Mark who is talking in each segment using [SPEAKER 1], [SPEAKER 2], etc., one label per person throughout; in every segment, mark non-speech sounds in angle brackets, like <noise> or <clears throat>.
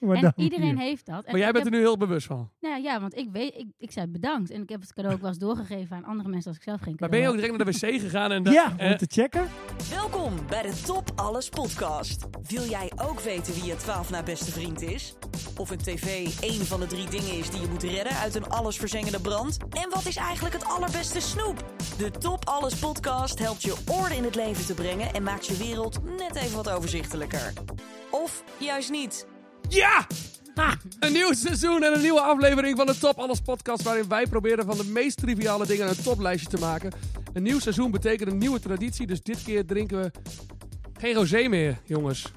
[SPEAKER 1] Maar
[SPEAKER 2] en
[SPEAKER 1] dan-
[SPEAKER 2] iedereen heeft dat. En
[SPEAKER 3] Maar jij
[SPEAKER 2] ik
[SPEAKER 3] bent
[SPEAKER 2] heb-
[SPEAKER 3] er nu heel bewust van.
[SPEAKER 2] Nou ja, want ik, weet, ik, ik zei bedankt. En ik heb het cadeau ook wel eens doorgegeven aan andere mensen als ik zelf geen
[SPEAKER 3] Maar
[SPEAKER 2] cadeau
[SPEAKER 3] ben je ook
[SPEAKER 2] had.
[SPEAKER 3] direct naar de wc gegaan en... da-
[SPEAKER 1] Ja,
[SPEAKER 3] eh,
[SPEAKER 1] om te checken.
[SPEAKER 4] Welkom bij de Top Alles podcast. Wil jij ook weten wie je 12 na beste vriend is? Of een tv één van de drie dingen is die je moet redden uit een allesverzengende brand? En wat is eigenlijk het allerbeste snoep? De Top Alles podcast helpt je orde in het leven te brengen en maakt je wereld net even wat overzichtelijker. Of juist niet.
[SPEAKER 3] Ja!
[SPEAKER 1] Ah.
[SPEAKER 3] Een nieuw seizoen en een nieuwe aflevering van de Top Alles podcast... waarin wij proberen van de meest triviale dingen een toplijstje te maken. Een nieuw seizoen betekent een nieuwe traditie... dus dit keer drinken we geen rosé meer, jongens.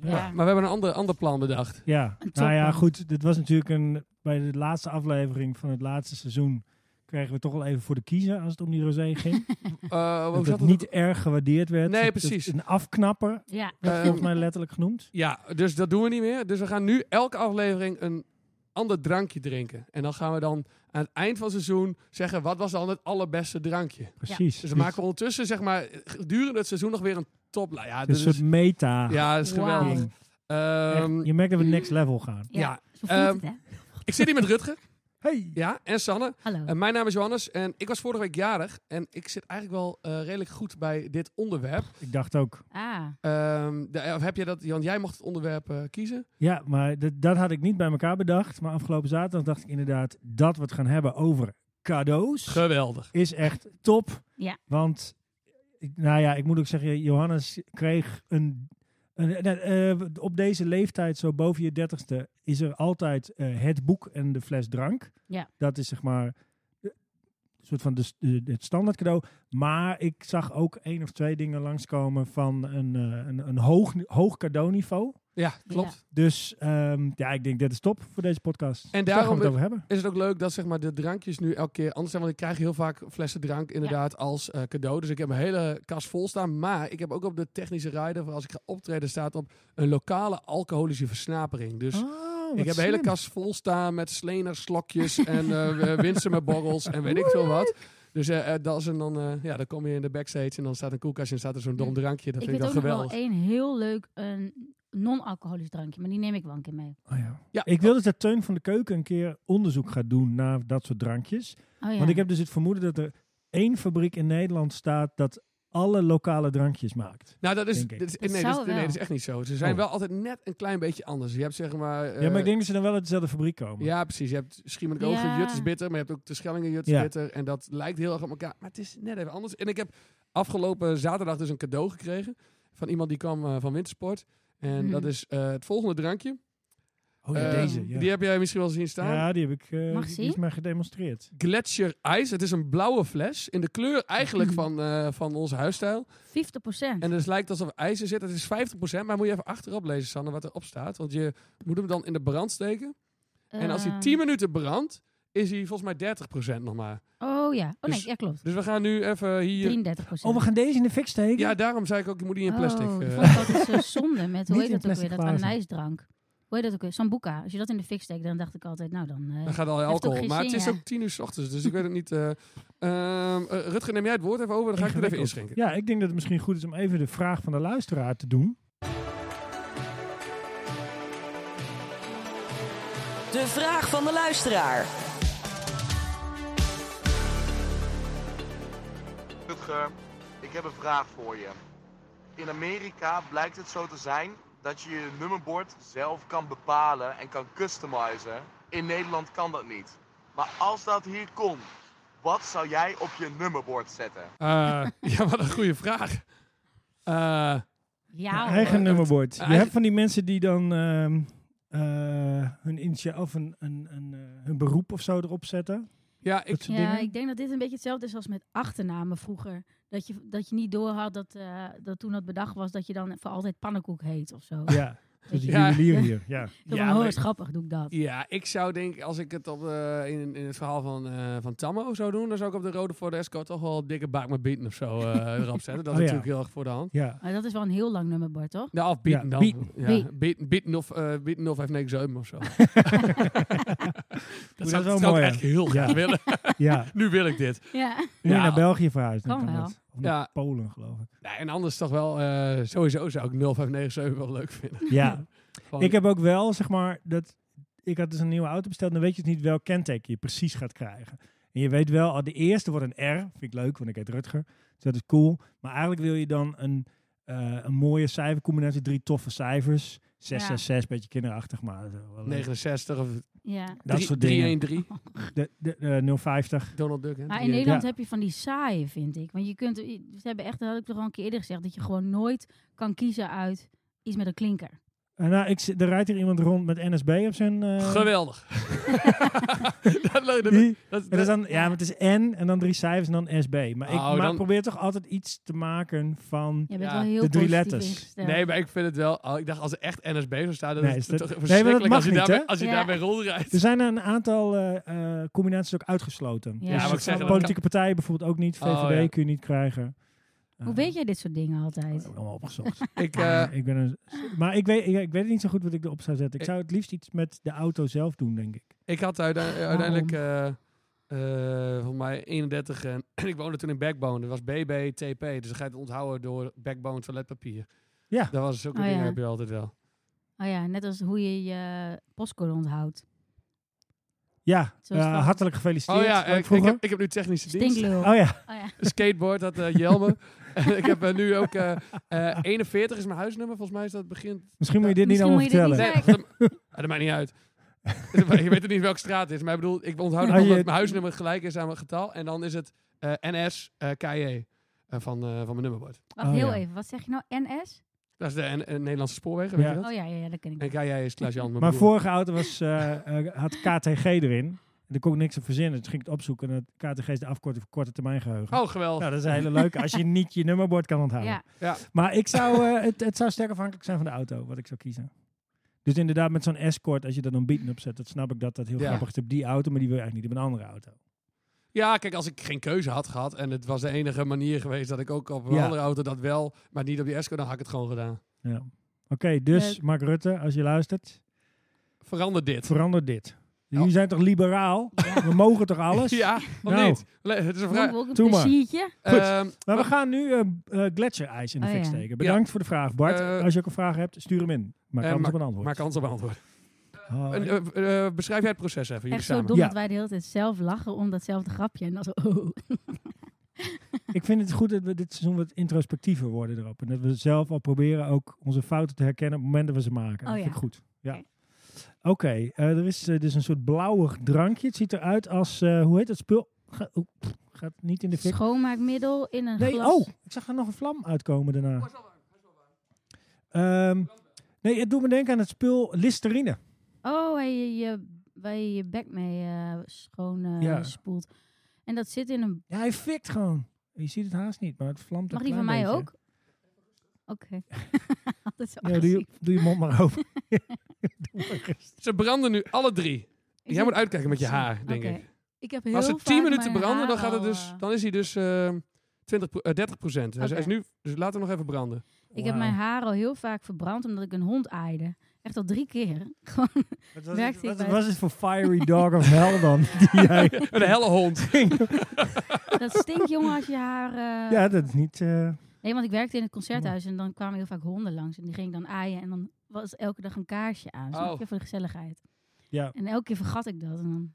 [SPEAKER 2] Ja.
[SPEAKER 3] Maar we hebben een ander, ander plan bedacht.
[SPEAKER 1] Ja,
[SPEAKER 2] Een
[SPEAKER 1] nou ja,
[SPEAKER 2] topman.
[SPEAKER 1] goed. Dit was natuurlijk een, bij de laatste aflevering van het laatste seizoen. kregen we toch wel even voor de kiezer als het om die rosé
[SPEAKER 3] <laughs>
[SPEAKER 1] ging.
[SPEAKER 3] Eh,
[SPEAKER 1] dat
[SPEAKER 3] hoe zat
[SPEAKER 1] het
[SPEAKER 3] het?
[SPEAKER 1] niet erg gewaardeerd werd.
[SPEAKER 3] Nee,
[SPEAKER 1] Dat het
[SPEAKER 3] precies.
[SPEAKER 1] Een afknapper,
[SPEAKER 2] Ja,
[SPEAKER 1] werd
[SPEAKER 3] Eh,
[SPEAKER 1] volgens mij letterlijk genoemd.
[SPEAKER 3] Ja, dus dat doen we niet meer. Dus we gaan nu elke aflevering een ander drankje drinken. En dan gaan we dan aan het eind van het seizoen zeggen... wat was dan het allerbeste drankje?
[SPEAKER 1] Precies.
[SPEAKER 3] Dus we maken ondertussen, zeg maar, gedurende het seizoen nog weer een top. Ja,
[SPEAKER 1] een
[SPEAKER 3] dit
[SPEAKER 1] soort
[SPEAKER 3] is,
[SPEAKER 1] meta.
[SPEAKER 3] dus- ja, dat is
[SPEAKER 2] Wauw.
[SPEAKER 3] geweldig.
[SPEAKER 1] ding.
[SPEAKER 3] Ehm,
[SPEAKER 1] Echt, je merkt dat we next level gaan.
[SPEAKER 2] ja.
[SPEAKER 3] ja.
[SPEAKER 2] Zo voelt het,
[SPEAKER 3] Ehm,
[SPEAKER 2] hè?
[SPEAKER 3] ik zit hier met Rutger
[SPEAKER 1] Hey.
[SPEAKER 3] ja, en Sanne.
[SPEAKER 2] Hallo.
[SPEAKER 3] En mijn naam is Johannes en ik was vorige week jarig. En ik zit eigenlijk wel eh, redelijk goed bij dit onderwerp.
[SPEAKER 1] Ik dacht ook.
[SPEAKER 2] ah,
[SPEAKER 3] Ehm, de- of heb je dat, Jan? Jij mocht het onderwerp eh, kiezen.
[SPEAKER 1] Ja, maar dat, dat had ik niet bij elkaar bedacht. Maar afgelopen zaterdag dacht ik inderdaad dat we het gaan hebben over cadeaus.
[SPEAKER 3] Geweldig.
[SPEAKER 1] is echt top.
[SPEAKER 2] Ja.
[SPEAKER 1] Want, ik- nou ja, ik moet ook zeggen, Johannes kreeg een... een- eh, eh, op deze leeftijd, zo boven je dertigste, is er altijd eh, het boek en de fles drank.
[SPEAKER 2] Ja.
[SPEAKER 1] Dat is zeg maar eh, een soort van de, s- de- het standaard cadeau. Maar ik zag ook één of twee dingen langskomen van een, eh, een, een hoog, hoog cadeauniveau.
[SPEAKER 3] Ja, klopt.
[SPEAKER 1] Dus ehm, ja, ik denk dat is top voor deze podcast. Dus daar gaan
[SPEAKER 3] daarom
[SPEAKER 1] we het over hebben.
[SPEAKER 3] Is het ook leuk dat zeg maar, de drankjes nu elke keer anders zijn? Want ik krijg heel vaak flessen drank inderdaad als eh, cadeau. Dus ik heb mijn hele kast vol staan. Maar ik heb ook op de technische rider, voor als ik ga optreden, staat op een lokale alcoholische versnapering. Dus
[SPEAKER 1] Oh, wat
[SPEAKER 3] ik heb de hele
[SPEAKER 1] slim.
[SPEAKER 3] kast vol staan met
[SPEAKER 1] <laughs>
[SPEAKER 3] sleners, slokjes en eh winsumerborrels en weet ik veel wat. Dus eh, eh, dat is een, dan, eh, ja, dan kom je in de backstage en dan staat een koelkast en staat er zo'n dom drankje. Dat
[SPEAKER 2] ik
[SPEAKER 3] vind
[SPEAKER 2] weet
[SPEAKER 3] ik
[SPEAKER 2] ook
[SPEAKER 3] dan
[SPEAKER 2] nog wel
[SPEAKER 3] geweldig.
[SPEAKER 2] één heel leuk een non-alcoholisch drankje. Maar die neem ik wel een keer mee.
[SPEAKER 1] Oh ja.
[SPEAKER 3] Ja.
[SPEAKER 1] Ik wil dus dat Teun van de Keuken een keer onderzoek gaat doen naar dat soort drankjes.
[SPEAKER 2] Oh, ja.
[SPEAKER 1] Want ik heb dus het vermoeden dat er één fabriek in Nederland staat dat alle lokale drankjes maakt.
[SPEAKER 3] Nou, dat is,
[SPEAKER 1] Denk ik.
[SPEAKER 3] dit is, nee,
[SPEAKER 2] Dat
[SPEAKER 3] dat is-
[SPEAKER 2] zou
[SPEAKER 3] nee,
[SPEAKER 2] wel.
[SPEAKER 3] dat is echt niet zo. Ze zijn
[SPEAKER 1] Oh.
[SPEAKER 3] wel altijd net een klein beetje anders. Je hebt zeg maar...
[SPEAKER 1] ja,
[SPEAKER 3] eh,
[SPEAKER 1] maar ik denk dat ze dan wel uit dezelfde fabriek komen.
[SPEAKER 3] Ja, precies. Je hebt Schiermonnik ook
[SPEAKER 2] Ja.
[SPEAKER 3] een Juttersbitter, maar je hebt ook de Schellingen Juttersbitter. En dat lijkt heel erg op elkaar, maar het is net even anders. En ik heb afgelopen zaterdag dus een cadeau gekregen van iemand die kwam eh, van Wintersport. En
[SPEAKER 2] Mhm.
[SPEAKER 3] dat is eh, het volgende drankje.
[SPEAKER 1] Oh ja,
[SPEAKER 3] Eh,
[SPEAKER 1] deze. Ja.
[SPEAKER 3] Die heb jij misschien wel zien staan.
[SPEAKER 1] ja, die heb ik eh,
[SPEAKER 2] Mag
[SPEAKER 1] die
[SPEAKER 2] zien?
[SPEAKER 1] is mij gedemonstreerd.
[SPEAKER 3] Gletscher Ice. Het is een blauwe fles in de kleur eigenlijk van, eh, van onze huisstijl.
[SPEAKER 2] 50 procent.
[SPEAKER 3] En dus lijkt alsof er ijs in zit. Het is 50%, maar moet je even achterop lezen, Sanne, wat erop staat. Want je moet hem dan in de brand steken. En als
[SPEAKER 2] Ah. Ehm,
[SPEAKER 3] hij 10 minuten brandt, is hij volgens mij 30% nog maar.
[SPEAKER 2] Oh ja. Oh nee,
[SPEAKER 3] Dus-
[SPEAKER 2] ja klopt.
[SPEAKER 3] Dus we gaan nu even hier
[SPEAKER 2] 33 procent.
[SPEAKER 1] Oh, we gaan deze in de fik steken?
[SPEAKER 3] Ja, daarom zei ik ook, je moet die in plastic.
[SPEAKER 2] Oh, dat
[SPEAKER 3] eh,
[SPEAKER 2] vond ik altijd zo zonde
[SPEAKER 1] <laughs>
[SPEAKER 2] met, hoe heet dat
[SPEAKER 1] Niet in
[SPEAKER 2] ook weer,
[SPEAKER 1] plastic
[SPEAKER 2] dat
[SPEAKER 1] glazen.
[SPEAKER 2] anijsdrank. Hoe heet dat ook weer? Sambuca. Als je dat in de fik steekt, dan dacht ik altijd, nou dan... eh,
[SPEAKER 3] dan gaat al je
[SPEAKER 2] heeft
[SPEAKER 3] alcohol.
[SPEAKER 2] toch
[SPEAKER 3] Maar
[SPEAKER 2] geen
[SPEAKER 3] het is
[SPEAKER 2] zin,
[SPEAKER 3] ook tien uur s ochtends, dus ik weet het niet. eh Ehm, eh, Rutger, neem jij het woord even over, dan ga ik er even
[SPEAKER 1] Ingewikkeld.
[SPEAKER 3] inschenken.
[SPEAKER 1] Ja, ik denk dat het misschien goed is om even de vraag van de luisteraar te doen.
[SPEAKER 4] De vraag van de luisteraar.
[SPEAKER 5] Rutger, eh, ik heb een vraag voor je. In Amerika blijkt het zo te zijn dat je je nummerbord zelf kan bepalen en kan customizen. In Nederland kan dat niet. Maar als dat hier kon, wat zou jij op je nummerbord zetten?
[SPEAKER 3] Eh, <laughs> ja, wat een goede vraag. Eh,
[SPEAKER 2] ja, hoor.
[SPEAKER 1] eigen nummerbord. Je
[SPEAKER 3] Eigen-
[SPEAKER 1] hebt van die mensen die dan ehm, eh, hun initiaal of een, een, een, eh, hun beroep of zo erop zetten.
[SPEAKER 3] ja, ik,
[SPEAKER 1] Dat soort
[SPEAKER 2] Ja,
[SPEAKER 1] dingen.
[SPEAKER 2] ik denk dat dit een beetje hetzelfde is als met achternamen vroeger. Dat je, dat je niet doorhad dat, eh, dat toen dat bedacht was, dat je dan voor altijd pannenkoek heet of zo. <laughs>
[SPEAKER 1] Ja, zoals die
[SPEAKER 3] Ja.
[SPEAKER 1] juwelier hier. Ja.
[SPEAKER 2] Dat
[SPEAKER 3] Ja,
[SPEAKER 2] ja,
[SPEAKER 3] maar-
[SPEAKER 2] is grappig, doe ik dat.
[SPEAKER 3] ja, ik zou denk als ik het op, eh, in, in het verhaal van, eh van Tammo zou doen, dan zou ik op de rode voor de escort toch wel dikke baak met bieten of zo eh, erop zetten. Dat is
[SPEAKER 1] Oh, ja.
[SPEAKER 3] natuurlijk heel erg voor de hand.
[SPEAKER 1] ja.
[SPEAKER 2] Maar dat is wel een heel lang nummerbord, toch?
[SPEAKER 3] Ja, of bieten
[SPEAKER 1] Ja,
[SPEAKER 3] dan.
[SPEAKER 1] bieten.
[SPEAKER 3] Ja,
[SPEAKER 2] Bieten.
[SPEAKER 3] bieten- bieten of, eh bieten of heeft niks zeumen
[SPEAKER 1] <laughs>
[SPEAKER 3] of zo. dat
[SPEAKER 1] dat
[SPEAKER 3] zou,
[SPEAKER 1] is wel
[SPEAKER 3] zou
[SPEAKER 1] mooi,
[SPEAKER 3] ik
[SPEAKER 1] ja.
[SPEAKER 3] echt heel graag
[SPEAKER 1] Ja. <laughs>
[SPEAKER 3] willen.
[SPEAKER 1] Ja.
[SPEAKER 3] Nu wil ik dit.
[SPEAKER 2] Ja.
[SPEAKER 1] Moet je
[SPEAKER 3] Ja.
[SPEAKER 1] naar België verhuizen? dan
[SPEAKER 2] Kan wel.
[SPEAKER 1] dat. Of naar
[SPEAKER 3] Ja.
[SPEAKER 1] Polen, geloof ik.
[SPEAKER 3] Nee, en anders toch wel, eh, sowieso zou ik 0597 wel leuk vinden.
[SPEAKER 1] Ja.
[SPEAKER 3] Van-
[SPEAKER 1] Ik heb ook wel, zeg maar, dat ik had dus een nieuwe auto besteld. Dan weet je dus niet welk kenteken je precies gaat krijgen. En je weet wel, ah, de eerste wordt een R. Vind ik leuk, want ik heet Rutger. Dus dat is cool. Maar eigenlijk wil je dan een, eh, een mooie cijfercombinatie. Drie toffe cijfers. 666, beetje kinderachtig, maar eh, wel leuk.
[SPEAKER 3] 69 of
[SPEAKER 2] Ja.
[SPEAKER 1] dat
[SPEAKER 3] drie-
[SPEAKER 1] soort dingen.
[SPEAKER 3] 313.
[SPEAKER 1] De, de, eh, 050.
[SPEAKER 3] Donald Duck, hè?
[SPEAKER 2] Maar in
[SPEAKER 3] Die, eh,
[SPEAKER 2] Nederland
[SPEAKER 1] Ja.
[SPEAKER 2] heb je van die saaien, vind ik. Want je kunt, eh, ze hebben echt, dat had ik toch al een keer eerder gezegd, dat je gewoon nooit kan kiezen uit iets met een klinker.
[SPEAKER 1] Eh, nou, ik, zit- er rijdt hier iemand rond met NSB op zijn...
[SPEAKER 2] <laughs>
[SPEAKER 1] eh,
[SPEAKER 3] Geweldig. <laughs> dat leuk. Dat,
[SPEAKER 1] die.
[SPEAKER 3] dat,
[SPEAKER 1] En dat is dan, ja, maar het is N en dan drie cijfers en dan SB. Maar ik ma-
[SPEAKER 3] Oh, dan-
[SPEAKER 1] probeer toch altijd iets te maken van...
[SPEAKER 2] Je bent
[SPEAKER 3] Ja,
[SPEAKER 2] wel heel
[SPEAKER 1] de drie
[SPEAKER 2] positief
[SPEAKER 1] letters.
[SPEAKER 2] ingesteld.
[SPEAKER 3] Nee, maar ik vind het wel. oh, ik dacht, als er echt NSB zou staan, dan
[SPEAKER 1] Nee,
[SPEAKER 3] is
[SPEAKER 1] is
[SPEAKER 3] het
[SPEAKER 1] dat-
[SPEAKER 3] toch
[SPEAKER 1] Nee, maar dat
[SPEAKER 3] verschrikkelijk
[SPEAKER 1] mag
[SPEAKER 3] als je
[SPEAKER 1] niet,
[SPEAKER 3] daarmee,
[SPEAKER 1] hè? Dus
[SPEAKER 3] als je
[SPEAKER 2] Ja.
[SPEAKER 3] daarmee rondrijdt.
[SPEAKER 1] Er zijn een aantal eh, eh, combinaties ook uitgesloten.
[SPEAKER 2] Ja,
[SPEAKER 1] dus
[SPEAKER 2] wou ik
[SPEAKER 1] van
[SPEAKER 2] zeggen,
[SPEAKER 1] politieke partijen bijvoorbeeld ook niet. VVD
[SPEAKER 3] Oh, ja.
[SPEAKER 1] kun je niet krijgen. Eh, oh,
[SPEAKER 2] Hoe weet jij dit soort dingen altijd?
[SPEAKER 1] allemaal opgezocht.
[SPEAKER 3] ik, <laughs> eh,
[SPEAKER 1] ik ben een, maar ik weet, ik, ik weet het niet zo goed wat ik erop zou zetten. Ik
[SPEAKER 3] Ik-
[SPEAKER 1] zou het liefst iets met de auto zelf doen, denk ik.
[SPEAKER 3] ik had uite-
[SPEAKER 1] Ah,
[SPEAKER 3] uiteindelijk. eh eh, volgens mij 31 en, <clears throat> en ik woonde toen in Backbone. Dat was BBTP. Dus dan ga je het onthouden door Backbone toiletpapier.
[SPEAKER 1] Ja.
[SPEAKER 3] Dat was zulke
[SPEAKER 2] Oh,
[SPEAKER 3] dingen
[SPEAKER 2] ja.
[SPEAKER 3] heb je altijd wel.
[SPEAKER 2] Oh ja, net als hoe je je postcode onthoudt.
[SPEAKER 1] Ja,
[SPEAKER 2] Zoals
[SPEAKER 1] eh,
[SPEAKER 2] van-
[SPEAKER 1] hartelijk gefeliciteerd.
[SPEAKER 3] Oh ja,
[SPEAKER 1] Wat
[SPEAKER 3] eh,
[SPEAKER 1] ik
[SPEAKER 3] ik, ik,
[SPEAKER 1] vroeger-
[SPEAKER 3] heb, ik heb nu technische dienst.
[SPEAKER 2] Stinklul.
[SPEAKER 1] Oh ja,
[SPEAKER 2] Oh ja.
[SPEAKER 3] skateboard, dat eh Jelme. <laughs> En ik heb eh, nu ook eh, eh, 41 is mijn huisnummer. Volgens mij is dat begint.
[SPEAKER 1] misschien moet je dit niet
[SPEAKER 2] Misschien
[SPEAKER 1] allemaal
[SPEAKER 2] moet je dit
[SPEAKER 1] vertellen.
[SPEAKER 3] Nee,
[SPEAKER 2] Kijk.
[SPEAKER 3] dat, ah, dat maakt niet uit. <laughs> je weet het niet welke straat het is. Maar ik bedoel, ik onthoud het
[SPEAKER 1] Ah,
[SPEAKER 3] nog
[SPEAKER 1] je-
[SPEAKER 3] dat mijn huisnummer gelijk is aan mijn getal. En dan is het eh, NS eh KJ eh, van, eh, van mijn nummerbord.
[SPEAKER 2] Wacht,
[SPEAKER 1] Oh
[SPEAKER 2] heel
[SPEAKER 1] ja.
[SPEAKER 2] even. Wat zeg je nou? NS?
[SPEAKER 3] Dat is de N- eh, Nederlandse spoorwegen, weet
[SPEAKER 1] Ja.
[SPEAKER 3] je dat?
[SPEAKER 2] Oh ja, ja, ja dat ken ik.
[SPEAKER 3] En KJ is Klaas Jan, mijn
[SPEAKER 1] Mijn
[SPEAKER 3] broer.
[SPEAKER 1] vorige auto was, eh, eh, had KTG erin. En daar kon ik niks op verzinnen. Dus ging ik het opzoeken. En het KTG is de afkorting voor korte termijn geheugen.
[SPEAKER 3] Oh, geweldig.
[SPEAKER 1] Nou, dat is een hele leuke. Als je niet je nummerbord kan onthouden.
[SPEAKER 2] Ja,
[SPEAKER 1] Maar ik zou, eh, het, het zou sterk afhankelijk zijn van de auto, wat ik zou kiezen. Dus inderdaad, met zo'n escort, als je dat dan beaten op zet, dat snap ik dat dat heel
[SPEAKER 3] Ja.
[SPEAKER 1] grappig is op die auto, maar die wil je eigenlijk niet op een andere auto.
[SPEAKER 3] Ja, kijk, als ik geen keuze had gehad en het was de enige manier geweest dat ik ook op een
[SPEAKER 1] Ja.
[SPEAKER 3] andere auto dat wel, maar niet op die Esco, dan had ik het gewoon gedaan.
[SPEAKER 1] Ja. Oké, dus
[SPEAKER 2] Leuk.
[SPEAKER 1] Mark Rutte, als je luistert,
[SPEAKER 3] Verander dit.
[SPEAKER 1] verander dit. Jullie
[SPEAKER 3] Ja.
[SPEAKER 1] zijn toch liberaal? We mogen toch alles?
[SPEAKER 3] Oh. <laughs> Ja, of
[SPEAKER 1] Nou.
[SPEAKER 3] niet? Le- Het is een
[SPEAKER 2] Vond
[SPEAKER 3] vraag.
[SPEAKER 2] ik ook een
[SPEAKER 1] Doe maar.
[SPEAKER 2] pleziertje.
[SPEAKER 1] Goed.
[SPEAKER 3] Ehm,
[SPEAKER 1] Maar we gaan nu eh eh, gletsjerijs in de
[SPEAKER 2] Oh,
[SPEAKER 1] fik
[SPEAKER 2] ja.
[SPEAKER 1] steken. Bedankt voor de vraag, Bart.
[SPEAKER 3] Eh,
[SPEAKER 1] als je ook een vraag hebt, stuur hem in. Maar
[SPEAKER 3] Eh,
[SPEAKER 1] kans
[SPEAKER 3] maar-
[SPEAKER 1] op een antwoord.
[SPEAKER 3] maar kans op antwoord.
[SPEAKER 1] Oh,
[SPEAKER 3] En, eh, eh, beschrijf jij het proces even, jullie
[SPEAKER 2] Echt zo
[SPEAKER 3] samen.
[SPEAKER 2] dom
[SPEAKER 1] Ja.
[SPEAKER 2] dat wij de hele tijd zelf lachen om datzelfde grapje. En dan zo, oh.
[SPEAKER 1] Ik vind het goed dat we dit seizoen wat introspectiever worden erop. En dat we zelf al proberen ook onze fouten te herkennen op het moment dat we ze maken.
[SPEAKER 2] Oh ja.
[SPEAKER 1] dat vind ik goed. Ja.
[SPEAKER 2] Oké.
[SPEAKER 1] Oké, eh, er is eh, dus een soort blauwig drankje. Het ziet eruit als, eh, hoe heet dat spul? Ga- oep, gaat niet in de fik.
[SPEAKER 2] schoonmaakmiddel in een
[SPEAKER 1] Nee,
[SPEAKER 2] glas.
[SPEAKER 1] oh, ik zag er nog een vlam uitkomen daarna. Ehm, nee, het doet me denken aan het spul Listerine.
[SPEAKER 2] Oh, waar je je, waar je, je bek mee eh, schoon eh,
[SPEAKER 1] Ja.
[SPEAKER 2] spoelt. En dat zit in een...
[SPEAKER 1] Ja, hij fikt gewoon. Je ziet het haast niet, maar het vlamt een
[SPEAKER 2] Mag die van
[SPEAKER 1] klein
[SPEAKER 2] mij
[SPEAKER 1] beetje.
[SPEAKER 2] ook?
[SPEAKER 3] <laughs>
[SPEAKER 2] Oké. <laughs> dat is wel
[SPEAKER 1] Ja, doe, je, doe je mond
[SPEAKER 2] <laughs>
[SPEAKER 1] maar open. Doe maar rustig.
[SPEAKER 3] Ze branden nu alle drie. Jij moet uitkijken met je haar,
[SPEAKER 2] Oké.
[SPEAKER 3] denk ik.
[SPEAKER 2] Ik heb
[SPEAKER 3] Maar
[SPEAKER 2] heel
[SPEAKER 3] als ze
[SPEAKER 2] vaak
[SPEAKER 3] 10 minuten
[SPEAKER 2] mijn
[SPEAKER 3] branden, dan,
[SPEAKER 2] haar
[SPEAKER 3] gaat het
[SPEAKER 2] al,
[SPEAKER 3] dus,
[SPEAKER 2] eh,
[SPEAKER 3] dan is hij dus eh 20, pro- eh, 30 procent. Hij is- hij is nu, dus laten we nog even branden.
[SPEAKER 2] Ik heb
[SPEAKER 1] Wauw.
[SPEAKER 2] mijn haar al heel vaak verbrand omdat ik een hond aaide. Echt al drie keer. Gewoon,
[SPEAKER 1] Wat was,
[SPEAKER 2] Werkt
[SPEAKER 1] het,
[SPEAKER 2] hij
[SPEAKER 1] wat
[SPEAKER 2] bij-
[SPEAKER 1] was het voor fiery dog of hell dan? <laughs> Die jij
[SPEAKER 3] Een helle hond.
[SPEAKER 2] dat stinkt, jongen, als je haar... eh,
[SPEAKER 1] ja, dat is niet... eh,
[SPEAKER 2] Nee, want ik werkte in het concerthuis en dan kwamen heel vaak honden langs. En die ging ik dan aaien en dan was elke dag een kaarsje aan. Dus
[SPEAKER 3] Oh.
[SPEAKER 2] keer voor de gezelligheid.
[SPEAKER 1] ja.
[SPEAKER 2] En elke keer vergat ik dat. En dan,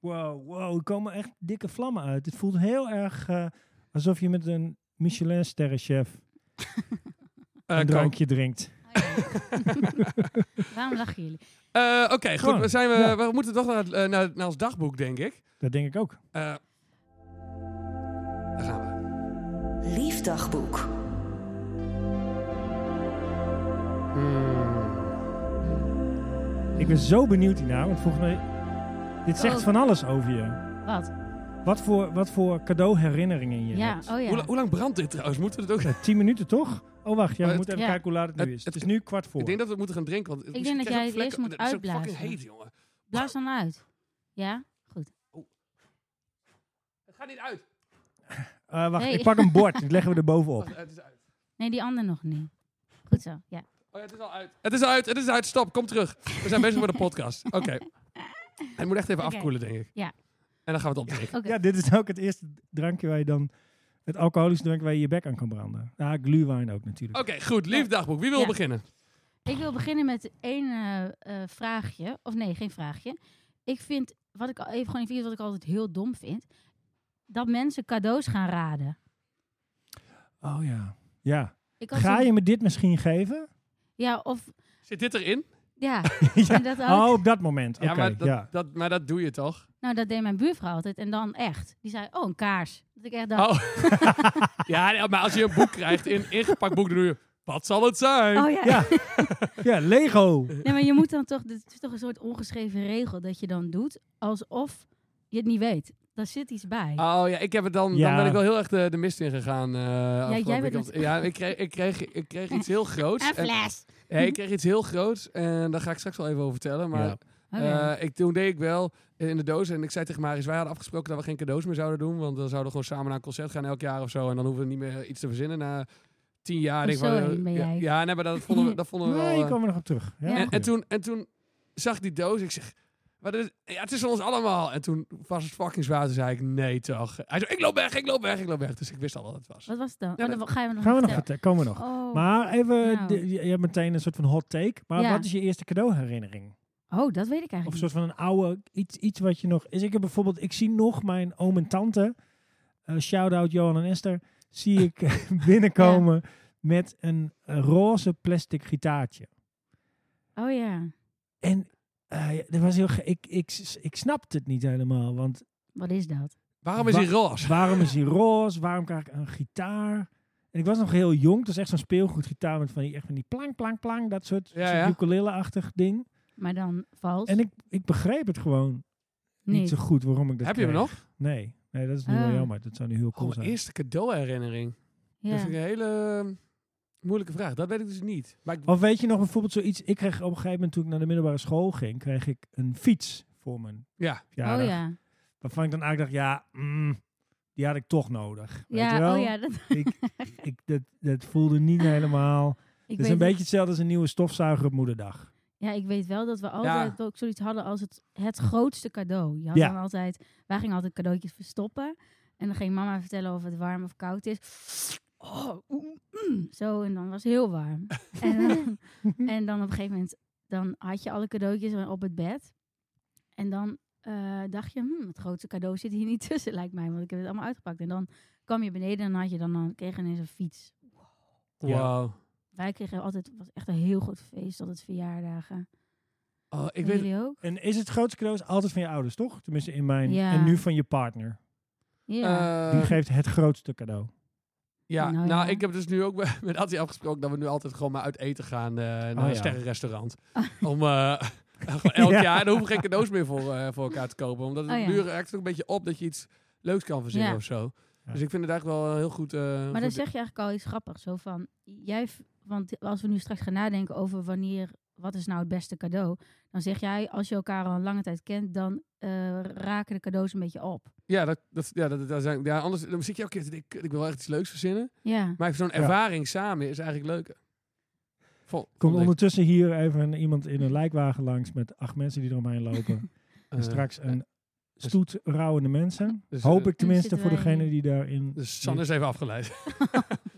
[SPEAKER 1] Wow, wow, er komen echt dikke vlammen uit. Het voelt heel erg eh, alsof je met een Michelin-sterrenchef
[SPEAKER 3] Eh,
[SPEAKER 1] een
[SPEAKER 3] Coke.
[SPEAKER 1] drankje drinkt.
[SPEAKER 2] Oh, <laughs> waarom lachen jullie?
[SPEAKER 3] Eh, Oké, goed.
[SPEAKER 1] Gewoon.
[SPEAKER 3] We, zijn we,
[SPEAKER 1] Ja.
[SPEAKER 3] we moeten toch naar, het, eh, naar, naar ons dagboek, denk ik.
[SPEAKER 1] Dat denk ik ook.
[SPEAKER 3] Eh, daar gaan we.
[SPEAKER 4] Liefdagboek.
[SPEAKER 1] Ik ben zo benieuwd hiernaar, want volgens mij... Dit zegt
[SPEAKER 2] Oh.
[SPEAKER 1] van alles over je.
[SPEAKER 2] Wat?
[SPEAKER 1] Wat voor, wat voor cadeauherinneringen je
[SPEAKER 2] Ja,
[SPEAKER 1] hebt.
[SPEAKER 2] oh
[SPEAKER 3] Hoe,
[SPEAKER 2] ja.
[SPEAKER 3] la- hoe lang brandt dit trouwens? Moeten we het ook...
[SPEAKER 1] Ja, tien minuten toch? Oh, wacht. Ja,
[SPEAKER 3] Maar
[SPEAKER 1] we
[SPEAKER 3] het-
[SPEAKER 1] moeten even
[SPEAKER 2] Ja.
[SPEAKER 1] kijken hoe laat het nu
[SPEAKER 3] Het-
[SPEAKER 1] is.
[SPEAKER 3] het-
[SPEAKER 1] Het is nu kwart voor.
[SPEAKER 3] Ik denk dat we moeten gaan drinken. Want
[SPEAKER 2] denk dat jij het eerst moet
[SPEAKER 3] Het is ook
[SPEAKER 2] uitblazen.
[SPEAKER 3] fucking heet, jongen.
[SPEAKER 2] Blaas dan uit. Ja? Goed.
[SPEAKER 3] Het gaat niet uit.
[SPEAKER 1] Eh, wacht,
[SPEAKER 2] Nee. Oh,
[SPEAKER 1] ik pak een bord. Dat
[SPEAKER 2] <laughs>
[SPEAKER 1] leggen we er bovenop.
[SPEAKER 3] Wacht, het is uit.
[SPEAKER 2] Nee, die ander nog niet. Goed zo, ja.
[SPEAKER 3] Oh ja, het is al uit. Het is uit, het is uit. Stop, kom terug. We zijn bezig met de podcast.
[SPEAKER 2] <laughs>
[SPEAKER 3] Oké. Hij moet echt even
[SPEAKER 2] Oké.
[SPEAKER 3] afkoelen, denk ik.
[SPEAKER 2] Ja.
[SPEAKER 3] En dan gaan we het opdrinken.
[SPEAKER 2] Oké.
[SPEAKER 1] Ja, dit is ook het eerste drankje waar je dan... Het alcoholische drankje waar je je bek aan kan branden. Ja, Ah, gluwijn ook natuurlijk.
[SPEAKER 3] Oké, goed. Lief dagboek. Wie wil
[SPEAKER 2] Ja.
[SPEAKER 3] beginnen?
[SPEAKER 2] Ik wil beginnen met één eh, eh, vraagje. Of nee, geen vraagje. Ik vind, wat ik al even gewoon even iets wat ik altijd heel dom vind. Dat mensen cadeaus gaan raden.
[SPEAKER 1] Oh ja. Ja.
[SPEAKER 2] Ik had
[SPEAKER 1] Ga
[SPEAKER 2] zo'n-
[SPEAKER 1] je me dit misschien geven?
[SPEAKER 2] Ja, of...
[SPEAKER 3] Zit dit erin?
[SPEAKER 1] <laughs>
[SPEAKER 2] Ja,
[SPEAKER 1] Ja.
[SPEAKER 2] en dat ook.
[SPEAKER 1] Oh, op dat moment. Oké,
[SPEAKER 3] ja, maar dat,
[SPEAKER 1] ja.
[SPEAKER 3] Dat, maar dat doe je toch?
[SPEAKER 2] Nou, dat deed mijn buurvrouw altijd. En dan echt. Die zei, oh, een kaars. Dat ik echt dacht,
[SPEAKER 3] Oh. <laughs> ja, nee, maar als je een boek krijgt, in ingepakt boek, dan doe je... Wat zal het zijn?
[SPEAKER 2] oh ja.
[SPEAKER 1] Ja. Ja, Lego.
[SPEAKER 2] Nee, maar je moet dan toch... Het is toch een soort ongeschreven regel dat je dan doet. Alsof je het niet weet. Daar zit iets bij.
[SPEAKER 3] Oh ja, ik heb het dan, dan
[SPEAKER 1] Ja.
[SPEAKER 3] ben ik wel heel erg de, de mist in gegaan. ja,
[SPEAKER 2] jij bent met-
[SPEAKER 3] ja, ik kreeg, ik, kreeg, ik kreeg iets heel
[SPEAKER 1] eh,
[SPEAKER 3] groots.
[SPEAKER 2] een
[SPEAKER 3] En-
[SPEAKER 2] fles.
[SPEAKER 3] ja, ik kreeg iets heel groots en daar ga ik straks wel even over vertellen. Maar
[SPEAKER 1] Ja.
[SPEAKER 2] Oh, ja.
[SPEAKER 3] eh, ik, toen deed ik wel in de doos en ik zei tegen Maris, wij hadden afgesproken dat we geen cadeaus meer zouden doen. Want dan zouden we gewoon samen naar een concert gaan elk jaar of zo. En dan hoeven we niet meer iets te verzinnen na tien jaar.
[SPEAKER 2] Oh,
[SPEAKER 3] Denk ik
[SPEAKER 2] zo
[SPEAKER 3] van,
[SPEAKER 2] heen ben
[SPEAKER 3] ja,
[SPEAKER 2] jij.
[SPEAKER 3] ja, nee, maar dat vonden we, dat vonden we wel...
[SPEAKER 1] Nee,
[SPEAKER 3] eh,
[SPEAKER 1] ik kom er nog op terug. Ja,
[SPEAKER 2] En-
[SPEAKER 3] en,
[SPEAKER 1] goed.
[SPEAKER 3] en, toen, en toen zag ik die doos. Ik zeg, wat is, ja, het is voor ons allemaal. En toen was het fucking zwaar. Toen zei ik, nee toch. Hij zei, ik loop weg, ik loop weg, ik loop weg. Dus ik wist al wat het was.
[SPEAKER 2] Wat was het dan?
[SPEAKER 3] Ja,
[SPEAKER 2] oh, dan gaan we nog
[SPEAKER 1] Gaan we nog
[SPEAKER 2] vertellen.
[SPEAKER 1] vertellen. Komen we nog.
[SPEAKER 2] Oh.
[SPEAKER 1] Maar even,
[SPEAKER 2] Nou.
[SPEAKER 1] de- je je hebt meteen een soort van hot take. Maar
[SPEAKER 2] Ja.
[SPEAKER 1] wat is je eerste cadeauherinnering?
[SPEAKER 2] oh, dat weet ik eigenlijk
[SPEAKER 1] Of een
[SPEAKER 2] niet.
[SPEAKER 1] soort van een oude, iets, iets wat je nog... Is ik heb bijvoorbeeld, ik zie nog mijn oom en tante, eh, shout-out Johan en Esther, zie ik <laughs> binnenkomen met een eh, roze plastic gitaartje.
[SPEAKER 2] Oh ja,
[SPEAKER 1] En eh, ja, dat was heel, ge- ik, ik, ik snapte het niet helemaal, want
[SPEAKER 2] wat is dat?
[SPEAKER 3] Waarom is hij
[SPEAKER 1] Wa-
[SPEAKER 3] roze?
[SPEAKER 1] waarom is die roze? Waarom krijg ik een gitaar? En ik was nog heel jong, dat is echt zo'n speelgoedgitaar met van die, echt van die plank, plank, plank, dat soort,
[SPEAKER 3] Ja,
[SPEAKER 1] soort
[SPEAKER 3] ja.
[SPEAKER 1] ukulele-achtig ding.
[SPEAKER 2] Maar dan vals?
[SPEAKER 1] En ik, ik begreep het gewoon
[SPEAKER 2] nee.
[SPEAKER 1] niet zo goed waarom ik dat
[SPEAKER 3] Heb je hem
[SPEAKER 1] kreeg.
[SPEAKER 3] nog?
[SPEAKER 1] Nee, nee dat is nu
[SPEAKER 2] Ah.
[SPEAKER 1] wel jammer. Dat zou nu heel
[SPEAKER 3] Oh,
[SPEAKER 1] cool
[SPEAKER 3] mijn
[SPEAKER 1] zijn.
[SPEAKER 3] eerste cadeauherinnering. Dat
[SPEAKER 2] Ja.
[SPEAKER 1] dus
[SPEAKER 3] vind ik een hele eh, moeilijke vraag. Dat weet ik dus niet. Maar ik,
[SPEAKER 1] Of weet je nog bijvoorbeeld zoiets? Ik kreeg op een gegeven moment toen ik naar de middelbare school ging, kreeg ik een fiets voor mijn
[SPEAKER 3] ja.
[SPEAKER 1] verjaardag.
[SPEAKER 2] oh ja.
[SPEAKER 1] Waarvan ik dan eigenlijk dacht, ja, mm, die had ik toch nodig. Weet je
[SPEAKER 2] Ja,
[SPEAKER 1] wel?
[SPEAKER 2] oh ja. Dat, <laughs>
[SPEAKER 1] Ik, ik, dat, dat voelde niet helemaal.
[SPEAKER 2] ik
[SPEAKER 1] Het is
[SPEAKER 2] weet
[SPEAKER 1] een beetje hetzelfde als een nieuwe stofzuiger op moederdag.
[SPEAKER 2] Ja, ik weet wel dat we altijd ook zoiets hadden als het, het grootste cadeau. Je had
[SPEAKER 1] Ja.
[SPEAKER 2] dan altijd, wij gingen altijd cadeautjes verstoppen. En dan ging mama vertellen of het warm of koud is. Oh, oeh, mm, zo, en dan was het heel warm. en, dan, en dan op een gegeven moment, dan had je alle cadeautjes op het bed. En dan eh, dacht je, hm, het grootste cadeau zit hier niet tussen, lijkt mij. Want ik heb het allemaal uitgepakt. En dan kwam je beneden en dan had je dan, dan kreeg je ineens een fiets.
[SPEAKER 1] Ja.
[SPEAKER 3] Wauw.
[SPEAKER 2] Wij kregen altijd, het was echt een heel goed feest, altijd verjaardagen.
[SPEAKER 3] Oh, ik
[SPEAKER 2] Ik
[SPEAKER 3] weet
[SPEAKER 2] Jullie ook?
[SPEAKER 1] En is het grootste cadeau is altijd van je ouders, toch? Tenminste in mijn...
[SPEAKER 2] Ja.
[SPEAKER 1] En nu van je partner.
[SPEAKER 2] Ja.
[SPEAKER 1] Die
[SPEAKER 3] eh,
[SPEAKER 1] geeft het grootste cadeau.
[SPEAKER 3] Ja, nou,
[SPEAKER 2] Nou ja.
[SPEAKER 3] ik heb dus nu ook <laughs> met- met Atti afgesproken dat we nu altijd gewoon maar uit eten gaan eh, naar
[SPEAKER 1] Oh,
[SPEAKER 3] een
[SPEAKER 1] ja.
[SPEAKER 2] <laughs>
[SPEAKER 3] sterrenrestaurant. Om eh, <laughs> gewoon elk
[SPEAKER 1] Ja.
[SPEAKER 3] jaar, dan hoeven we geen cadeaus meer voor, eh, voor elkaar te kopen. Omdat het
[SPEAKER 2] Oh, ja.
[SPEAKER 3] duur raakt ook een beetje op dat je iets leuks kan verzinnen
[SPEAKER 2] Ja.
[SPEAKER 3] of zo.
[SPEAKER 1] Ja.
[SPEAKER 3] Dus ik vind het eigenlijk wel een heel goed. eh,
[SPEAKER 2] Maar dan
[SPEAKER 3] goed-
[SPEAKER 2] zeg je eigenlijk al iets grappigs. Zo van, jij, v- want als we nu straks gaan nadenken over wanneer, wat is nou het beste cadeau. Dan zeg jij, als je elkaar al een lange tijd kent, dan eh, raken de cadeaus een beetje op.
[SPEAKER 3] Ja, dat, dat, ja, dat, dat zijn, ja, anders dan zit je ook keer te denken, "Kut, ik wil echt iets leuks verzinnen.
[SPEAKER 2] Ja.
[SPEAKER 3] Maar zo'n
[SPEAKER 1] Ja.
[SPEAKER 3] ervaring samen is eigenlijk leuker. Vol,
[SPEAKER 1] Komt
[SPEAKER 3] vond ik.
[SPEAKER 1] ondertussen hier even een- iemand in een lijkwagen langs met acht mensen die eromheen lopen. en
[SPEAKER 3] Eh,
[SPEAKER 1] straks een
[SPEAKER 3] dus-
[SPEAKER 1] stoet rouwende mensen.
[SPEAKER 3] <laughs> Dus,
[SPEAKER 1] Hoop
[SPEAKER 3] eh,
[SPEAKER 1] ik tenminste
[SPEAKER 2] zitten
[SPEAKER 1] voor
[SPEAKER 2] wij-
[SPEAKER 1] degene die daarin...
[SPEAKER 3] Dus San is even afgeleid. <laughs>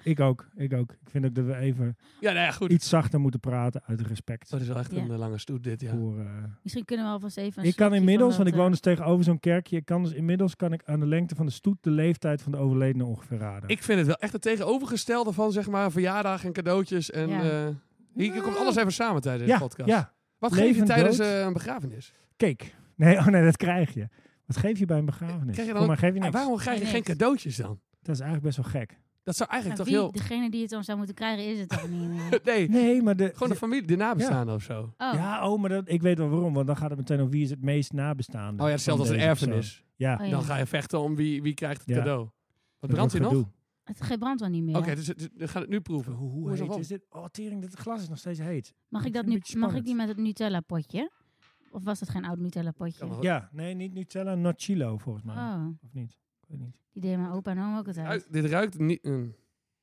[SPEAKER 1] Ik ook, ik ook. Ik vind ook dat we even
[SPEAKER 3] ja, nou ja, goed.
[SPEAKER 1] iets zachter moeten praten uit respect
[SPEAKER 3] Dat is wel echt
[SPEAKER 2] Ja.
[SPEAKER 3] een eh, lange stoet dit, ja.
[SPEAKER 1] voor... eh,
[SPEAKER 2] Misschien kunnen we alvast even... een
[SPEAKER 1] Ik kan
[SPEAKER 2] slokje
[SPEAKER 1] inmiddels,
[SPEAKER 2] van eh,
[SPEAKER 1] want
[SPEAKER 2] dat,
[SPEAKER 1] ik woon dus tegenover zo'n kerkje, ik kan dus inmiddels kan ik aan de lengte van de stoet de leeftijd van de overledene ongeveer raden.
[SPEAKER 3] Ik vind het wel echt het tegenovergestelde van zeg maar verjaardag en cadeautjes. En
[SPEAKER 2] Ja.
[SPEAKER 3] eh, hier hier komt alles even samen tijdens
[SPEAKER 1] ja,
[SPEAKER 3] de podcast.
[SPEAKER 1] ja,
[SPEAKER 3] Wat geef je
[SPEAKER 1] Levend
[SPEAKER 3] tijdens
[SPEAKER 1] dood.
[SPEAKER 3] eh, een begrafenis?
[SPEAKER 1] cake. Nee, oh nee, dat krijg je. Wat geef je bij een begrafenis?
[SPEAKER 3] Krijg je dan
[SPEAKER 1] Voor mij geef je
[SPEAKER 3] En
[SPEAKER 1] niks.
[SPEAKER 3] waarom krijg je
[SPEAKER 2] Nee,
[SPEAKER 3] geen
[SPEAKER 2] niks.
[SPEAKER 3] cadeautjes dan?
[SPEAKER 1] Dat is eigenlijk best wel gek.
[SPEAKER 3] Dat zou
[SPEAKER 2] eh,
[SPEAKER 3] eigenlijk
[SPEAKER 2] nou,
[SPEAKER 3] toch heel...
[SPEAKER 2] wie- Degene die het dan zou moeten krijgen, is het toch niet
[SPEAKER 1] <laughs>
[SPEAKER 2] meer?
[SPEAKER 3] <laughs> Nee,
[SPEAKER 1] Nee, maar de...
[SPEAKER 3] gewoon de familie, de nabestaanden of zo.
[SPEAKER 2] Oh,
[SPEAKER 1] Ja, oh, maar dat, ik weet wel waarom, want dan gaat het meteen om wie is het meest nabestaande.
[SPEAKER 3] Oh ja, hetzelfde als
[SPEAKER 1] van
[SPEAKER 3] een
[SPEAKER 1] deze persoon.
[SPEAKER 3] erfenis.
[SPEAKER 1] Ja.
[SPEAKER 2] Oh ja.
[SPEAKER 3] Dan ga je vechten om wie, wie krijgt het
[SPEAKER 1] Ja.
[SPEAKER 3] cadeau. Wat
[SPEAKER 1] dat
[SPEAKER 3] brandt hij
[SPEAKER 1] wordt
[SPEAKER 3] nog?
[SPEAKER 1] gedoe.
[SPEAKER 3] Oké,
[SPEAKER 2] het ge- brandt wel niet meer.
[SPEAKER 3] dus het- we gaan het nu proeven. Hoe, hoe
[SPEAKER 1] Hoe
[SPEAKER 3] is het
[SPEAKER 1] heet
[SPEAKER 3] op?
[SPEAKER 1] is dit? Oh, tering, dit glas is nog steeds heet.
[SPEAKER 2] mag, ik dat
[SPEAKER 1] vind het
[SPEAKER 2] nu,
[SPEAKER 1] een beetje
[SPEAKER 2] mag ik die
[SPEAKER 1] spannend.
[SPEAKER 2] met het Nutella potje? Of was dat geen oud Nutella potje?
[SPEAKER 3] Ja, maar-
[SPEAKER 1] Ja, nee, niet Nutella, Nocillo volgens mij.
[SPEAKER 3] Ah.
[SPEAKER 2] Oh,
[SPEAKER 1] Of niet? Ik weet niet.
[SPEAKER 2] die deed mijn opa en oma ook altijd.
[SPEAKER 3] Ruikt- dit ruikt niet... mm.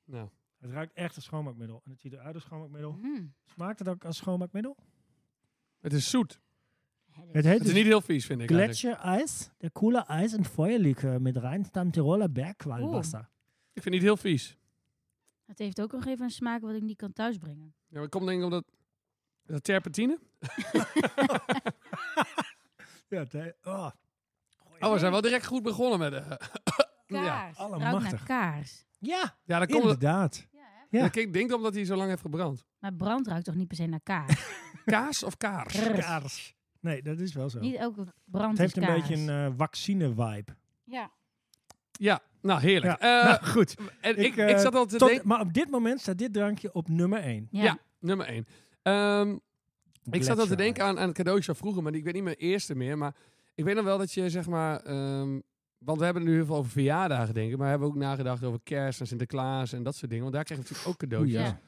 [SPEAKER 1] Het ruikt echt als schoonmaakmiddel. En het ziet eruit als schoonmaakmiddel.
[SPEAKER 2] Hm.
[SPEAKER 1] Smaakt het ook als schoonmaakmiddel?
[SPEAKER 3] Het is zoet.
[SPEAKER 1] Het heet
[SPEAKER 3] Het is
[SPEAKER 1] dus
[SPEAKER 3] niet heel vies, vind ik eigenlijk.
[SPEAKER 1] Gletschereis, der coole Eis und Feuerlikör mit reinstam Tiroler Bergqualwasser.
[SPEAKER 3] Oh. Ik vind het niet heel vies.
[SPEAKER 2] Het heeft ook nog even een smaak wat ik niet kan thuisbrengen.
[SPEAKER 3] Ja, maar het komt denk ik omdat... Eh, Terpentine?
[SPEAKER 1] Ja, te- oh,
[SPEAKER 3] Oh, we zijn wel direct goed begonnen met... eh, <laughs> ja.
[SPEAKER 2] Kaars. Het ruikt
[SPEAKER 1] Allemachtig.
[SPEAKER 2] naar kaars.
[SPEAKER 1] ja
[SPEAKER 3] ja, dat komt...
[SPEAKER 1] inderdaad. Ja.
[SPEAKER 3] dat- Ik denk omdat hij zo lang heeft gebrand.
[SPEAKER 2] Maar brand ruikt toch niet per se naar kaars?
[SPEAKER 3] Kaas of kaars?
[SPEAKER 2] Brrr.
[SPEAKER 1] Kaars. Nee, dat is wel zo.
[SPEAKER 2] niet elke brand
[SPEAKER 1] Het heeft
[SPEAKER 2] is
[SPEAKER 1] een
[SPEAKER 2] kaars.
[SPEAKER 1] beetje een eh, vaccine-vibe.
[SPEAKER 3] Dus
[SPEAKER 2] Ja.
[SPEAKER 3] Ja, nou heerlijk.
[SPEAKER 1] Ja,
[SPEAKER 3] Eh,
[SPEAKER 1] nou, goed.
[SPEAKER 3] en ik, ik,
[SPEAKER 1] eh,
[SPEAKER 3] zat al te
[SPEAKER 1] tot-
[SPEAKER 3] denken...
[SPEAKER 1] Maar op dit moment staat dit drankje op nummer 1.
[SPEAKER 2] Ja.
[SPEAKER 3] Ja, nummer één. Ehm, ik zat al te denken aan, aan het cadeautje van vroeger, maar die- ik weet niet mijn eerste meer. Maar ik weet nog wel dat je, zeg maar... ehm, want we hebben het nu heel veel over verjaardagen, denk ik. Maar we hebben ook nagedacht over kerst en Sinterklaas en dat soort dingen. Want daar kreeg je natuurlijk ook cadeautjes.
[SPEAKER 1] Ja.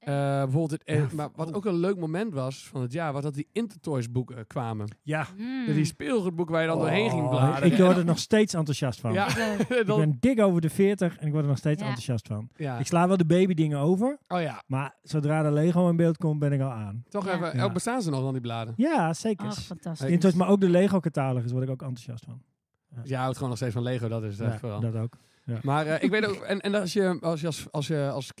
[SPEAKER 2] Ja.
[SPEAKER 3] Eh, bijvoorbeeld het, eh,
[SPEAKER 1] Ja,
[SPEAKER 3] maar wat
[SPEAKER 1] oh.
[SPEAKER 3] ook een leuk moment was van het jaar, was dat die Intertoys boeken kwamen.
[SPEAKER 1] Ja.
[SPEAKER 2] Mm.
[SPEAKER 3] Dus die speelgoedboeken waar je dan doorheen ging
[SPEAKER 1] Oh,
[SPEAKER 3] bladeren.
[SPEAKER 1] Ik word er nog steeds enthousiast van.
[SPEAKER 3] <laughs> Ja, <laughs>
[SPEAKER 2] Ik, eh,
[SPEAKER 1] Ik
[SPEAKER 3] dan-
[SPEAKER 1] ben dik over de 40 en ik word er nog steeds
[SPEAKER 2] Ja.
[SPEAKER 1] enthousiast van.
[SPEAKER 3] ja.
[SPEAKER 1] Ik sla wel de babydingen over,
[SPEAKER 3] Oh ja,
[SPEAKER 1] maar zodra de Lego in beeld komt, ben ik al aan.
[SPEAKER 3] toch
[SPEAKER 2] Ja.
[SPEAKER 3] even.
[SPEAKER 1] Ja.
[SPEAKER 3] Oh, bestaan ze nog dan die bladen?
[SPEAKER 1] Ja, zeker.
[SPEAKER 2] Ach, fantastisch.
[SPEAKER 1] Intussen, maar ook de Lego-catalogus word ik ook enthousiast van.
[SPEAKER 3] Dus jij houdt gewoon nog steeds van Lego, dat is het echt
[SPEAKER 1] Ja,
[SPEAKER 3] vooral.
[SPEAKER 1] dat ook.
[SPEAKER 3] Maar eh, ik weet ook, en, en als je als, je als, als, je als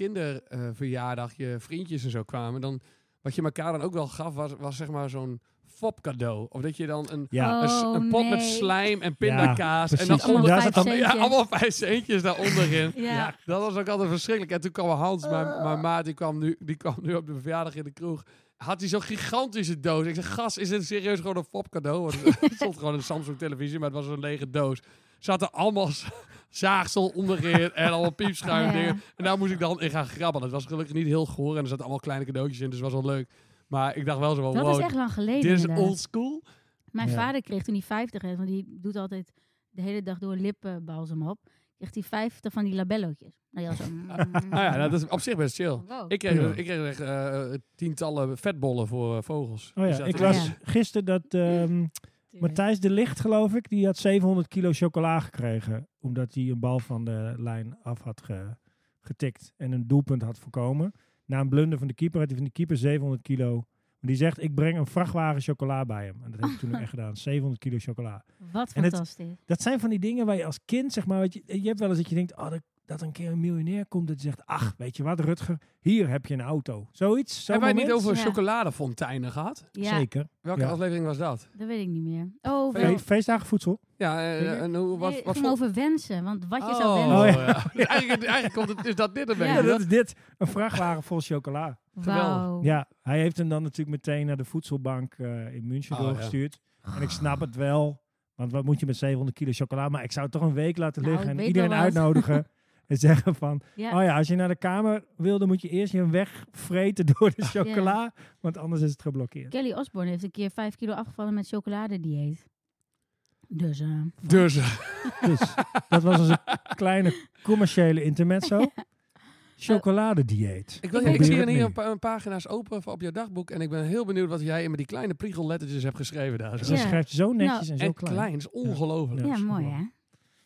[SPEAKER 3] kinderverjaardag je vriendjes en zo kwamen, dan wat je elkaar dan ook wel gaf, was, was zeg maar zo'n fop cadeau. Of dat je dan een,
[SPEAKER 1] Ja,
[SPEAKER 3] een, s-
[SPEAKER 2] Oh,
[SPEAKER 3] een pot met
[SPEAKER 2] nee.
[SPEAKER 3] slijm en pindakaas. en dan
[SPEAKER 1] precies.
[SPEAKER 3] onder,
[SPEAKER 1] Daar
[SPEAKER 2] vijf
[SPEAKER 1] zat dan-
[SPEAKER 3] ja,
[SPEAKER 2] centjes.
[SPEAKER 3] allemaal vijf centjes daaronder in.
[SPEAKER 2] Ja.
[SPEAKER 3] Ja, dat was ook altijd verschrikkelijk. En toen kwam Hans, mijn,
[SPEAKER 2] Ah.
[SPEAKER 3] mijn maat, die kwam, nu, die kwam nu op de verjaardag in de kroeg. Had hij zo'n gigantische doos. Ik zeg, gas, is dit serieus gewoon een fop cadeau? Want <laughs> er stond gewoon een Samsung televisie, maar het was een lege doos. Zaten allemaal z- zaagsel onderin en allemaal
[SPEAKER 2] <laughs>
[SPEAKER 3] piepschuim
[SPEAKER 2] Ja.
[SPEAKER 3] dingen. En daar moest ik dan in gaan grabben. Het was gelukkig niet heel goor en er zaten allemaal kleine cadeautjes in, dus het was wel leuk. Maar ik dacht wel zo van,
[SPEAKER 2] Dat
[SPEAKER 3] wow,
[SPEAKER 2] is echt lang geleden.
[SPEAKER 3] dit is
[SPEAKER 2] inderdaad.
[SPEAKER 3] old school.
[SPEAKER 2] Mijn
[SPEAKER 1] Oh, Ja.
[SPEAKER 2] vader kreeg toen hij 50 werd, want die doet altijd de hele dag door lippenbalsem op. Kreeg hij 50 van die labellootjes. Nou ja, zo.
[SPEAKER 3] Nou ja, nou, dat is op zich best chill.
[SPEAKER 2] Wow.
[SPEAKER 3] Ik kreeg,
[SPEAKER 1] Prima.
[SPEAKER 3] ik kreeg echt eh, tientallen vetbollen voor eh, vogels.
[SPEAKER 1] Oh
[SPEAKER 3] Dus
[SPEAKER 1] ja,
[SPEAKER 3] dat
[SPEAKER 1] ik
[SPEAKER 3] is-
[SPEAKER 1] las
[SPEAKER 2] Ja.
[SPEAKER 1] gisteren dat ehm, Matthijs de Licht, geloof ik, die had 700 kilo chocola gekregen. Omdat hij een bal van de lijn af had ge- getikt en een doelpunt had voorkomen. Na een blunder van de keeper had hij van de keeper 700 kilo. Maar die zegt, ik breng een vrachtwagen chocola bij hem. En dat heb ik toen ook echt
[SPEAKER 2] <laughs>
[SPEAKER 1] gedaan, 700 kilo chocola.
[SPEAKER 2] Wat
[SPEAKER 1] En het-
[SPEAKER 2] fantastisch.
[SPEAKER 1] Dat zijn van die dingen waar je als kind, zeg maar, wat je, je hebt wel eens dat je denkt, oh, dat, dat een keer een miljonair komt. Dat je zegt, ach, weet je wat, Rutger, hier heb je een auto. Zoiets, zo'n
[SPEAKER 3] Hebben wij het niet
[SPEAKER 1] moment?
[SPEAKER 3] over
[SPEAKER 2] Ja.
[SPEAKER 3] chocoladefonteinen gehad?
[SPEAKER 2] Ja,
[SPEAKER 1] Zeker.
[SPEAKER 3] Welke
[SPEAKER 1] Ja.
[SPEAKER 3] aflevering was dat?
[SPEAKER 2] dat weet ik niet meer. Oh, wel.
[SPEAKER 1] Fe- feestdagen voedsel.
[SPEAKER 3] Ja, eh,
[SPEAKER 1] Weet je?
[SPEAKER 3] en hoe, wat,
[SPEAKER 2] Nee, het
[SPEAKER 3] wat
[SPEAKER 2] ging
[SPEAKER 3] vond-
[SPEAKER 2] over wensen, want wat je
[SPEAKER 3] Oh,
[SPEAKER 2] zou wensen.
[SPEAKER 1] Oh, ja.
[SPEAKER 3] <laughs> ja. eigenlijk, eigenlijk komt het, is dat dit een
[SPEAKER 2] Ja.
[SPEAKER 1] Ja,
[SPEAKER 3] beetje.
[SPEAKER 1] dat is dit. Een vrachtwagen vol chocola.
[SPEAKER 2] Wauw.
[SPEAKER 1] Ja, hij heeft hem dan natuurlijk meteen naar de voedselbank eh, in München
[SPEAKER 3] Oh, ja.
[SPEAKER 1] doorgestuurd. En ik snap het wel, want wat moet je met 700 kilo chocola? Maar ik zou het toch een week laten
[SPEAKER 2] Nou,
[SPEAKER 1] liggen
[SPEAKER 2] ik
[SPEAKER 1] en
[SPEAKER 2] weet
[SPEAKER 1] iedereen
[SPEAKER 2] wel wat. <laughs>
[SPEAKER 1] uitnodigen. En zeggen van,
[SPEAKER 2] Ja.
[SPEAKER 1] oh ja, als je naar de kamer wil, dan moet je eerst je weg vreten door de chocola. Want anders is het geblokkeerd.
[SPEAKER 2] Kelly Osborne heeft een keer 5 kilo afgevallen met chocoladedieet. Dus, eh,
[SPEAKER 3] <laughs> Dus,
[SPEAKER 1] Dus dat was onze
[SPEAKER 2] <laughs>
[SPEAKER 1] kleine commerciële intermezzo. Chocoladedieet.
[SPEAKER 3] ik, wil,
[SPEAKER 1] Probeer
[SPEAKER 3] ik zie
[SPEAKER 1] het
[SPEAKER 3] hier
[SPEAKER 1] nu.
[SPEAKER 3] een paar een pagina's open voor op je dagboek. En ik ben heel benieuwd wat jij met die kleine priegellettertjes hebt geschreven daar. Zo.
[SPEAKER 1] Ze
[SPEAKER 2] Ja.
[SPEAKER 1] Dus
[SPEAKER 2] Nou,
[SPEAKER 1] schrijft zo netjes en zo
[SPEAKER 3] En
[SPEAKER 1] klein.
[SPEAKER 3] klein, is ongelooflijk.
[SPEAKER 1] Ja,
[SPEAKER 2] ja, mooi
[SPEAKER 1] super.
[SPEAKER 2] hè.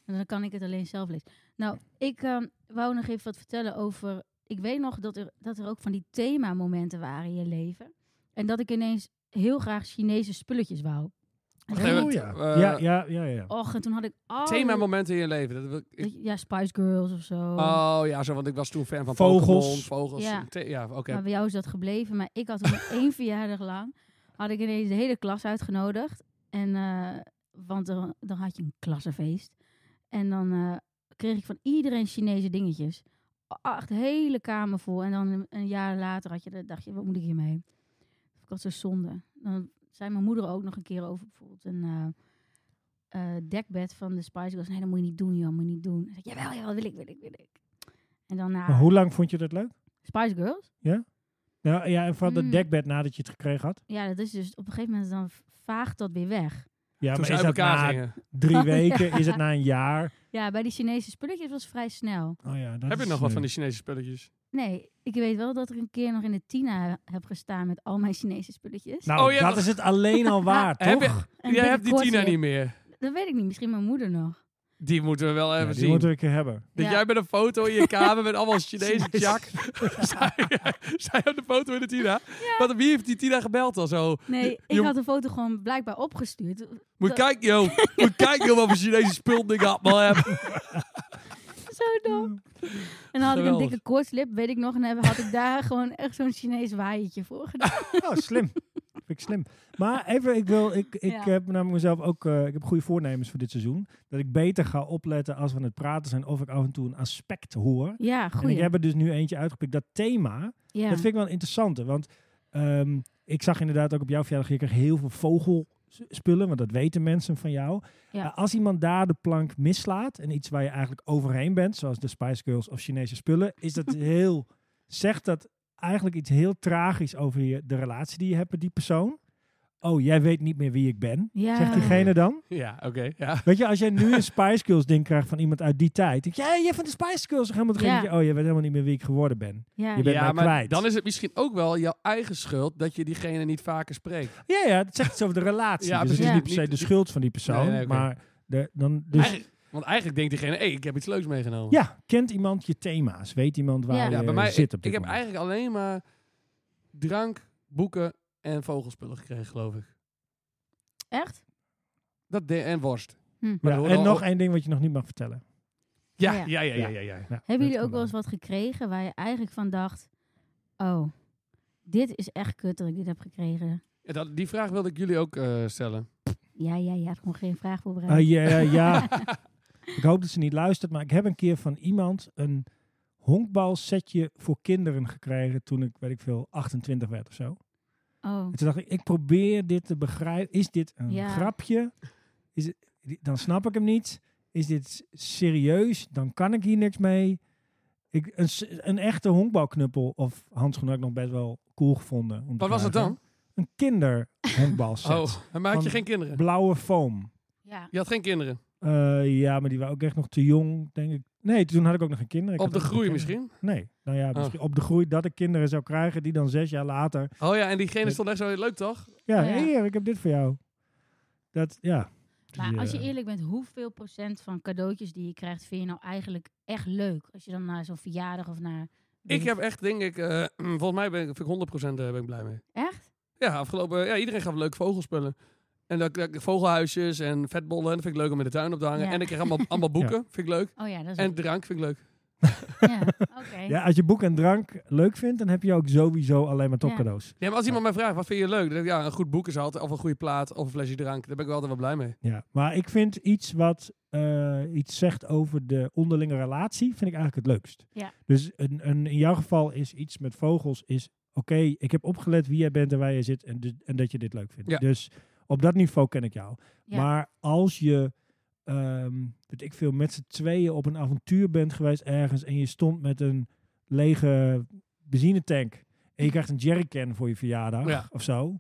[SPEAKER 2] En dan kan ik het alleen zelf lezen. Nou, ik ehm, wou nog even wat vertellen over... Ik weet nog dat er, dat er ook van die themamomenten waren in je leven. En dat ik ineens heel graag Chinese spulletjes wou.
[SPEAKER 3] Wacht even,
[SPEAKER 1] Oh
[SPEAKER 3] t-
[SPEAKER 1] ja.
[SPEAKER 3] eh,
[SPEAKER 1] ja, ja, ja, ja.
[SPEAKER 2] Och, en toen had ik al...
[SPEAKER 3] Themamomenten in je leven. Dat wil ik- ik-
[SPEAKER 2] Ja, Spice Girls of zo.
[SPEAKER 3] oh ja, zo, want ik was toen fan van
[SPEAKER 1] Vogels.
[SPEAKER 3] Pokémon, vogels.
[SPEAKER 2] Ja.
[SPEAKER 3] the- Ja, oké.
[SPEAKER 2] Maar bij jou is dat gebleven. Maar ik had
[SPEAKER 1] <laughs>
[SPEAKER 2] toen één verjaardag lang... had ik ineens de hele klas uitgenodigd. En, eh, want dan, dan had je een klassenfeest. En dan eh, kreeg ik van iedereen Chinese dingetjes. Echt de hele kamer vol. En dan een, een jaar later had je, de- dacht je, wat moet ik hiermee? Ik had zo zonde. Dan zei mijn moeder ook nog een keer over bijvoorbeeld een... eh, eh, dekbed van de Spice Girls. Nee, dat moet je niet doen, joh. Moet je niet doen. Ik zei, jawel, jawel, wil ik, wil ik, wil ik. En dan na
[SPEAKER 1] Maar hoe lang vond je dat leuk?
[SPEAKER 2] Spice Girls.
[SPEAKER 1] Ja, Nou, ja en van dat
[SPEAKER 2] Mm.
[SPEAKER 1] dekbed nadat je het gekregen had.
[SPEAKER 2] Ja, dat is dus op een gegeven moment dan v- vaagt dat weer weg.
[SPEAKER 1] Ja,
[SPEAKER 3] toen
[SPEAKER 1] maar
[SPEAKER 3] ze
[SPEAKER 1] is
[SPEAKER 3] uit
[SPEAKER 1] dat
[SPEAKER 3] elkaar
[SPEAKER 1] na
[SPEAKER 3] gingen.
[SPEAKER 2] <laughs>
[SPEAKER 1] drie
[SPEAKER 2] Ja.
[SPEAKER 1] weken? Is het na een jaar?
[SPEAKER 2] Ja, bij die Chinese spulletjes was het vrij snel.
[SPEAKER 1] Oh ja, dat
[SPEAKER 3] Heb je
[SPEAKER 1] is,
[SPEAKER 3] nog wat
[SPEAKER 1] eh,
[SPEAKER 3] van die Chinese spulletjes?
[SPEAKER 2] Nee, ik weet wel dat ik een keer nog in de Tina he- heb gestaan met al mijn Chinese spulletjes.
[SPEAKER 1] <laughs> Nou,
[SPEAKER 3] Oh, ja,
[SPEAKER 1] dat
[SPEAKER 3] nog-
[SPEAKER 1] is het alleen al waar, toch?
[SPEAKER 3] <laughs> Heb je,
[SPEAKER 2] En
[SPEAKER 3] jij hebt die
[SPEAKER 2] binnenkort
[SPEAKER 3] Tina
[SPEAKER 2] weer-
[SPEAKER 3] niet meer.
[SPEAKER 2] Dat weet ik niet, misschien mijn moeder nog.
[SPEAKER 3] Die moeten we wel
[SPEAKER 1] Ja,
[SPEAKER 3] even
[SPEAKER 1] die
[SPEAKER 3] zien.
[SPEAKER 1] moeten we een keer hebben.
[SPEAKER 3] Dat
[SPEAKER 2] Ja.
[SPEAKER 3] jij met een foto in je <laughs> kamer met allemaal Chinese
[SPEAKER 1] Chinees.
[SPEAKER 3] <laughs> jak. zij, eh, zij op de foto met de Tina. Wat, wie heeft die Tina gebeld dan zo?
[SPEAKER 2] Nee,
[SPEAKER 3] Je-
[SPEAKER 2] ik
[SPEAKER 3] je-
[SPEAKER 2] had de foto gewoon blijkbaar opgestuurd. <laughs>
[SPEAKER 3] Moet kijken, <laughs> joh. Moet kijken joh, wat voor Chinese spul ik had, man.
[SPEAKER 1] Mm.
[SPEAKER 2] Zo dom. En dan had ik een
[SPEAKER 3] Geweldig.
[SPEAKER 2] dikke koortslip, weet ik nog. En dan had ik daar <laughs> gewoon echt zo'n Chinees waaietje voor gedaan.
[SPEAKER 1] <laughs> <laughs> Oh, slim. Vind ik slim. Maar even, ik wil, ik, ik
[SPEAKER 2] Ja.
[SPEAKER 1] heb namelijk mezelf ook, eh, ik heb goede voornemens voor dit seizoen. Dat ik beter ga opletten als we aan het praten zijn of ik af en toe een aspect hoor.
[SPEAKER 2] Ja,
[SPEAKER 1] En ik
[SPEAKER 2] goed.
[SPEAKER 1] heb er dus nu eentje uitgepikt. Dat thema,
[SPEAKER 2] Ja.
[SPEAKER 1] dat vind ik wel interessant. Want ehm, ik zag inderdaad ook op jouw verjaardag, je kreeg heel veel vogelspullen, want dat weten mensen van jou.
[SPEAKER 2] Ja.
[SPEAKER 1] Eh, als iemand daar de plank mislaat en iets waar je eigenlijk overheen bent, zoals de Spice Girls of Chinese spullen, is
[SPEAKER 2] <laughs>
[SPEAKER 1] dat heel, zegt dat eigenlijk iets heel tragisch over je, de relatie die je hebt met die persoon. Oh, jij weet niet meer wie ik ben,
[SPEAKER 2] ja.
[SPEAKER 1] zegt diegene dan.
[SPEAKER 3] Ja, oké. ja.
[SPEAKER 1] Weet je, als jij nu een Spice Girls ding krijgt van iemand uit die tijd. Denk je, "Hey, jij van de Spice Girls toch helemaal degene
[SPEAKER 2] Ja.
[SPEAKER 1] die- Oh, je weet helemaal niet meer wie ik geworden ben.
[SPEAKER 2] Ja.
[SPEAKER 1] Je bent
[SPEAKER 3] ja,
[SPEAKER 1] mij
[SPEAKER 3] maar
[SPEAKER 1] kwijt.
[SPEAKER 3] dan is het misschien ook wel jouw eigen schuld dat je diegene niet vaker spreekt.
[SPEAKER 1] Ja, ja, het zegt iets over de relatie.
[SPEAKER 3] <laughs> Ja,
[SPEAKER 1] dus het is
[SPEAKER 2] precies.
[SPEAKER 1] niet per se
[SPEAKER 3] Niet-
[SPEAKER 1] de schuld van die persoon.
[SPEAKER 3] Nee, nee, oké.
[SPEAKER 1] Maar de, dan, dus,
[SPEAKER 3] Eigenlijk- want eigenlijk denkt diegene, hé, ik heb iets leuks meegenomen.
[SPEAKER 1] ja, kent iemand je thema's? Weet iemand waar
[SPEAKER 2] Ja.
[SPEAKER 1] je
[SPEAKER 3] Ja, bij mij,
[SPEAKER 1] zit
[SPEAKER 3] ik,
[SPEAKER 1] op dit
[SPEAKER 3] ik heb
[SPEAKER 1] moment?
[SPEAKER 3] eigenlijk alleen maar drank, boeken en vogelspullen gekregen, geloof ik.
[SPEAKER 2] Echt?
[SPEAKER 3] Dat de- en worst.
[SPEAKER 2] Hm.
[SPEAKER 3] Maar
[SPEAKER 1] Ja,
[SPEAKER 3] er horen
[SPEAKER 1] en
[SPEAKER 3] al-
[SPEAKER 1] nog één ding wat je nog niet mag vertellen.
[SPEAKER 3] Ja, ja,
[SPEAKER 2] Ja.
[SPEAKER 3] ja, ja, ja. ja,
[SPEAKER 1] Ja,
[SPEAKER 2] Hebben
[SPEAKER 1] dat
[SPEAKER 2] jullie ook
[SPEAKER 1] kan
[SPEAKER 2] wel eens
[SPEAKER 1] dan.
[SPEAKER 2] wat gekregen waar je eigenlijk van dacht... Oh, dit is echt kut dat ik dit heb gekregen.
[SPEAKER 3] En dat, die vraag wilde ik jullie ook eh, stellen.
[SPEAKER 2] Ja, ja, je had gewoon geen vraag voorbereid.
[SPEAKER 1] Ah, ja,
[SPEAKER 2] <laughs>
[SPEAKER 1] ja, ja. ik hoop dat ze niet luistert, maar ik heb een keer van iemand een honkbalsetje voor kinderen gekregen toen ik, weet ik veel, 28 werd of zo.
[SPEAKER 2] Oh,
[SPEAKER 1] En toen dacht ik, ik probeer dit te begrijpen. Is dit een
[SPEAKER 2] Ja.
[SPEAKER 1] grapje? Is het, dan snap ik hem niet. Is dit serieus? Dan kan ik hier niks mee. Ik, een, s- een echte honkbalknuppel of handschoen had ik nog best wel cool gevonden. om te
[SPEAKER 3] Wat was het
[SPEAKER 1] krijgen.
[SPEAKER 3] dan?
[SPEAKER 1] Een kinderhonkbalset.
[SPEAKER 3] <laughs> Oh, maar had
[SPEAKER 1] Van-
[SPEAKER 3] je geen kinderen?
[SPEAKER 1] Blauwe foam.
[SPEAKER 2] ja.
[SPEAKER 3] Je had geen kinderen.
[SPEAKER 1] Eh, ja, maar die waren ook echt nog te jong, denk ik. Nee, toen had ik ook nog geen kinderen. Ik
[SPEAKER 3] Op
[SPEAKER 1] had
[SPEAKER 3] de
[SPEAKER 1] ook nog
[SPEAKER 3] groei
[SPEAKER 1] geen kinderen.
[SPEAKER 3] misschien?
[SPEAKER 1] Nee, nou ja, misschien op de groei dat ik kinderen zou krijgen die dan zes jaar later
[SPEAKER 3] Oh ja, en diegene stond echt zo leuk toch?
[SPEAKER 1] Ja,
[SPEAKER 2] Oh ja.
[SPEAKER 1] hier, ik heb dit voor jou. Dat, ja.
[SPEAKER 2] Maar
[SPEAKER 1] Die,
[SPEAKER 2] als je
[SPEAKER 1] eh,
[SPEAKER 2] eerlijk bent, hoeveel procent van cadeautjes die je krijgt... vind je nou eigenlijk echt leuk? Als je dan naar zo'n verjaardag of naar...
[SPEAKER 3] Ik heb echt, denk ik, eh, <clears throat> volgens mij ben ik, vind ik 100% ben ik blij mee.
[SPEAKER 2] Echt?
[SPEAKER 3] Ja, afgelopen, ja, iedereen gaf leuke vogelspullen. En dat, dat- vogelhuisjes en vetbollen, dat vind ik leuk om in de tuin op te hangen.
[SPEAKER 2] Ja.
[SPEAKER 3] En ik kreeg allemaal, allemaal boeken, vind ik leuk.
[SPEAKER 2] Oh ja, dat is...
[SPEAKER 3] En drank vind ik leuk.
[SPEAKER 2] Ja, oké.
[SPEAKER 1] ja, als je boek en drank leuk vindt, dan heb je ook sowieso alleen maar
[SPEAKER 2] Ja.
[SPEAKER 1] topcadeaus.
[SPEAKER 3] Ja, maar als iemand mij vraagt, wat vind je leuk? Dan denk ik, ja, een goed boek is altijd, of een goede plaat, of een flesje drank. Daar ben ik wel altijd wel blij mee.
[SPEAKER 1] Ja. Maar ik vind iets wat eh, iets zegt over de onderlinge relatie, vind ik eigenlijk het leukst.
[SPEAKER 2] Ja.
[SPEAKER 1] Dus een, een, in jouw geval is iets met vogels, is oké, ik heb opgelet wie jij bent en waar je zit en, dus- en dat je dit leuk vindt.
[SPEAKER 3] Ja.
[SPEAKER 1] Dus op dat niveau ken ik jou.
[SPEAKER 2] Ja.
[SPEAKER 1] Maar als je, ehm weet ik veel, met z'n tweeën op een avontuur bent geweest ergens en je stond met een lege benzinetank en je krijgt een jerrycan voor je verjaardag
[SPEAKER 3] Ja.
[SPEAKER 1] of zo,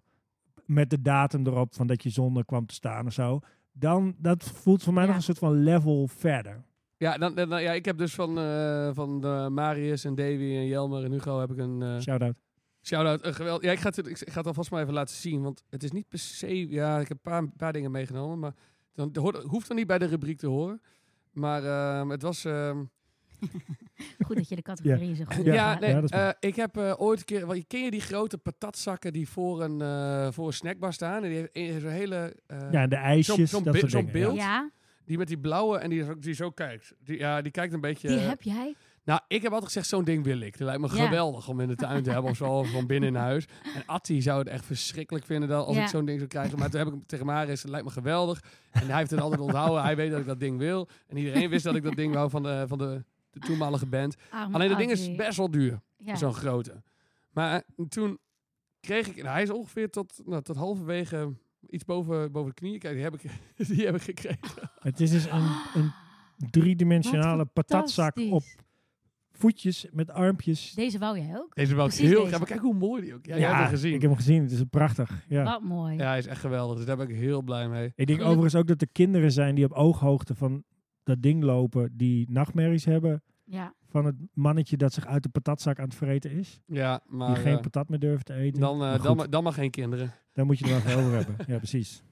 [SPEAKER 1] met de datum erop van dat je zonder kwam te staan of zo, dan dat voelt voor mij
[SPEAKER 2] Ja.
[SPEAKER 1] nog een soort van level verder.
[SPEAKER 3] Ja, dan, dan- dan- ja ik heb dus van, eh, van eh, Marius en Davy en Jelmer en Hugo heb ik een eh,
[SPEAKER 1] Shout-out.
[SPEAKER 3] shout-out. Een geweld. Ja, ik ga, het, ik, ik ga het alvast maar even laten zien, want het is niet per se... Ja, ik heb een paar, een paar dingen meegenomen, maar dan, dat hoort, hoeft dan niet bij de rubriek te horen. Maar ehm, het was... ehm,
[SPEAKER 2] Goed dat je de categorieën zo goed
[SPEAKER 1] Ja.
[SPEAKER 3] Ja,
[SPEAKER 2] ja,
[SPEAKER 3] nee,
[SPEAKER 1] dat is
[SPEAKER 3] eh,
[SPEAKER 1] waar.
[SPEAKER 3] ik heb eh, ooit een keer... wel, Ken je die grote patatzakken die voor een, eh, voor een snackbar staan? En die heeft een- zo'n hele... eh,
[SPEAKER 1] Ja, en de ijsjes,
[SPEAKER 3] zo'n
[SPEAKER 1] dat
[SPEAKER 3] bi-
[SPEAKER 1] soort
[SPEAKER 3] zo'n
[SPEAKER 1] dingen.
[SPEAKER 3] beeld.
[SPEAKER 1] ja.
[SPEAKER 2] Ja,
[SPEAKER 3] Die met die blauwe en die zo, die zo kijkt. Die, ja, die kijkt een beetje...
[SPEAKER 2] die heb jij.
[SPEAKER 3] Nou, ik heb altijd gezegd, zo'n ding wil ik. Dat lijkt me
[SPEAKER 2] Ja.
[SPEAKER 3] geweldig om in de tuin te hebben of zo, of van binnen in huis. En Atti zou het echt verschrikkelijk vinden dat, als
[SPEAKER 2] Ja.
[SPEAKER 3] ik zo'n ding zou krijgen. Maar toen heb ik hem tegen Maris, het lijkt me geweldig. En hij heeft het altijd onthouden. Hij weet dat ik dat ding wil. En iedereen wist dat ik dat ding wou van de, van de, de toenmalige band.
[SPEAKER 2] Arme
[SPEAKER 3] Alleen dat ding
[SPEAKER 2] Audrey.
[SPEAKER 3] is best wel duur,
[SPEAKER 2] Ja.
[SPEAKER 3] zo'n grote. Maar eh, toen kreeg ik, en hij is ongeveer tot, nou, tot halverwege iets boven, boven de knieën. Kijk, die heb ik, <laughs> die heb ik gekregen.
[SPEAKER 1] Het is dus een, een driedimensionale patatzak op
[SPEAKER 2] Ah. Fantastisch. voetjes.
[SPEAKER 1] voetjes met armpjes.
[SPEAKER 2] Deze wou jij ook?
[SPEAKER 3] Deze wel
[SPEAKER 2] Precies heel
[SPEAKER 3] heel
[SPEAKER 2] deze.
[SPEAKER 3] graag.
[SPEAKER 2] graag.
[SPEAKER 3] Maar
[SPEAKER 2] Maar
[SPEAKER 3] kijk hoe mooi die ook. Ja, jij hebt hem gezien.
[SPEAKER 1] ik heb hem gezien. Het is prachtig. Ja.
[SPEAKER 2] Wat mooi.
[SPEAKER 3] Ja, hij is echt geweldig. Dus daar ben ik heel blij mee.
[SPEAKER 1] Ik denk
[SPEAKER 2] Geluk-
[SPEAKER 1] overigens ook dat er kinderen zijn die op ooghoogte van dat ding lopen, die nachtmerries hebben
[SPEAKER 2] Ja.
[SPEAKER 1] van het mannetje dat zich uit de patatzak aan het vreten is.
[SPEAKER 3] Ja, maar
[SPEAKER 1] die geen
[SPEAKER 3] eh,
[SPEAKER 1] patat meer durft te eten.
[SPEAKER 3] dan, eh,
[SPEAKER 1] Maar goed,
[SPEAKER 3] dan, maar- dan maar geen kinderen.
[SPEAKER 1] daar moet je er wel even over hebben. Ja,
[SPEAKER 2] <laughs>
[SPEAKER 1] precies.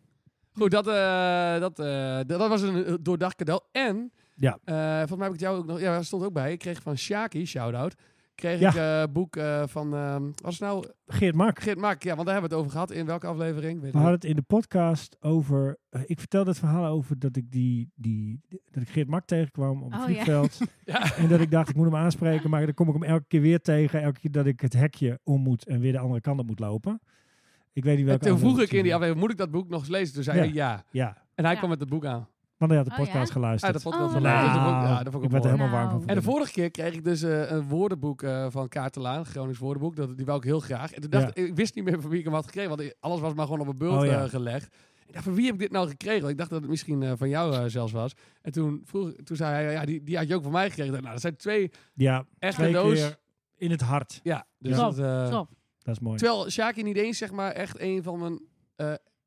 [SPEAKER 3] Goed, dat, eh, dat, eh, d- dat was een eh, doordacht cadeau. En,
[SPEAKER 1] Ja.
[SPEAKER 3] eh, volgens mij heb ik het jou ook nog... Ja, daar stond ook bij. Ik kreeg van Shaki, shout-out, kreeg
[SPEAKER 1] Ja.
[SPEAKER 3] ik eh, een boek eh, van, ehm wat is het nou,
[SPEAKER 1] Geert Mak.
[SPEAKER 3] Geert Mak. Ja, want daar hebben we het over gehad. In welke aflevering? Weet
[SPEAKER 1] We
[SPEAKER 3] ik
[SPEAKER 1] hadden
[SPEAKER 3] niet.
[SPEAKER 1] het in de podcast over. eh, ik vertelde het verhaal over dat ik die, die dat ik Geert Mak tegenkwam op het
[SPEAKER 2] Oh, ja. <laughs>
[SPEAKER 1] vliegveld.
[SPEAKER 3] Ja.
[SPEAKER 1] En dat ik dacht, ik moet hem aanspreken, maar dan kom ik hem elke keer weer tegen. Elke keer dat ik het hekje om moet en weer de andere kant op moet lopen. Ik weet niet
[SPEAKER 3] En
[SPEAKER 1] welke.
[SPEAKER 3] toen vroeg
[SPEAKER 1] aflevering
[SPEAKER 3] ik in die
[SPEAKER 1] het
[SPEAKER 3] aflevering, moet ik dat boek nog eens lezen? Toen zei
[SPEAKER 1] Ja.
[SPEAKER 3] hij ja.
[SPEAKER 1] is. Ja,
[SPEAKER 3] En hij
[SPEAKER 2] Ja.
[SPEAKER 3] kwam met het boek aan.
[SPEAKER 1] want hij had de
[SPEAKER 2] Oh, ja?
[SPEAKER 1] podcast geluisterd. Nou,
[SPEAKER 3] Uit de podcast
[SPEAKER 2] Oh,
[SPEAKER 3] van
[SPEAKER 2] leuk.
[SPEAKER 3] Ja, dat vond ik- ja, dat
[SPEAKER 1] ik
[SPEAKER 3] vond ik
[SPEAKER 1] werd er
[SPEAKER 3] mooi.
[SPEAKER 1] helemaal warm
[SPEAKER 2] Nou.
[SPEAKER 1] van.
[SPEAKER 3] En
[SPEAKER 1] verbinden.
[SPEAKER 3] de vorige keer kreeg ik dus eh, een woordenboek eh, van Kaartelaan, een Gronings woordenboek. Dat, die wou ik heel graag. En toen dacht ik, ik wist niet meer van wie ik hem had gekregen, want alles was maar gewoon op een bult
[SPEAKER 1] Oh, ja.
[SPEAKER 3] eh, gelegd. Ik dacht, van wie heb ik dit nou gekregen? Want Ik dacht dat het misschien eh, van jou eh, zelfs was. En toen, vroeg, toen zei hij, ja, die, die had je ook van mij gekregen. Ik dacht, nou, dat zijn twee
[SPEAKER 1] Ja,
[SPEAKER 3] echt
[SPEAKER 1] twee
[SPEAKER 3] een doos.
[SPEAKER 1] keer in het hart.
[SPEAKER 3] Ja, dus
[SPEAKER 2] Ja.
[SPEAKER 3] dat, eh,
[SPEAKER 2] Top.
[SPEAKER 1] Dat is mooi.
[SPEAKER 3] Terwijl Shaki niet eens, zeg maar, echt een van mijn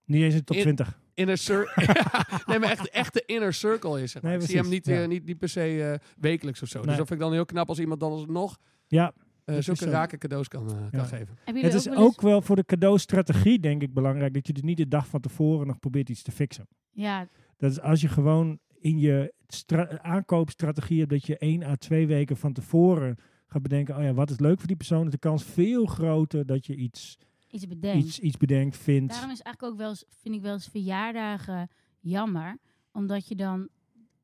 [SPEAKER 1] Niet eens in de top
[SPEAKER 3] in-
[SPEAKER 1] 20.
[SPEAKER 3] inner circle. <laughs> nee, maar echt, echt de inner circle is. Zeg maar.
[SPEAKER 1] Nee,
[SPEAKER 3] ik zie hem
[SPEAKER 1] precies,
[SPEAKER 3] niet, eh,
[SPEAKER 1] ja.
[SPEAKER 3] niet, niet per se eh, wekelijks of zo. Dus
[SPEAKER 1] Nee.
[SPEAKER 3] dat vind ik dan heel knap als iemand dan alsnog
[SPEAKER 1] Ja,
[SPEAKER 3] eh
[SPEAKER 1] is
[SPEAKER 3] zulke
[SPEAKER 1] zo.
[SPEAKER 3] rake cadeaus kan, eh, kan
[SPEAKER 1] Ja.
[SPEAKER 3] geven.
[SPEAKER 2] Hebben
[SPEAKER 1] het
[SPEAKER 2] jullie
[SPEAKER 1] is
[SPEAKER 2] wel eens-
[SPEAKER 1] ook wel voor de cadeaustrategie, denk ik, belangrijk dat je er niet de dag van tevoren nog probeert iets te fixen.
[SPEAKER 2] Ja,
[SPEAKER 1] Dat is als je gewoon in je stra- aankoopstrategie hebt dat je één à twee weken van tevoren gaat bedenken, oh ja, wat is leuk voor die persoon, is de kans veel groter dat je iets,
[SPEAKER 2] iets bedenkt.
[SPEAKER 1] iets, iets bedenkt, vindt.
[SPEAKER 2] Daarom is eigenlijk ook wel eens, vind ik wel eens verjaardagen jammer. Omdat je dan,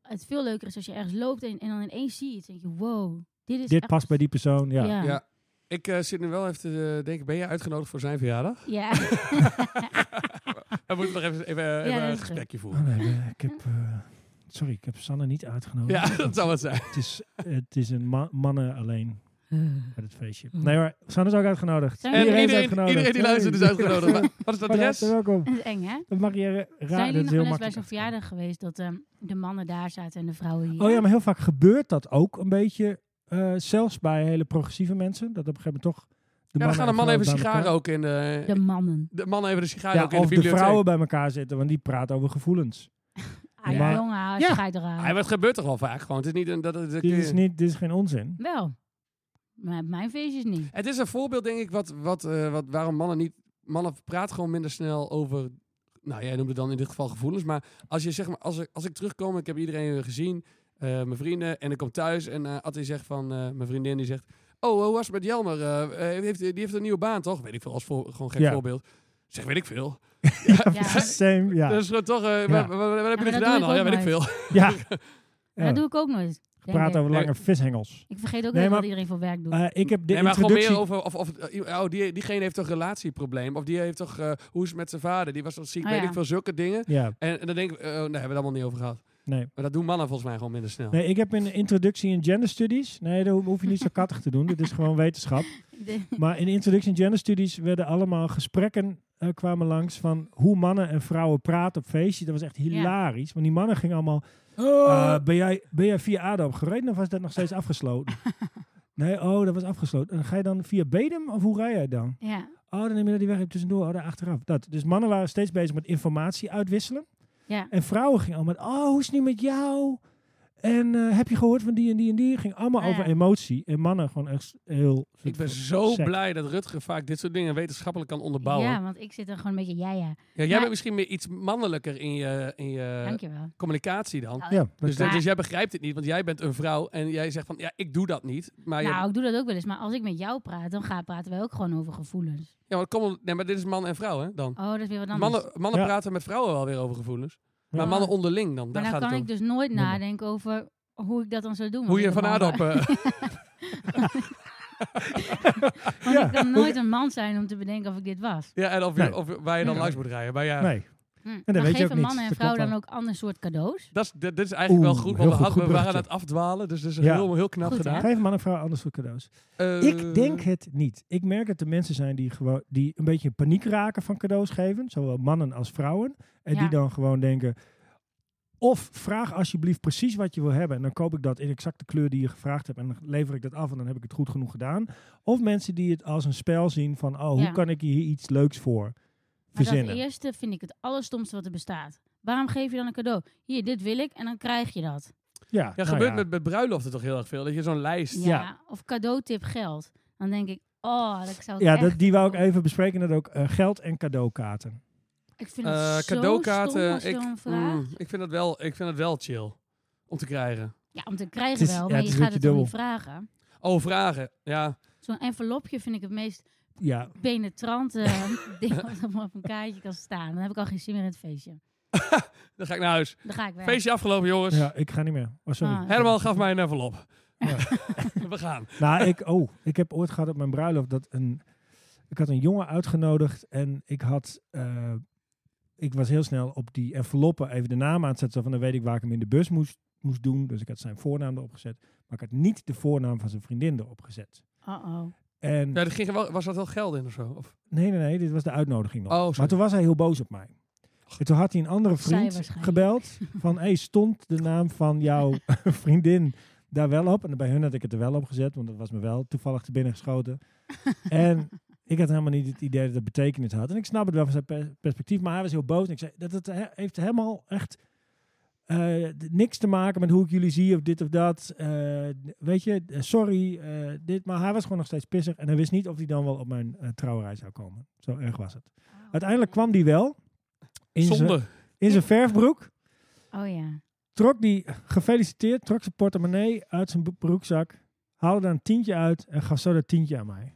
[SPEAKER 2] het veel leuker is als je ergens loopt en, en dan ineens zie je het. denk je, wow, dit is
[SPEAKER 1] Dit
[SPEAKER 2] echt-
[SPEAKER 1] past bij die persoon, ja.
[SPEAKER 2] Ja.
[SPEAKER 3] Ja. Ik eh, zit nu wel even te eh, denken, ben jij uitgenodigd voor zijn <laughs> verjaardag?
[SPEAKER 2] Ja.
[SPEAKER 1] <laughs>
[SPEAKER 3] We moeten nog even, even, even
[SPEAKER 2] dat
[SPEAKER 3] een
[SPEAKER 2] is
[SPEAKER 3] gesprekje
[SPEAKER 1] Oh
[SPEAKER 3] voeren.
[SPEAKER 1] nee, eh, ik heb, eh, sorry, ik heb Sanne niet uitgenodigd.
[SPEAKER 3] <laughs> Ja, dat zou het zijn.
[SPEAKER 1] Het is, het is een ma- mannen alleen uit het feestje. Nee hoor, Sanne is ook uitgenodigd.
[SPEAKER 2] Mhm. Zijn
[SPEAKER 3] En
[SPEAKER 2] jullie-
[SPEAKER 3] iedereen,
[SPEAKER 1] is
[SPEAKER 3] iedereen,
[SPEAKER 1] uitgenodigd.
[SPEAKER 3] die luistert is
[SPEAKER 1] Hey.
[SPEAKER 3] uitgenodigd. Maar Wat is
[SPEAKER 1] Van
[SPEAKER 3] het adres?
[SPEAKER 1] harte welkom.
[SPEAKER 2] Dat is eng, hè?
[SPEAKER 1] Dat mag je eh,
[SPEAKER 2] Zijn
[SPEAKER 1] raar, dat
[SPEAKER 2] jullie nog
[SPEAKER 1] is heel
[SPEAKER 2] wel eens bij
[SPEAKER 1] makkelijk.
[SPEAKER 2] zo'n verjaardag geweest dat ehm, de mannen daar zaten en de vrouwen hier?
[SPEAKER 1] Oh ja, maar heel vaak gebeurt dat ook een beetje. eh, zelfs bij hele progressieve mensen. Dat op een gegeven moment toch. De
[SPEAKER 3] Ja, dan gaan de mannen
[SPEAKER 1] en
[SPEAKER 3] even
[SPEAKER 1] vrouwen bij
[SPEAKER 3] sigaren
[SPEAKER 1] elkaar-
[SPEAKER 3] ook in de...
[SPEAKER 2] De mannen.
[SPEAKER 3] De mannen even de sigaren
[SPEAKER 1] Ja,
[SPEAKER 3] ook in de
[SPEAKER 1] of de,
[SPEAKER 3] bibliotheek.
[SPEAKER 1] vrouwen bij elkaar zitten, want die praten over gevoelens.
[SPEAKER 2] Ah,
[SPEAKER 1] Ja.
[SPEAKER 2] jongen, als
[SPEAKER 3] Ja.
[SPEAKER 2] je gaat eraan.
[SPEAKER 3] Ah, maar het gebeurt toch wel vaak gewoon. Het is niet een... Dat, dat, dat-
[SPEAKER 1] Dit is, niet, dit is geen onzin.
[SPEAKER 2] Wel. Maar op mijn feestjes niet.
[SPEAKER 3] Het is een voorbeeld, denk ik, wat, wat, eh, wat, waarom mannen niet... Mannen praten gewoon minder snel over... Nou, jij noemde dan in dit geval gevoelens. Maar als, je, zeg maar, als, ik- als ik terugkom, ik heb iedereen weer gezien, eh, mijn vrienden, en ik kom thuis en eh Attie zegt van... eh, mijn vriendin die zegt... Oh, hoe was het met Jelmer? Eh, eh, heeft, die heeft een nieuwe baan, toch? Weet ik veel, als voor, gewoon geen
[SPEAKER 1] Ja.
[SPEAKER 3] voorbeeld. Zeg, weet ik veel.
[SPEAKER 1] <laughs>
[SPEAKER 2] Ja.
[SPEAKER 1] Same, ja.
[SPEAKER 3] Dat is gewoon toch... eh, wa- wa- wa- Wat, heb je
[SPEAKER 2] maar dat
[SPEAKER 3] er
[SPEAKER 2] doe
[SPEAKER 3] gedaan
[SPEAKER 2] ik
[SPEAKER 3] al? Ja,
[SPEAKER 2] ook
[SPEAKER 3] weet ik veel. <laughs>
[SPEAKER 1] ja. Ja.
[SPEAKER 2] Dat Nou, doe ik ook nooit. denk
[SPEAKER 1] Praat
[SPEAKER 2] ik.
[SPEAKER 1] over lange
[SPEAKER 3] Nee.
[SPEAKER 1] vishengels.
[SPEAKER 2] Ik vergeet ook
[SPEAKER 1] Nee,
[SPEAKER 2] wel
[SPEAKER 1] maar-
[SPEAKER 2] wat iedereen voor werk doet.
[SPEAKER 1] Eh, ik heb de
[SPEAKER 3] nee, maar
[SPEAKER 1] introductie...
[SPEAKER 3] gewoon meer over... Of, of, eh, oh, die, diegene heeft toch een relatieprobleem? Of die heeft toch... eh, hoe is het met zijn vader? Die was toch ziek?
[SPEAKER 2] Ah,
[SPEAKER 3] weet
[SPEAKER 2] ja.
[SPEAKER 3] ik veel, zulke dingen.
[SPEAKER 1] Ja,
[SPEAKER 3] En, en dan denk ik, eh, oh, daar hebben we het allemaal niet over gehad.
[SPEAKER 1] nee.
[SPEAKER 3] Maar dat doen mannen volgens mij gewoon minder snel.
[SPEAKER 1] nee. Ik heb een introductie in gender studies. Nee, dat hoef je niet zo kattig te doen. Dit is gewoon wetenschap.
[SPEAKER 2] De- <laughs>
[SPEAKER 1] Maar in Introduction Gender Studies werden allemaal gesprekken eh, kwamen langs van hoe mannen en vrouwen praten op feestjes. Dat was echt hilarisch. Want die mannen gingen allemaal,
[SPEAKER 3] Oh.
[SPEAKER 1] eh, ben, jij, ben jij via ADO gereden of was dat nog steeds
[SPEAKER 2] <laughs>
[SPEAKER 1] afgesloten? nee, oh, dat was afgesloten. En ga je dan via Bedum of hoe rij jij dan?
[SPEAKER 2] ja.
[SPEAKER 1] Oh, dan neem je dat die weg even tussendoor, oh, daar achteraf. Dat. Dus mannen waren steeds bezig met informatie uitwisselen.
[SPEAKER 2] Ja.
[SPEAKER 1] En vrouwen gingen allemaal met, oh, hoe is het nu met jou? En eh, heb je gehoord van die en die en die? Ging allemaal
[SPEAKER 2] Ah, ja.
[SPEAKER 1] over emotie. En mannen gewoon echt heel...
[SPEAKER 3] Ik ben zo
[SPEAKER 1] Sec.
[SPEAKER 3] blij dat Rutger vaak dit soort dingen wetenschappelijk kan onderbouwen. Ja,
[SPEAKER 2] ja, want ik zit er gewoon een beetje, ja, ja.
[SPEAKER 3] jij
[SPEAKER 2] maar-
[SPEAKER 3] bent misschien meer iets mannelijker in je, in je
[SPEAKER 2] Dankjewel.
[SPEAKER 3] communicatie dan.
[SPEAKER 2] Nou,
[SPEAKER 1] Ja, dat
[SPEAKER 3] Dus, dat-
[SPEAKER 2] Maar-
[SPEAKER 3] dus jij begrijpt het niet, want jij bent een vrouw en jij zegt van, ja, ik doe dat niet. Maar, Ah, je,
[SPEAKER 2] Nou, ik doe dat ook wel eens. Maar als ik met jou praat, dan gaan, praten wij ook gewoon over gevoelens.
[SPEAKER 3] ja, maar, kom, op- nee, maar dit is man en vrouw, hè, dan.
[SPEAKER 2] Oh, dat is weer wat anders.
[SPEAKER 3] Mannen, mannen
[SPEAKER 1] Ja.
[SPEAKER 3] praten met vrouwen wel weer over gevoelens.
[SPEAKER 1] Ja.
[SPEAKER 3] Maar mannen onderling dan, daar
[SPEAKER 2] maar dan
[SPEAKER 3] gaat
[SPEAKER 2] kan ik
[SPEAKER 3] het om.
[SPEAKER 2] dus nooit
[SPEAKER 1] Noem maar.
[SPEAKER 2] nadenken over hoe ik dat dan zou doen. want
[SPEAKER 3] Hoe je
[SPEAKER 2] ik
[SPEAKER 3] van
[SPEAKER 2] een man
[SPEAKER 3] aardappen...
[SPEAKER 2] ben. <laughs> Want
[SPEAKER 1] Ja.
[SPEAKER 2] ik kan nooit een man zijn om te bedenken of ik dit was.
[SPEAKER 3] ja, en of, je,
[SPEAKER 1] Nee.
[SPEAKER 3] of waar je dan
[SPEAKER 1] Nee.
[SPEAKER 3] langs moet rijden. Maar ja,
[SPEAKER 1] Nee.
[SPEAKER 2] Hm.
[SPEAKER 1] dat
[SPEAKER 2] dan
[SPEAKER 1] weet je ook
[SPEAKER 2] geven
[SPEAKER 1] niet.
[SPEAKER 2] mannen en
[SPEAKER 1] Dat
[SPEAKER 2] vrouwen
[SPEAKER 1] klopt
[SPEAKER 2] dan ook ander soort cadeaus.
[SPEAKER 3] dat is, dit dit is eigenlijk wel
[SPEAKER 1] Oeh, heel
[SPEAKER 3] goed, want we,
[SPEAKER 1] goed,
[SPEAKER 3] hadden-
[SPEAKER 1] goed
[SPEAKER 3] we waren aan
[SPEAKER 1] bruggetje.
[SPEAKER 3] het afdwalen. Dus dat is
[SPEAKER 1] Ja.
[SPEAKER 3] heel, heel knap
[SPEAKER 2] Goed, hè?
[SPEAKER 3] gedaan.
[SPEAKER 1] Geef man en vrouw anders voor cadeaus.
[SPEAKER 3] Eh,
[SPEAKER 1] ik denk het niet. Ik merk dat er mensen zijn die, gewoon, die een beetje in paniek raken van cadeaus geven. Zowel mannen als vrouwen. En
[SPEAKER 2] Ja.
[SPEAKER 1] die dan gewoon denken... Of vraag alsjeblieft precies wat je wil hebben. En dan koop ik dat in exact de kleur die je gevraagd hebt. En dan lever ik dat af en dan heb ik het goed genoeg gedaan. Of mensen die het als een spel zien van... Oh,
[SPEAKER 2] Ja.
[SPEAKER 1] hoe kan ik hier iets leuks voor
[SPEAKER 2] Maar dat
[SPEAKER 1] verzinnen?
[SPEAKER 2] eerste vind ik het allerstomste wat er bestaat. Waarom geef je dan een cadeau? Hier, dit wil ik en dan krijg je dat.
[SPEAKER 1] Ja,
[SPEAKER 3] Ja,
[SPEAKER 1] nou
[SPEAKER 3] gebeurt
[SPEAKER 1] ja.
[SPEAKER 3] Met, met bruiloften toch heel erg veel. Dat je zo'n lijst.
[SPEAKER 2] Ja. Of cadeautip geld. Dan denk ik, oh, dat zou ik
[SPEAKER 1] Ja,
[SPEAKER 2] echt...
[SPEAKER 1] dat, die wou ik even bespreken. Dat ook eh, geld en cadeaukaarten.
[SPEAKER 2] Ik vind het
[SPEAKER 3] Eh,
[SPEAKER 2] zo stom als
[SPEAKER 3] ik,
[SPEAKER 2] zo'n vraag.
[SPEAKER 3] mm, ik, vind dat wel, ik vind dat wel chill om te krijgen.
[SPEAKER 2] Ja, om te krijgen
[SPEAKER 1] Het is-
[SPEAKER 2] wel,
[SPEAKER 1] ja,
[SPEAKER 2] maar
[SPEAKER 1] het
[SPEAKER 2] je
[SPEAKER 1] is een
[SPEAKER 2] gaat
[SPEAKER 1] beetje
[SPEAKER 2] het toch niet
[SPEAKER 1] dubbel.
[SPEAKER 2] vragen.
[SPEAKER 3] Oh, Oh, vragen. Ja.
[SPEAKER 2] Zo'n envelopje vind ik het meest
[SPEAKER 1] Ja,
[SPEAKER 2] penetrante eh, <laughs> ding wat er op een kaartje kan staan. Dan heb ik al geen zin meer in het feestje.
[SPEAKER 3] Dan ga ik naar huis.
[SPEAKER 2] Dan ga ik weg.
[SPEAKER 3] Feestje afgelopen, jongens.
[SPEAKER 1] ja, ik ga niet meer. Oh, sorry.
[SPEAKER 2] Ah.
[SPEAKER 3] Herman gaf mij een envelop. <laughs> We gaan.
[SPEAKER 1] Nou, ik, oh, ik heb ooit gehad op mijn bruiloft dat een. Ik had een jongen uitgenodigd en ik had. eh, ik was heel snel op die enveloppen even de naam aan het zetten. Van dan weet ik waar ik hem in de bus moest, moest doen. Dus ik had zijn voornaam erop gezet. Maar ik had niet de voornaam van zijn vriendin erop gezet.
[SPEAKER 2] Uh-oh.
[SPEAKER 1] En
[SPEAKER 3] Ja, er ging wel, was dat wel geld in of zo? Of?
[SPEAKER 1] nee, nee, nee, dit was de uitnodiging nog.
[SPEAKER 3] Oh, sorry.
[SPEAKER 1] maar toen was hij heel boos op mij. En toen had hij een andere
[SPEAKER 2] Zij
[SPEAKER 1] vriend
[SPEAKER 2] waarschijnlijk.
[SPEAKER 1] gebeld. Van, hey, stond de naam van jouw <laughs> vriendin daar wel op? En bij hun had ik het er wel op gezet, want dat was me wel toevallig te binnen geschoten. en ik had helemaal niet het idee dat het betekenis had. En ik snap het wel van zijn per- perspectief, maar hij was heel boos. En ik zei, dat het he- heeft helemaal echt eh, d- niks te maken met hoe ik jullie zie of dit of dat. Eh, weet je, eh, sorry, eh, dit. Maar hij was gewoon nog steeds pissig. En hij wist niet of hij dan wel op mijn eh, trouwerij zou komen. Zo erg was het. Uiteindelijk kwam die wel. In zijn-
[SPEAKER 3] Zonde.
[SPEAKER 1] in zijn verfbroek.
[SPEAKER 2] Oh ja.
[SPEAKER 1] Trok die, gefeliciteerd, trok zijn portemonnee uit zijn broek- broekzak. Haalde daar een tientje uit en gaf zo dat tientje aan mij.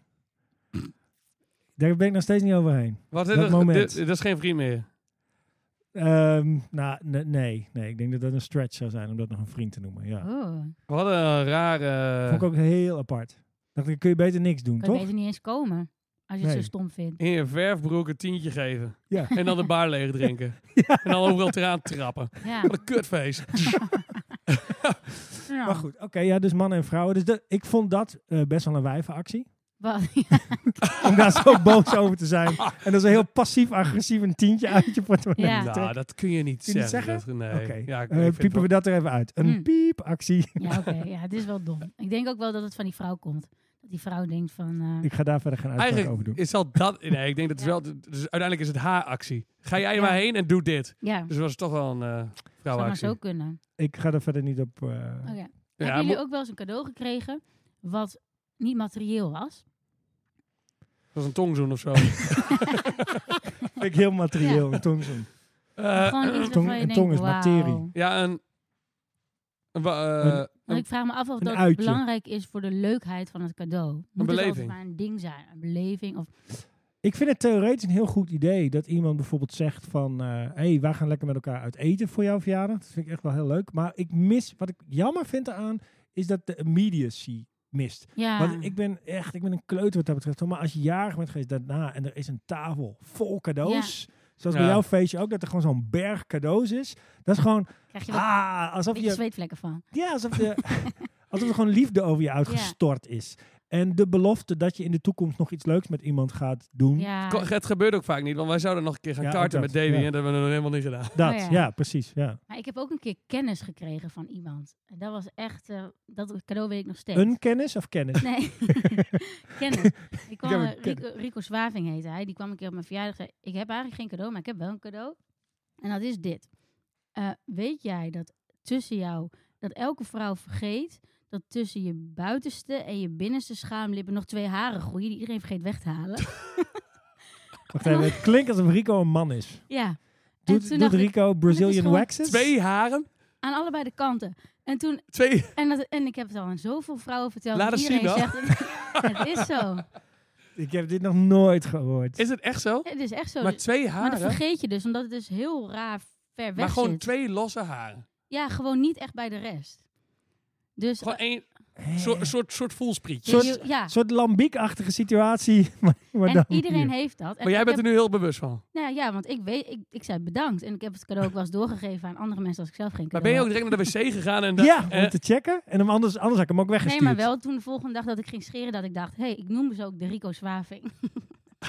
[SPEAKER 1] Daar ben ik nog steeds niet overheen.
[SPEAKER 3] Wat,
[SPEAKER 1] Dat
[SPEAKER 3] dit,
[SPEAKER 1] moment.
[SPEAKER 3] Dit, dit is geen vriend meer.
[SPEAKER 1] Ehm, nou, ne- nee, nee. Ik denk dat dat een stretch zou zijn om dat nog een vriend te noemen. Ja.
[SPEAKER 2] Oh.
[SPEAKER 3] Wat een rare...
[SPEAKER 1] Vond ik ook heel apart. Dacht ik, kun je beter niks doen,
[SPEAKER 2] Kan je
[SPEAKER 1] toch?
[SPEAKER 2] beter niet eens komen. Als je het
[SPEAKER 1] Nee.
[SPEAKER 2] zo stom
[SPEAKER 1] <laughs>
[SPEAKER 2] vindt.
[SPEAKER 3] In je verfbroek een tientje geven.
[SPEAKER 1] Ja.
[SPEAKER 3] En dan de bar leeg drinken.
[SPEAKER 1] <laughs>
[SPEAKER 3] En dan overal eraan trappen.
[SPEAKER 2] Ja.
[SPEAKER 3] Wat een kutfeest.
[SPEAKER 2] Ja.
[SPEAKER 1] Maar goed, oké, ja, dus mannen en vrouwen. Dus dat- ik vond dat eh, best wel een wijvenactie.
[SPEAKER 2] <laughs> Wat-
[SPEAKER 1] Om daar zo <laughs> boos over te zijn. En dat is een heel passief-agressief een tientje uit je portemonnee
[SPEAKER 2] Ja.
[SPEAKER 1] te trekken.
[SPEAKER 3] Nou, dat kun je niet
[SPEAKER 1] Kun je niet
[SPEAKER 3] zeggen.
[SPEAKER 1] zeggen?
[SPEAKER 3] Dat-
[SPEAKER 1] Oké,
[SPEAKER 3] nee. Ja, ik-
[SPEAKER 1] eh,
[SPEAKER 3] ik vind
[SPEAKER 1] piepen we
[SPEAKER 3] het
[SPEAKER 1] dat er even uit. Een
[SPEAKER 2] Hmm.
[SPEAKER 1] piepactie. <laughs>
[SPEAKER 2] Ja, oké. Ja, het is wel dom. Ik denk ook wel dat het van die vrouw komt. Dat die vrouw denkt van... eh,
[SPEAKER 1] Ik ga daar verder geen
[SPEAKER 3] wel-
[SPEAKER 1] uitspraak over
[SPEAKER 3] Eigenlijk
[SPEAKER 1] doen.
[SPEAKER 3] is al dat... Nee, ik denk dat het
[SPEAKER 2] Ja.
[SPEAKER 3] wel... Dus uiteindelijk is het haar actie. Ga jij er
[SPEAKER 2] Ja.
[SPEAKER 3] maar heen en doe dit.
[SPEAKER 2] ja,
[SPEAKER 3] Dus was het toch wel een eh,
[SPEAKER 2] zou maar
[SPEAKER 3] vrouwenactie.
[SPEAKER 2] zo kunnen.
[SPEAKER 1] Ik ga er verder niet op... eh,
[SPEAKER 2] Oké.
[SPEAKER 3] Ja,
[SPEAKER 2] Hebben jullie
[SPEAKER 3] mo-
[SPEAKER 2] ook wel eens een cadeau gekregen wat niet materieel was?
[SPEAKER 3] Het was een tongzoen
[SPEAKER 2] <laughs>
[SPEAKER 3] of zo.
[SPEAKER 1] <laughs> Vind ik heel materieel, een tongzoen.
[SPEAKER 3] Eh,
[SPEAKER 2] Gewoon iets
[SPEAKER 1] tong-
[SPEAKER 2] waarvan je
[SPEAKER 1] een
[SPEAKER 2] denkt,
[SPEAKER 1] tong is materie.
[SPEAKER 2] wauw.
[SPEAKER 3] ja, een... een wa- eh,
[SPEAKER 1] Een-
[SPEAKER 2] Want ik vraag me af of
[SPEAKER 1] Een
[SPEAKER 2] dat
[SPEAKER 1] uitje.
[SPEAKER 2] belangrijk is voor de leukheid van het cadeau. Moet het altijd
[SPEAKER 3] beleving.
[SPEAKER 2] maar een ding zijn? Een beleving? Of,
[SPEAKER 1] Ik vind het theoretisch een heel goed idee dat iemand bijvoorbeeld zegt van... eh hey, wij gaan lekker met elkaar uit eten voor jouw verjaardag. Dat vind ik echt wel heel leuk. Maar ik mis, wat ik jammer vind eraan, is dat de immediacy mist.
[SPEAKER 2] ja,
[SPEAKER 1] Want ik ben echt, ik ben een kleuter wat dat betreft. hoor. Maar als je jarig bent geweest daarna en er is een tafel vol cadeaus... Zoals bij
[SPEAKER 3] Ja.
[SPEAKER 1] jouw feestje ook, dat er gewoon zo'n berg cadeaus is.
[SPEAKER 2] <laughs>
[SPEAKER 1] Dat is gewoon,
[SPEAKER 2] krijg je wel
[SPEAKER 1] ah,
[SPEAKER 2] een
[SPEAKER 1] alsof
[SPEAKER 2] beetje
[SPEAKER 1] je
[SPEAKER 2] zweetvlekken van.
[SPEAKER 1] Ja, alsof,
[SPEAKER 2] <laughs>
[SPEAKER 1] je, alsof er gewoon liefde over je uitgestort is. En de belofte dat je in de toekomst nog iets leuks met iemand gaat doen.
[SPEAKER 2] Ja,
[SPEAKER 3] Ko- Het gebeurt ook vaak niet, want wij zouden nog een keer gaan
[SPEAKER 1] Ja,
[SPEAKER 3] karten
[SPEAKER 1] ook
[SPEAKER 3] met
[SPEAKER 1] dat,
[SPEAKER 3] Davy
[SPEAKER 1] ja.
[SPEAKER 3] en dat hebben we nog helemaal niet gedaan.
[SPEAKER 1] Dat,
[SPEAKER 2] Oh ja.
[SPEAKER 1] ja. precies. Ja.
[SPEAKER 2] maar ik heb ook een keer kennis gekregen van iemand. En dat was echt, eh, dat cadeau weet ik nog steeds.
[SPEAKER 1] Een kennis of kennis? <laughs>
[SPEAKER 2] Nee, kennis. Ik kwam,
[SPEAKER 1] heb een
[SPEAKER 2] eh, Rico, Rico Zwaving heette hij. Die kwam een keer op mijn verjaardag en zei... Ik heb eigenlijk geen cadeau, maar ik heb wel een cadeau. En dat is dit. Eh, weet jij dat tussen jou... Dat elke vrouw vergeet dat tussen je buitenste en je binnenste schaamlippen nog twee haren groeien die iedereen vergeet weg te
[SPEAKER 1] <laughs>
[SPEAKER 2] halen.
[SPEAKER 1] Wacht even, het klinkt alsof Rico een man is.
[SPEAKER 2] ja.
[SPEAKER 1] Doet,
[SPEAKER 2] toen
[SPEAKER 1] doet
[SPEAKER 2] dacht ik,
[SPEAKER 1] Rico Brazilian
[SPEAKER 2] gewoon
[SPEAKER 1] waxes?
[SPEAKER 3] Twee haren?
[SPEAKER 2] Aan allebei de kanten. En toen...
[SPEAKER 3] Twee?
[SPEAKER 2] En, dat, en ik heb het al aan zoveel vrouwen verteld.
[SPEAKER 3] Laat
[SPEAKER 2] dat
[SPEAKER 3] eens
[SPEAKER 2] iedereen
[SPEAKER 3] zien
[SPEAKER 2] zegt... <laughs> het is zo.
[SPEAKER 1] Ik heb dit nog nooit gehoord.
[SPEAKER 3] Is het echt zo?
[SPEAKER 2] Het is echt zo.
[SPEAKER 3] Maar twee
[SPEAKER 2] Maar dat
[SPEAKER 3] haren?
[SPEAKER 2] vergeet je dus, omdat het dus heel raar ver weg
[SPEAKER 3] Maar gewoon
[SPEAKER 2] zit.
[SPEAKER 3] twee losse haren.
[SPEAKER 2] Ja, gewoon niet echt bij de rest. Dus
[SPEAKER 3] Gewoon
[SPEAKER 2] eh, dus
[SPEAKER 3] één
[SPEAKER 1] Hè?
[SPEAKER 3] soort, soort, soort voelsprietje.
[SPEAKER 1] soort-
[SPEAKER 2] je- je- ja,
[SPEAKER 1] Een soort lambiekachtige situatie. <laughs> Maar, maar
[SPEAKER 2] en
[SPEAKER 1] dan
[SPEAKER 2] iedereen
[SPEAKER 1] hier.
[SPEAKER 2] heeft dat. En
[SPEAKER 3] Maar jij
[SPEAKER 2] ik
[SPEAKER 3] bent er
[SPEAKER 2] heb,
[SPEAKER 3] nu heel bewust van.
[SPEAKER 2] nou ja, ja, want ik weet, ik, ik zei bedankt. En ik heb het cadeau ook wel eens doorgegeven aan andere mensen als ik zelf geen
[SPEAKER 3] Maar
[SPEAKER 2] cadeau
[SPEAKER 3] ben je ook
[SPEAKER 2] had.
[SPEAKER 3] direct naar de wc gegaan en... da-
[SPEAKER 1] Ja, om
[SPEAKER 3] eh,
[SPEAKER 1] te checken. En hem anders, anders had ik hem ook
[SPEAKER 2] Nee,
[SPEAKER 1] weggestuurd.
[SPEAKER 2] maar wel toen de volgende dag dat ik ging scheren, dat ik dacht, hé, hey, ik noem ze ook de Rico Zwaving. <laughs>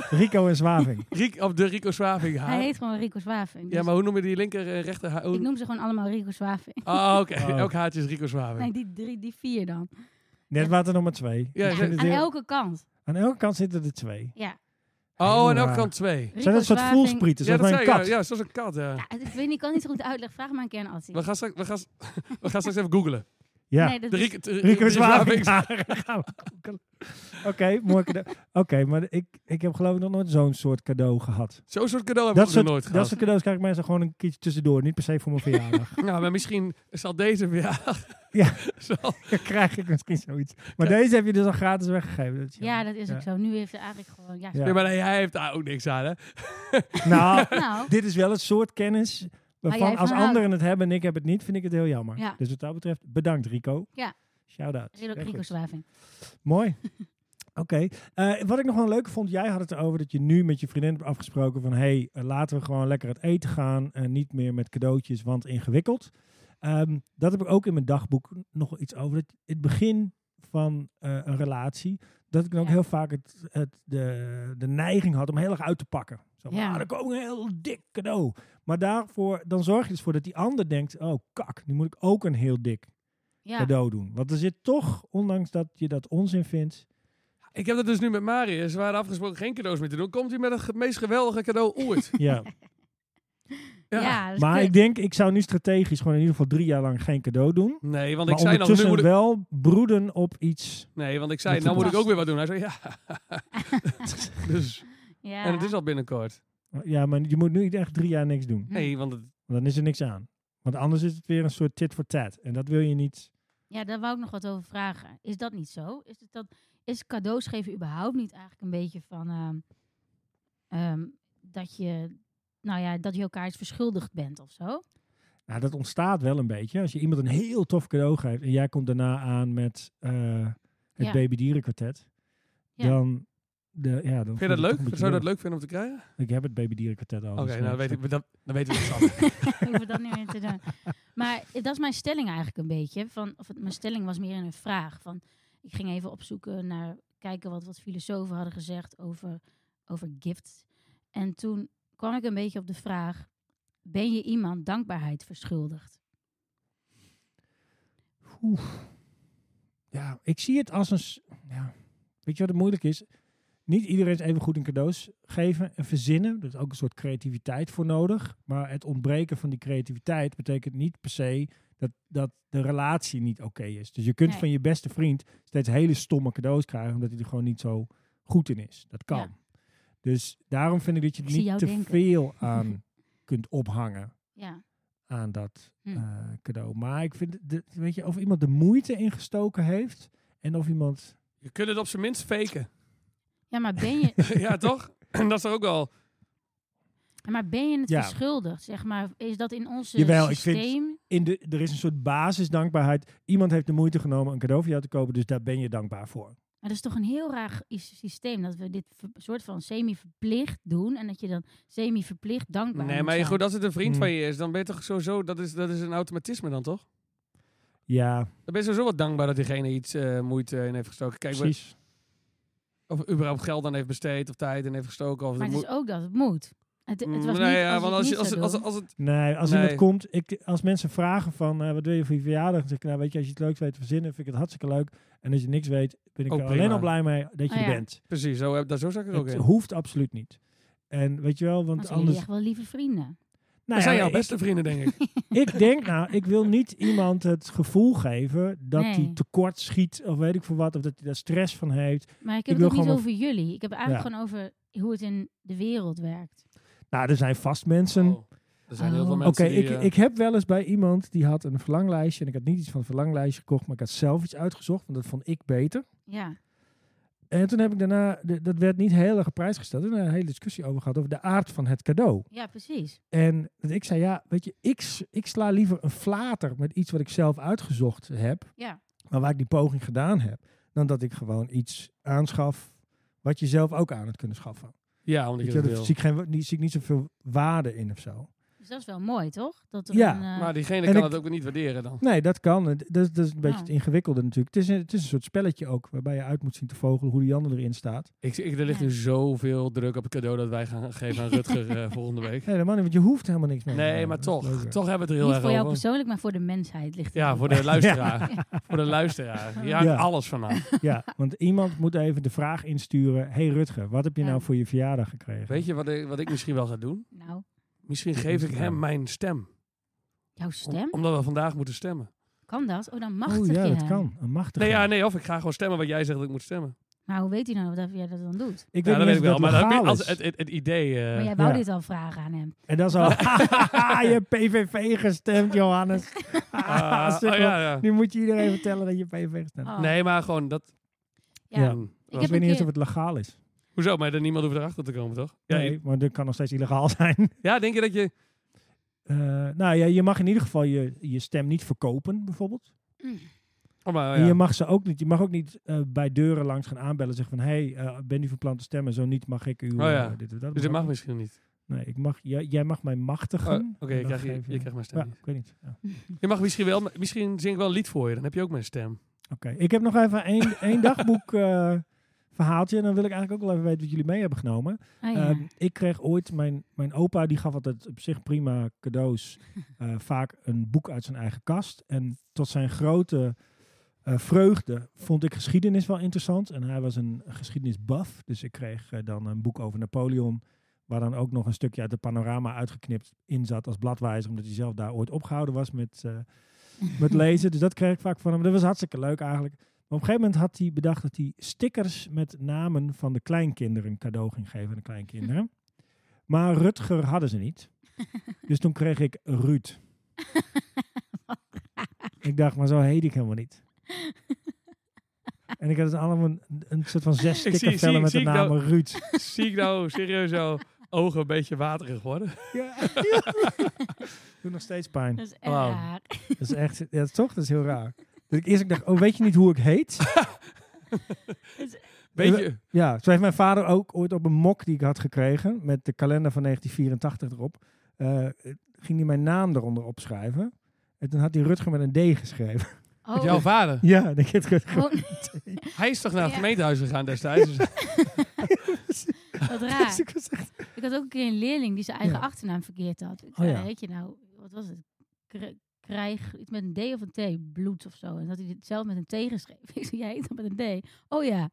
[SPEAKER 1] Rico en Zwaving.
[SPEAKER 3] Riek, of de Rico Swaving haar.
[SPEAKER 2] Hij heet gewoon Rico Zwaving.
[SPEAKER 3] Ah. Ja,
[SPEAKER 2] Dus
[SPEAKER 3] maar hoe noem je die linker en rechter haar?
[SPEAKER 2] Ik noem ze gewoon allemaal Rico Zwaving.
[SPEAKER 3] Ah, oké.
[SPEAKER 1] Oh.
[SPEAKER 3] Elk haartje is Rico Swaving.
[SPEAKER 2] <laughs> Nee, die drie, die vier dan.
[SPEAKER 1] Net waren er nog maar twee.
[SPEAKER 3] Ja,
[SPEAKER 1] Ik
[SPEAKER 3] ze-
[SPEAKER 1] vind het
[SPEAKER 2] Aan
[SPEAKER 1] heel-
[SPEAKER 2] elke kant.
[SPEAKER 1] aan elke kant zitten er twee.
[SPEAKER 2] Ja.
[SPEAKER 3] Oh, en
[SPEAKER 1] Heel
[SPEAKER 3] elk
[SPEAKER 1] raar.
[SPEAKER 3] kant twee.
[SPEAKER 2] Rico
[SPEAKER 1] Zijn dat een soort
[SPEAKER 2] Zwaving-
[SPEAKER 1] voelsprieten,
[SPEAKER 3] Ja,
[SPEAKER 1] zoals
[SPEAKER 3] dat
[SPEAKER 1] bij
[SPEAKER 3] zei
[SPEAKER 1] een
[SPEAKER 3] ja,
[SPEAKER 1] kat?
[SPEAKER 3] Ja, zoals een kat, ja.
[SPEAKER 2] Ja, ik weet niet, ik kan niet zo goed uitleggen. Vraag maar een keer aan Attie.
[SPEAKER 3] <laughs> We gaan straks, we gaan, we gaan straks even googlen.
[SPEAKER 1] Ja.
[SPEAKER 2] Nee, dat
[SPEAKER 3] De
[SPEAKER 2] is-
[SPEAKER 3] Rieke- de-
[SPEAKER 1] Rico
[SPEAKER 3] de
[SPEAKER 1] Zwaving.
[SPEAKER 3] Zwaving.
[SPEAKER 1] <laughs> Gaan we googelen. Oké, mooi cadeau. Oké, maar ik, ik heb geloof ik nog nooit zo'n soort cadeau gehad.
[SPEAKER 3] Zo'n soort cadeau hebben we
[SPEAKER 1] soort,
[SPEAKER 3] nog nooit
[SPEAKER 1] dat
[SPEAKER 3] gehad.
[SPEAKER 1] soort cadeaus krijg ik meestal gewoon een keertje tussendoor. Niet per se voor mijn
[SPEAKER 3] <laughs>
[SPEAKER 1] verjaardag.
[SPEAKER 3] Nou, maar misschien zal deze weer.
[SPEAKER 1] Ja.
[SPEAKER 3] <laughs> Zal-
[SPEAKER 1] Dan krijg ik misschien zoiets. Maar deze heb je dus al gratis weggegeven. Dat is
[SPEAKER 2] Ja,
[SPEAKER 1] jammer.
[SPEAKER 2] dat is
[SPEAKER 1] Ja.
[SPEAKER 2] ook zo. Nu heeft ze eigenlijk gewoon... Ja,
[SPEAKER 1] Ja.
[SPEAKER 3] Nee, maar nee, hij heeft daar ook niks aan, hè?
[SPEAKER 1] Nou,
[SPEAKER 2] <laughs>
[SPEAKER 3] <laughs>
[SPEAKER 2] Nou,
[SPEAKER 1] dit is wel een soort kennis waarvan
[SPEAKER 2] Oh, jij
[SPEAKER 1] als
[SPEAKER 2] van houdt.
[SPEAKER 1] anderen het hebben en ik heb het niet, vind ik het heel jammer.
[SPEAKER 2] Ja.
[SPEAKER 1] Dus wat dat betreft, bedankt Rico.
[SPEAKER 2] Ja.
[SPEAKER 1] Shout-out. Heel
[SPEAKER 2] Rico
[SPEAKER 1] goed.
[SPEAKER 2] Zwaving.
[SPEAKER 1] Mooi. <laughs> Oké. Eh, wat ik nog wel leuk vond, jij had het erover dat je nu met je vriendin hebt afgesproken van... hé, hey, eh, laten we gewoon lekker het eten gaan en niet meer met cadeautjes, want ingewikkeld. Ehm, dat heb ik ook in mijn dagboek nog iets over. Dat het begin van eh, een relatie, dat ik dan ook
[SPEAKER 2] Ja.
[SPEAKER 1] heel vaak het, het, de, de neiging had om heel erg uit te pakken. Zo van,
[SPEAKER 2] Ja.
[SPEAKER 1] ah, dan komt een heel dik cadeau. Maar daarvoor, dan zorg je dus voor dat die ander denkt, oh kak, nu moet ik ook een heel dik
[SPEAKER 2] Ja.
[SPEAKER 1] cadeau doen. Want er zit toch, ondanks dat je dat onzin
[SPEAKER 2] <laughs>
[SPEAKER 1] vindt...
[SPEAKER 3] Ik heb dat dus nu met Marius. We waren afgesproken geen cadeaus meer te doen. Komt hij met het ge- meest geweldige cadeau
[SPEAKER 2] <laughs>
[SPEAKER 3] ooit?
[SPEAKER 1] Ja,
[SPEAKER 2] Ja, dat is
[SPEAKER 1] maar
[SPEAKER 2] kut.
[SPEAKER 1] ik denk, ik zou nu strategisch gewoon in ieder geval drie jaar lang geen cadeau doen.
[SPEAKER 3] Nee, want
[SPEAKER 1] maar
[SPEAKER 3] ik zei nog, nu
[SPEAKER 1] ondertussen
[SPEAKER 3] moet ik...
[SPEAKER 1] wel broeden op iets.
[SPEAKER 3] Nee, want ik zei,
[SPEAKER 1] Met
[SPEAKER 3] nou moet ik
[SPEAKER 2] vast.
[SPEAKER 3] ook weer wat doen. Hij zei, ja.
[SPEAKER 2] <laughs>
[SPEAKER 3] <laughs> dus,
[SPEAKER 2] Ja.
[SPEAKER 3] en het is al binnenkort.
[SPEAKER 1] Ja, maar je moet nu niet echt drie jaar niks doen.
[SPEAKER 2] Hm.
[SPEAKER 3] Nee, want het,
[SPEAKER 1] Want dan is er niks aan. Want anders is het weer een soort tit voor tat. En dat wil je niet.
[SPEAKER 2] Ja, daar wou ik nog wat over vragen. Is dat niet zo? Is, het dat, is cadeaus geven überhaupt niet eigenlijk een beetje van ehm, ehm, dat je, nou ja, dat je elkaar iets verschuldigd bent of zo?
[SPEAKER 1] Nou, dat ontstaat wel een beetje. Als je iemand een heel tof cadeau geeft en jij komt daarna aan met eh, het
[SPEAKER 2] Ja.
[SPEAKER 1] babydierenkwartet.
[SPEAKER 2] Ja.
[SPEAKER 1] Dan, de, ja, dan
[SPEAKER 3] vind je
[SPEAKER 1] het
[SPEAKER 3] dat
[SPEAKER 1] toch een
[SPEAKER 3] leuk?
[SPEAKER 1] beetje Oh,
[SPEAKER 3] Zou je
[SPEAKER 1] lullig.
[SPEAKER 3] dat leuk vinden om te krijgen?
[SPEAKER 1] Ik heb het babydierenkwartet al.
[SPEAKER 3] Oké,
[SPEAKER 1] dus,
[SPEAKER 3] nou dan
[SPEAKER 1] eh,
[SPEAKER 3] weet, ik, dan, dan weten we het allemaal.
[SPEAKER 1] <laughs>
[SPEAKER 2] <laughs> Hoeven we dat niet meer te doen. Maar dat is mijn stelling eigenlijk een beetje. Van, of het, mijn stelling was meer in een vraag. Van, ik ging even opzoeken naar kijken wat, wat filosofen hadden gezegd over, over gifts. En toen kwam ik een beetje op de vraag: ben je iemand dankbaarheid verschuldigd?
[SPEAKER 1] Ja, ik zie het als een... s- Ja, weet je wat het moeilijk is? Niet iedereen is even goed in cadeaus geven en verzinnen. Er is ook een soort creativiteit voor nodig. Maar het ontbreken van die creativiteit betekent niet per se dat, dat de relatie niet oké is. Dus je kunt
[SPEAKER 2] Nee.
[SPEAKER 1] van je beste vriend steeds hele stomme cadeaus krijgen, omdat hij er gewoon niet zo goed in is. Dat kan.
[SPEAKER 2] Ja.
[SPEAKER 1] Dus daarom vind ik dat je er
[SPEAKER 2] Ik zie jou
[SPEAKER 1] niet te
[SPEAKER 2] denken. <laughs>
[SPEAKER 1] veel aan kunt ophangen
[SPEAKER 2] Ja.
[SPEAKER 1] aan dat
[SPEAKER 2] Hm.
[SPEAKER 1] eh, cadeau. Maar ik vind, de, weet je, of iemand de moeite ingestoken heeft en of iemand
[SPEAKER 3] Je kunt het op zijn minst faken. <laughs>
[SPEAKER 2] Ja, maar ben je, <laughs>
[SPEAKER 3] ja, toch? <clears throat> En dat is toch ook wel...
[SPEAKER 2] maar ben je het
[SPEAKER 1] Ja.
[SPEAKER 2] verschuldigd? Zeg maar, is dat in ons
[SPEAKER 1] Jawel, ik vind-
[SPEAKER 2] systeem?
[SPEAKER 1] in de, er is een soort basisdankbaarheid. Iemand heeft de moeite genomen een cadeau voor jou te kopen, dus daar ben je dankbaar voor.
[SPEAKER 2] Maar dat is toch een heel raar i- systeem dat we dit ver- soort van semi-verplicht doen en dat je dan semi-verplicht dankbaar
[SPEAKER 3] Nee,
[SPEAKER 2] moet
[SPEAKER 3] maar
[SPEAKER 2] zijn.
[SPEAKER 3] goed, als het een vriend
[SPEAKER 1] Hmm.
[SPEAKER 3] van je is, dan ben je toch sowieso... Dat is, dat is een automatisme dan, toch?
[SPEAKER 1] Ja,
[SPEAKER 3] Dan ben je sowieso wat dankbaar dat diegene iets eh, moeite in heeft gestoken. Kijk, we-
[SPEAKER 1] precies.
[SPEAKER 3] of überhaupt geld aan heeft besteed of tijd in heeft gestoken. Of
[SPEAKER 2] Maar
[SPEAKER 3] het
[SPEAKER 2] het is ook dat het moet. Het, het was
[SPEAKER 3] Mm, nee,
[SPEAKER 2] niet,
[SPEAKER 3] ja,
[SPEAKER 2] als
[SPEAKER 3] want
[SPEAKER 2] je het
[SPEAKER 3] als, je-
[SPEAKER 2] niet
[SPEAKER 3] als,
[SPEAKER 2] zou
[SPEAKER 3] het- als,
[SPEAKER 2] doen.
[SPEAKER 3] het- als het...
[SPEAKER 1] Nee, als
[SPEAKER 3] Nee.
[SPEAKER 1] iemand komt, ik, als mensen vragen van eh, wat wil je voor je verjaardag, dan zeg ik nou weet je, als je het leuk weet te verzinnen, vind ik het hartstikke leuk. En als je niks weet, ben ik
[SPEAKER 3] Ook
[SPEAKER 1] er alleen
[SPEAKER 3] Oh, prima.
[SPEAKER 1] al blij mee dat je
[SPEAKER 2] Oh,
[SPEAKER 1] er
[SPEAKER 2] ja.
[SPEAKER 1] bent.
[SPEAKER 3] Precies, zo, heb- daar zo zag ik er ook
[SPEAKER 1] Het
[SPEAKER 3] in.
[SPEAKER 1] hoeft absoluut niet. En weet je wel,
[SPEAKER 2] Dan
[SPEAKER 1] want
[SPEAKER 2] zijn jullie
[SPEAKER 1] anders...
[SPEAKER 2] echt wel lieve vrienden.
[SPEAKER 1] Nou
[SPEAKER 3] Dat zijn
[SPEAKER 1] ja,
[SPEAKER 3] jouw
[SPEAKER 1] ik-
[SPEAKER 3] beste vrienden, denk ik.
[SPEAKER 1] ik denk nou, ik wil niet iemand het gevoel geven dat hij
[SPEAKER 2] Nee.
[SPEAKER 1] tekort schiet of weet ik veel wat, of dat hij daar stress van heeft.
[SPEAKER 2] Maar ik
[SPEAKER 1] Ik
[SPEAKER 2] heb
[SPEAKER 1] wil
[SPEAKER 2] het ook niet
[SPEAKER 1] gewoon
[SPEAKER 2] over jullie. Ik heb het eigenlijk gewoon over hoe het in de wereld werkt.
[SPEAKER 1] Nou, er zijn vast mensen.
[SPEAKER 3] Oh, er zijn heel veel
[SPEAKER 2] Oh.
[SPEAKER 1] Oké,
[SPEAKER 3] mensen die...
[SPEAKER 1] ik,
[SPEAKER 3] eh,
[SPEAKER 1] ik heb wel eens bij iemand die had een verlanglijstje en ik had niet iets van het verlanglijstje gekocht, maar ik had zelf iets uitgezocht, want dat vond ik beter.
[SPEAKER 2] Ja,
[SPEAKER 1] En toen heb ik daarna, de- dat werd niet heel erg op prijs gesteld, en daar een hele discussie over gehad over de aard van het cadeau.
[SPEAKER 2] ja precies.
[SPEAKER 1] En dat ik zei, ja, weet je, ik, s- ik sla liever een flater met iets wat ik zelf uitgezocht heb,
[SPEAKER 2] Ja.
[SPEAKER 1] maar waar ik die poging gedaan heb, dan dat ik gewoon iets aanschaf wat je zelf ook aan het kunnen schaffen.
[SPEAKER 3] Ja, omdat
[SPEAKER 1] Weet
[SPEAKER 3] je
[SPEAKER 1] je,
[SPEAKER 3] dat
[SPEAKER 1] daar
[SPEAKER 3] wil.
[SPEAKER 1] zie ik, geen, niet- zie ik niet zoveel waarde in of zo.
[SPEAKER 2] Dus dat is wel mooi, toch? Dat er
[SPEAKER 1] Ja,
[SPEAKER 2] een, eh,
[SPEAKER 3] Maar diegene
[SPEAKER 1] En
[SPEAKER 3] kan
[SPEAKER 1] ik-
[SPEAKER 3] het ook niet waarderen dan.
[SPEAKER 1] Nee, dat kan. Het- Dat, is- dat is een beetje
[SPEAKER 2] Ja.
[SPEAKER 1] het ingewikkelde natuurlijk. Het is, een, het is een soort spelletje ook, waarbij je uit moet zien te vogelen hoe die ander erin staat.
[SPEAKER 3] Ik, ik, er ligt
[SPEAKER 2] Ja.
[SPEAKER 3] nu zoveel druk op het cadeau dat wij gaan geven aan Rutger
[SPEAKER 2] <laughs>
[SPEAKER 3] eh, volgende week.
[SPEAKER 1] Helemaal niet, want je hoeft helemaal niks mee. te
[SPEAKER 3] Nee,
[SPEAKER 1] maken.
[SPEAKER 3] maar
[SPEAKER 1] Dat is
[SPEAKER 3] toch.
[SPEAKER 1] leuker.
[SPEAKER 3] Toch hebben we het er heel
[SPEAKER 2] niet
[SPEAKER 3] erg
[SPEAKER 2] voor jou
[SPEAKER 3] over.
[SPEAKER 2] persoonlijk, maar voor de mensheid ligt het
[SPEAKER 3] Ja,
[SPEAKER 2] ook.
[SPEAKER 3] voor de
[SPEAKER 2] <laughs>
[SPEAKER 3] luisteraar. Voor de
[SPEAKER 2] Oh.
[SPEAKER 3] luisteraar. Je hangt
[SPEAKER 1] Ja.
[SPEAKER 3] alles vanaf.
[SPEAKER 1] Ja, want iemand moet even de vraag insturen. hey Rutger, wat heb je
[SPEAKER 2] Ja.
[SPEAKER 1] nou voor je verjaardag gekregen?
[SPEAKER 3] Weet je wat ik, wat ik misschien wel ga doen?
[SPEAKER 2] Nou,
[SPEAKER 3] nou? Misschien geef ik hem mijn stem.
[SPEAKER 2] jouw
[SPEAKER 3] Om-
[SPEAKER 2] stem?
[SPEAKER 3] omdat we vandaag moeten stemmen.
[SPEAKER 2] Kan dat? Oh, dan machtig
[SPEAKER 1] Oh ja,
[SPEAKER 2] je
[SPEAKER 1] dat
[SPEAKER 2] hem.
[SPEAKER 1] kan. Een machtige.
[SPEAKER 3] Nee, ja, nee, of ik ga gewoon stemmen wat jij zegt dat ik moet stemmen.
[SPEAKER 2] Maar hoe weet hij nou dat jij dat dan doet?
[SPEAKER 1] Ik
[SPEAKER 3] ja,
[SPEAKER 1] weet
[SPEAKER 3] dat
[SPEAKER 1] niet
[SPEAKER 3] weet
[SPEAKER 1] of dat
[SPEAKER 3] ik wel. Maar dat,
[SPEAKER 1] legaal
[SPEAKER 3] als
[SPEAKER 1] is.
[SPEAKER 3] het, het, het idee... eh,
[SPEAKER 2] maar jij wou
[SPEAKER 1] ja.
[SPEAKER 2] dit al vragen aan hem.
[SPEAKER 1] En dat is al... je hebt PVV gestemd,
[SPEAKER 2] <laughs>
[SPEAKER 1] Johannes.
[SPEAKER 3] <laughs>
[SPEAKER 1] <laughs>
[SPEAKER 3] ah,
[SPEAKER 1] Sukkel.
[SPEAKER 3] oh, ja, ja.
[SPEAKER 1] Nu moet je iedereen vertellen dat je PVV gestemd hebt.
[SPEAKER 2] Oh.
[SPEAKER 3] Nee, maar gewoon dat... hmm. Oh.
[SPEAKER 2] Ja.
[SPEAKER 1] Ja.
[SPEAKER 2] Ik heb
[SPEAKER 1] Ik weet
[SPEAKER 2] een
[SPEAKER 1] niet eens
[SPEAKER 2] keer-
[SPEAKER 1] of het legaal is.
[SPEAKER 3] Hoezo? Maar dan niemand hoeft erachter te komen, toch? Ja,
[SPEAKER 1] Nee, maar dat kan nog steeds illegaal <laughs> zijn.
[SPEAKER 3] ja, denk je dat je...
[SPEAKER 1] Eh, nou ja, je mag in ieder geval je, je stem niet verkopen, bijvoorbeeld.
[SPEAKER 3] Oh, maar,
[SPEAKER 1] En
[SPEAKER 3] ja.
[SPEAKER 1] je mag ze ook niet, je mag ook niet eh, bij deuren langs gaan aanbellen en zeggen van hé, hey, eh, ben u van plan te stemmen? Zo niet mag ik u.
[SPEAKER 3] Oh ja.
[SPEAKER 1] eh, dit of dat
[SPEAKER 3] Dus dat mag
[SPEAKER 1] ook
[SPEAKER 3] misschien niet.
[SPEAKER 1] niet. Nee, ik mag, jij, jij mag mij
[SPEAKER 3] Oh,
[SPEAKER 1] machtigen.
[SPEAKER 3] Oké, je
[SPEAKER 1] En dan
[SPEAKER 3] krijgt- je,
[SPEAKER 1] geef
[SPEAKER 3] je krijgt mijn stem
[SPEAKER 1] Ja,
[SPEAKER 3] niet.
[SPEAKER 1] ik weet niet. Ja.
[SPEAKER 3] Je mag misschien wel... maar Misschien zing ik wel een lied voor je. Dan heb je ook mijn
[SPEAKER 2] <laughs>
[SPEAKER 3] stem.
[SPEAKER 1] Oké, ik heb nog even één, één dagboek eh, verhaaltje. En dan wil ik eigenlijk ook wel even weten wat jullie mee hebben genomen.
[SPEAKER 2] Oh, ja.
[SPEAKER 1] Ehm, ik kreeg ooit, mijn, mijn opa die gaf altijd op zich prima cadeaus. eh, vaak een boek uit zijn eigen kast. En tot zijn grote eh, vreugde vond ik geschiedenis wel interessant. En hij was een geschiedenisbuff. Dus ik kreeg eh, dan een boek over Napoleon. Waar dan ook nog een stukje uit de panorama uitgeknipt in zat als bladwijzer. Omdat hij zelf daar ooit opgehouden was met, eh, met lezen. Dus dat kreeg ik vaak van hem. Dat was hartstikke leuk eigenlijk. Maar op een gegeven moment had hij bedacht dat hij stickers met namen van de kleinkinderen cadeau ging geven aan de
[SPEAKER 3] <laughs>
[SPEAKER 1] kleinkinderen. Maar Rutger hadden ze niet. Dus toen kreeg ik Ruud.
[SPEAKER 3] <laughs>
[SPEAKER 1] ik dacht, maar zo heet ik helemaal niet. En ik had het allemaal een, een soort van zes
[SPEAKER 3] zie-
[SPEAKER 1] stickervellen
[SPEAKER 3] zie-
[SPEAKER 1] met de
[SPEAKER 3] zie ik
[SPEAKER 1] naam
[SPEAKER 3] nou-
[SPEAKER 1] Ruud.
[SPEAKER 3] <laughs> Zie ik nou serieus jouw ogen een beetje waterig worden?
[SPEAKER 1] <laughs> Ja. Doet nog steeds pijn.
[SPEAKER 2] Dat is echt
[SPEAKER 3] Wauw.
[SPEAKER 2] raar.
[SPEAKER 1] Dat is echt, ja, toch? Dat is heel raar. Dat ik eerst ook dacht, oh, weet je niet hoe ik heet?
[SPEAKER 3] Weet je...
[SPEAKER 1] Ja, zo heeft mijn vader ook ooit op een mok die ik had gekregen met de kalender van 1984 erop, eh, ging hij mijn naam eronder opschrijven. En toen had hij Rutger met een D geschreven. <laughs>
[SPEAKER 2] Oh, <laughs>
[SPEAKER 3] Jouw vader.
[SPEAKER 1] Ja, en ik heb Rutger.
[SPEAKER 2] oh,
[SPEAKER 3] Hij is toch naar het
[SPEAKER 2] Ja.
[SPEAKER 3] gemeentehuis gegaan
[SPEAKER 1] <laughs>
[SPEAKER 3] destijds? Dus-
[SPEAKER 2] wat
[SPEAKER 1] Dus
[SPEAKER 2] raar.
[SPEAKER 1] ik was echt-
[SPEAKER 2] Ik had ook een keer een leerling die zijn eigen
[SPEAKER 1] Ja.
[SPEAKER 2] achternaam verkeerd had. Ik
[SPEAKER 1] Oh,
[SPEAKER 2] zei,
[SPEAKER 1] ja.
[SPEAKER 2] weet je nou, wat was het? Kr- Krijg iets met een D of een T, bloed of zo. En dat hij het zelf met een T geschreven. <laughs> Ik zei, jij heet dat met een D. Oh ja.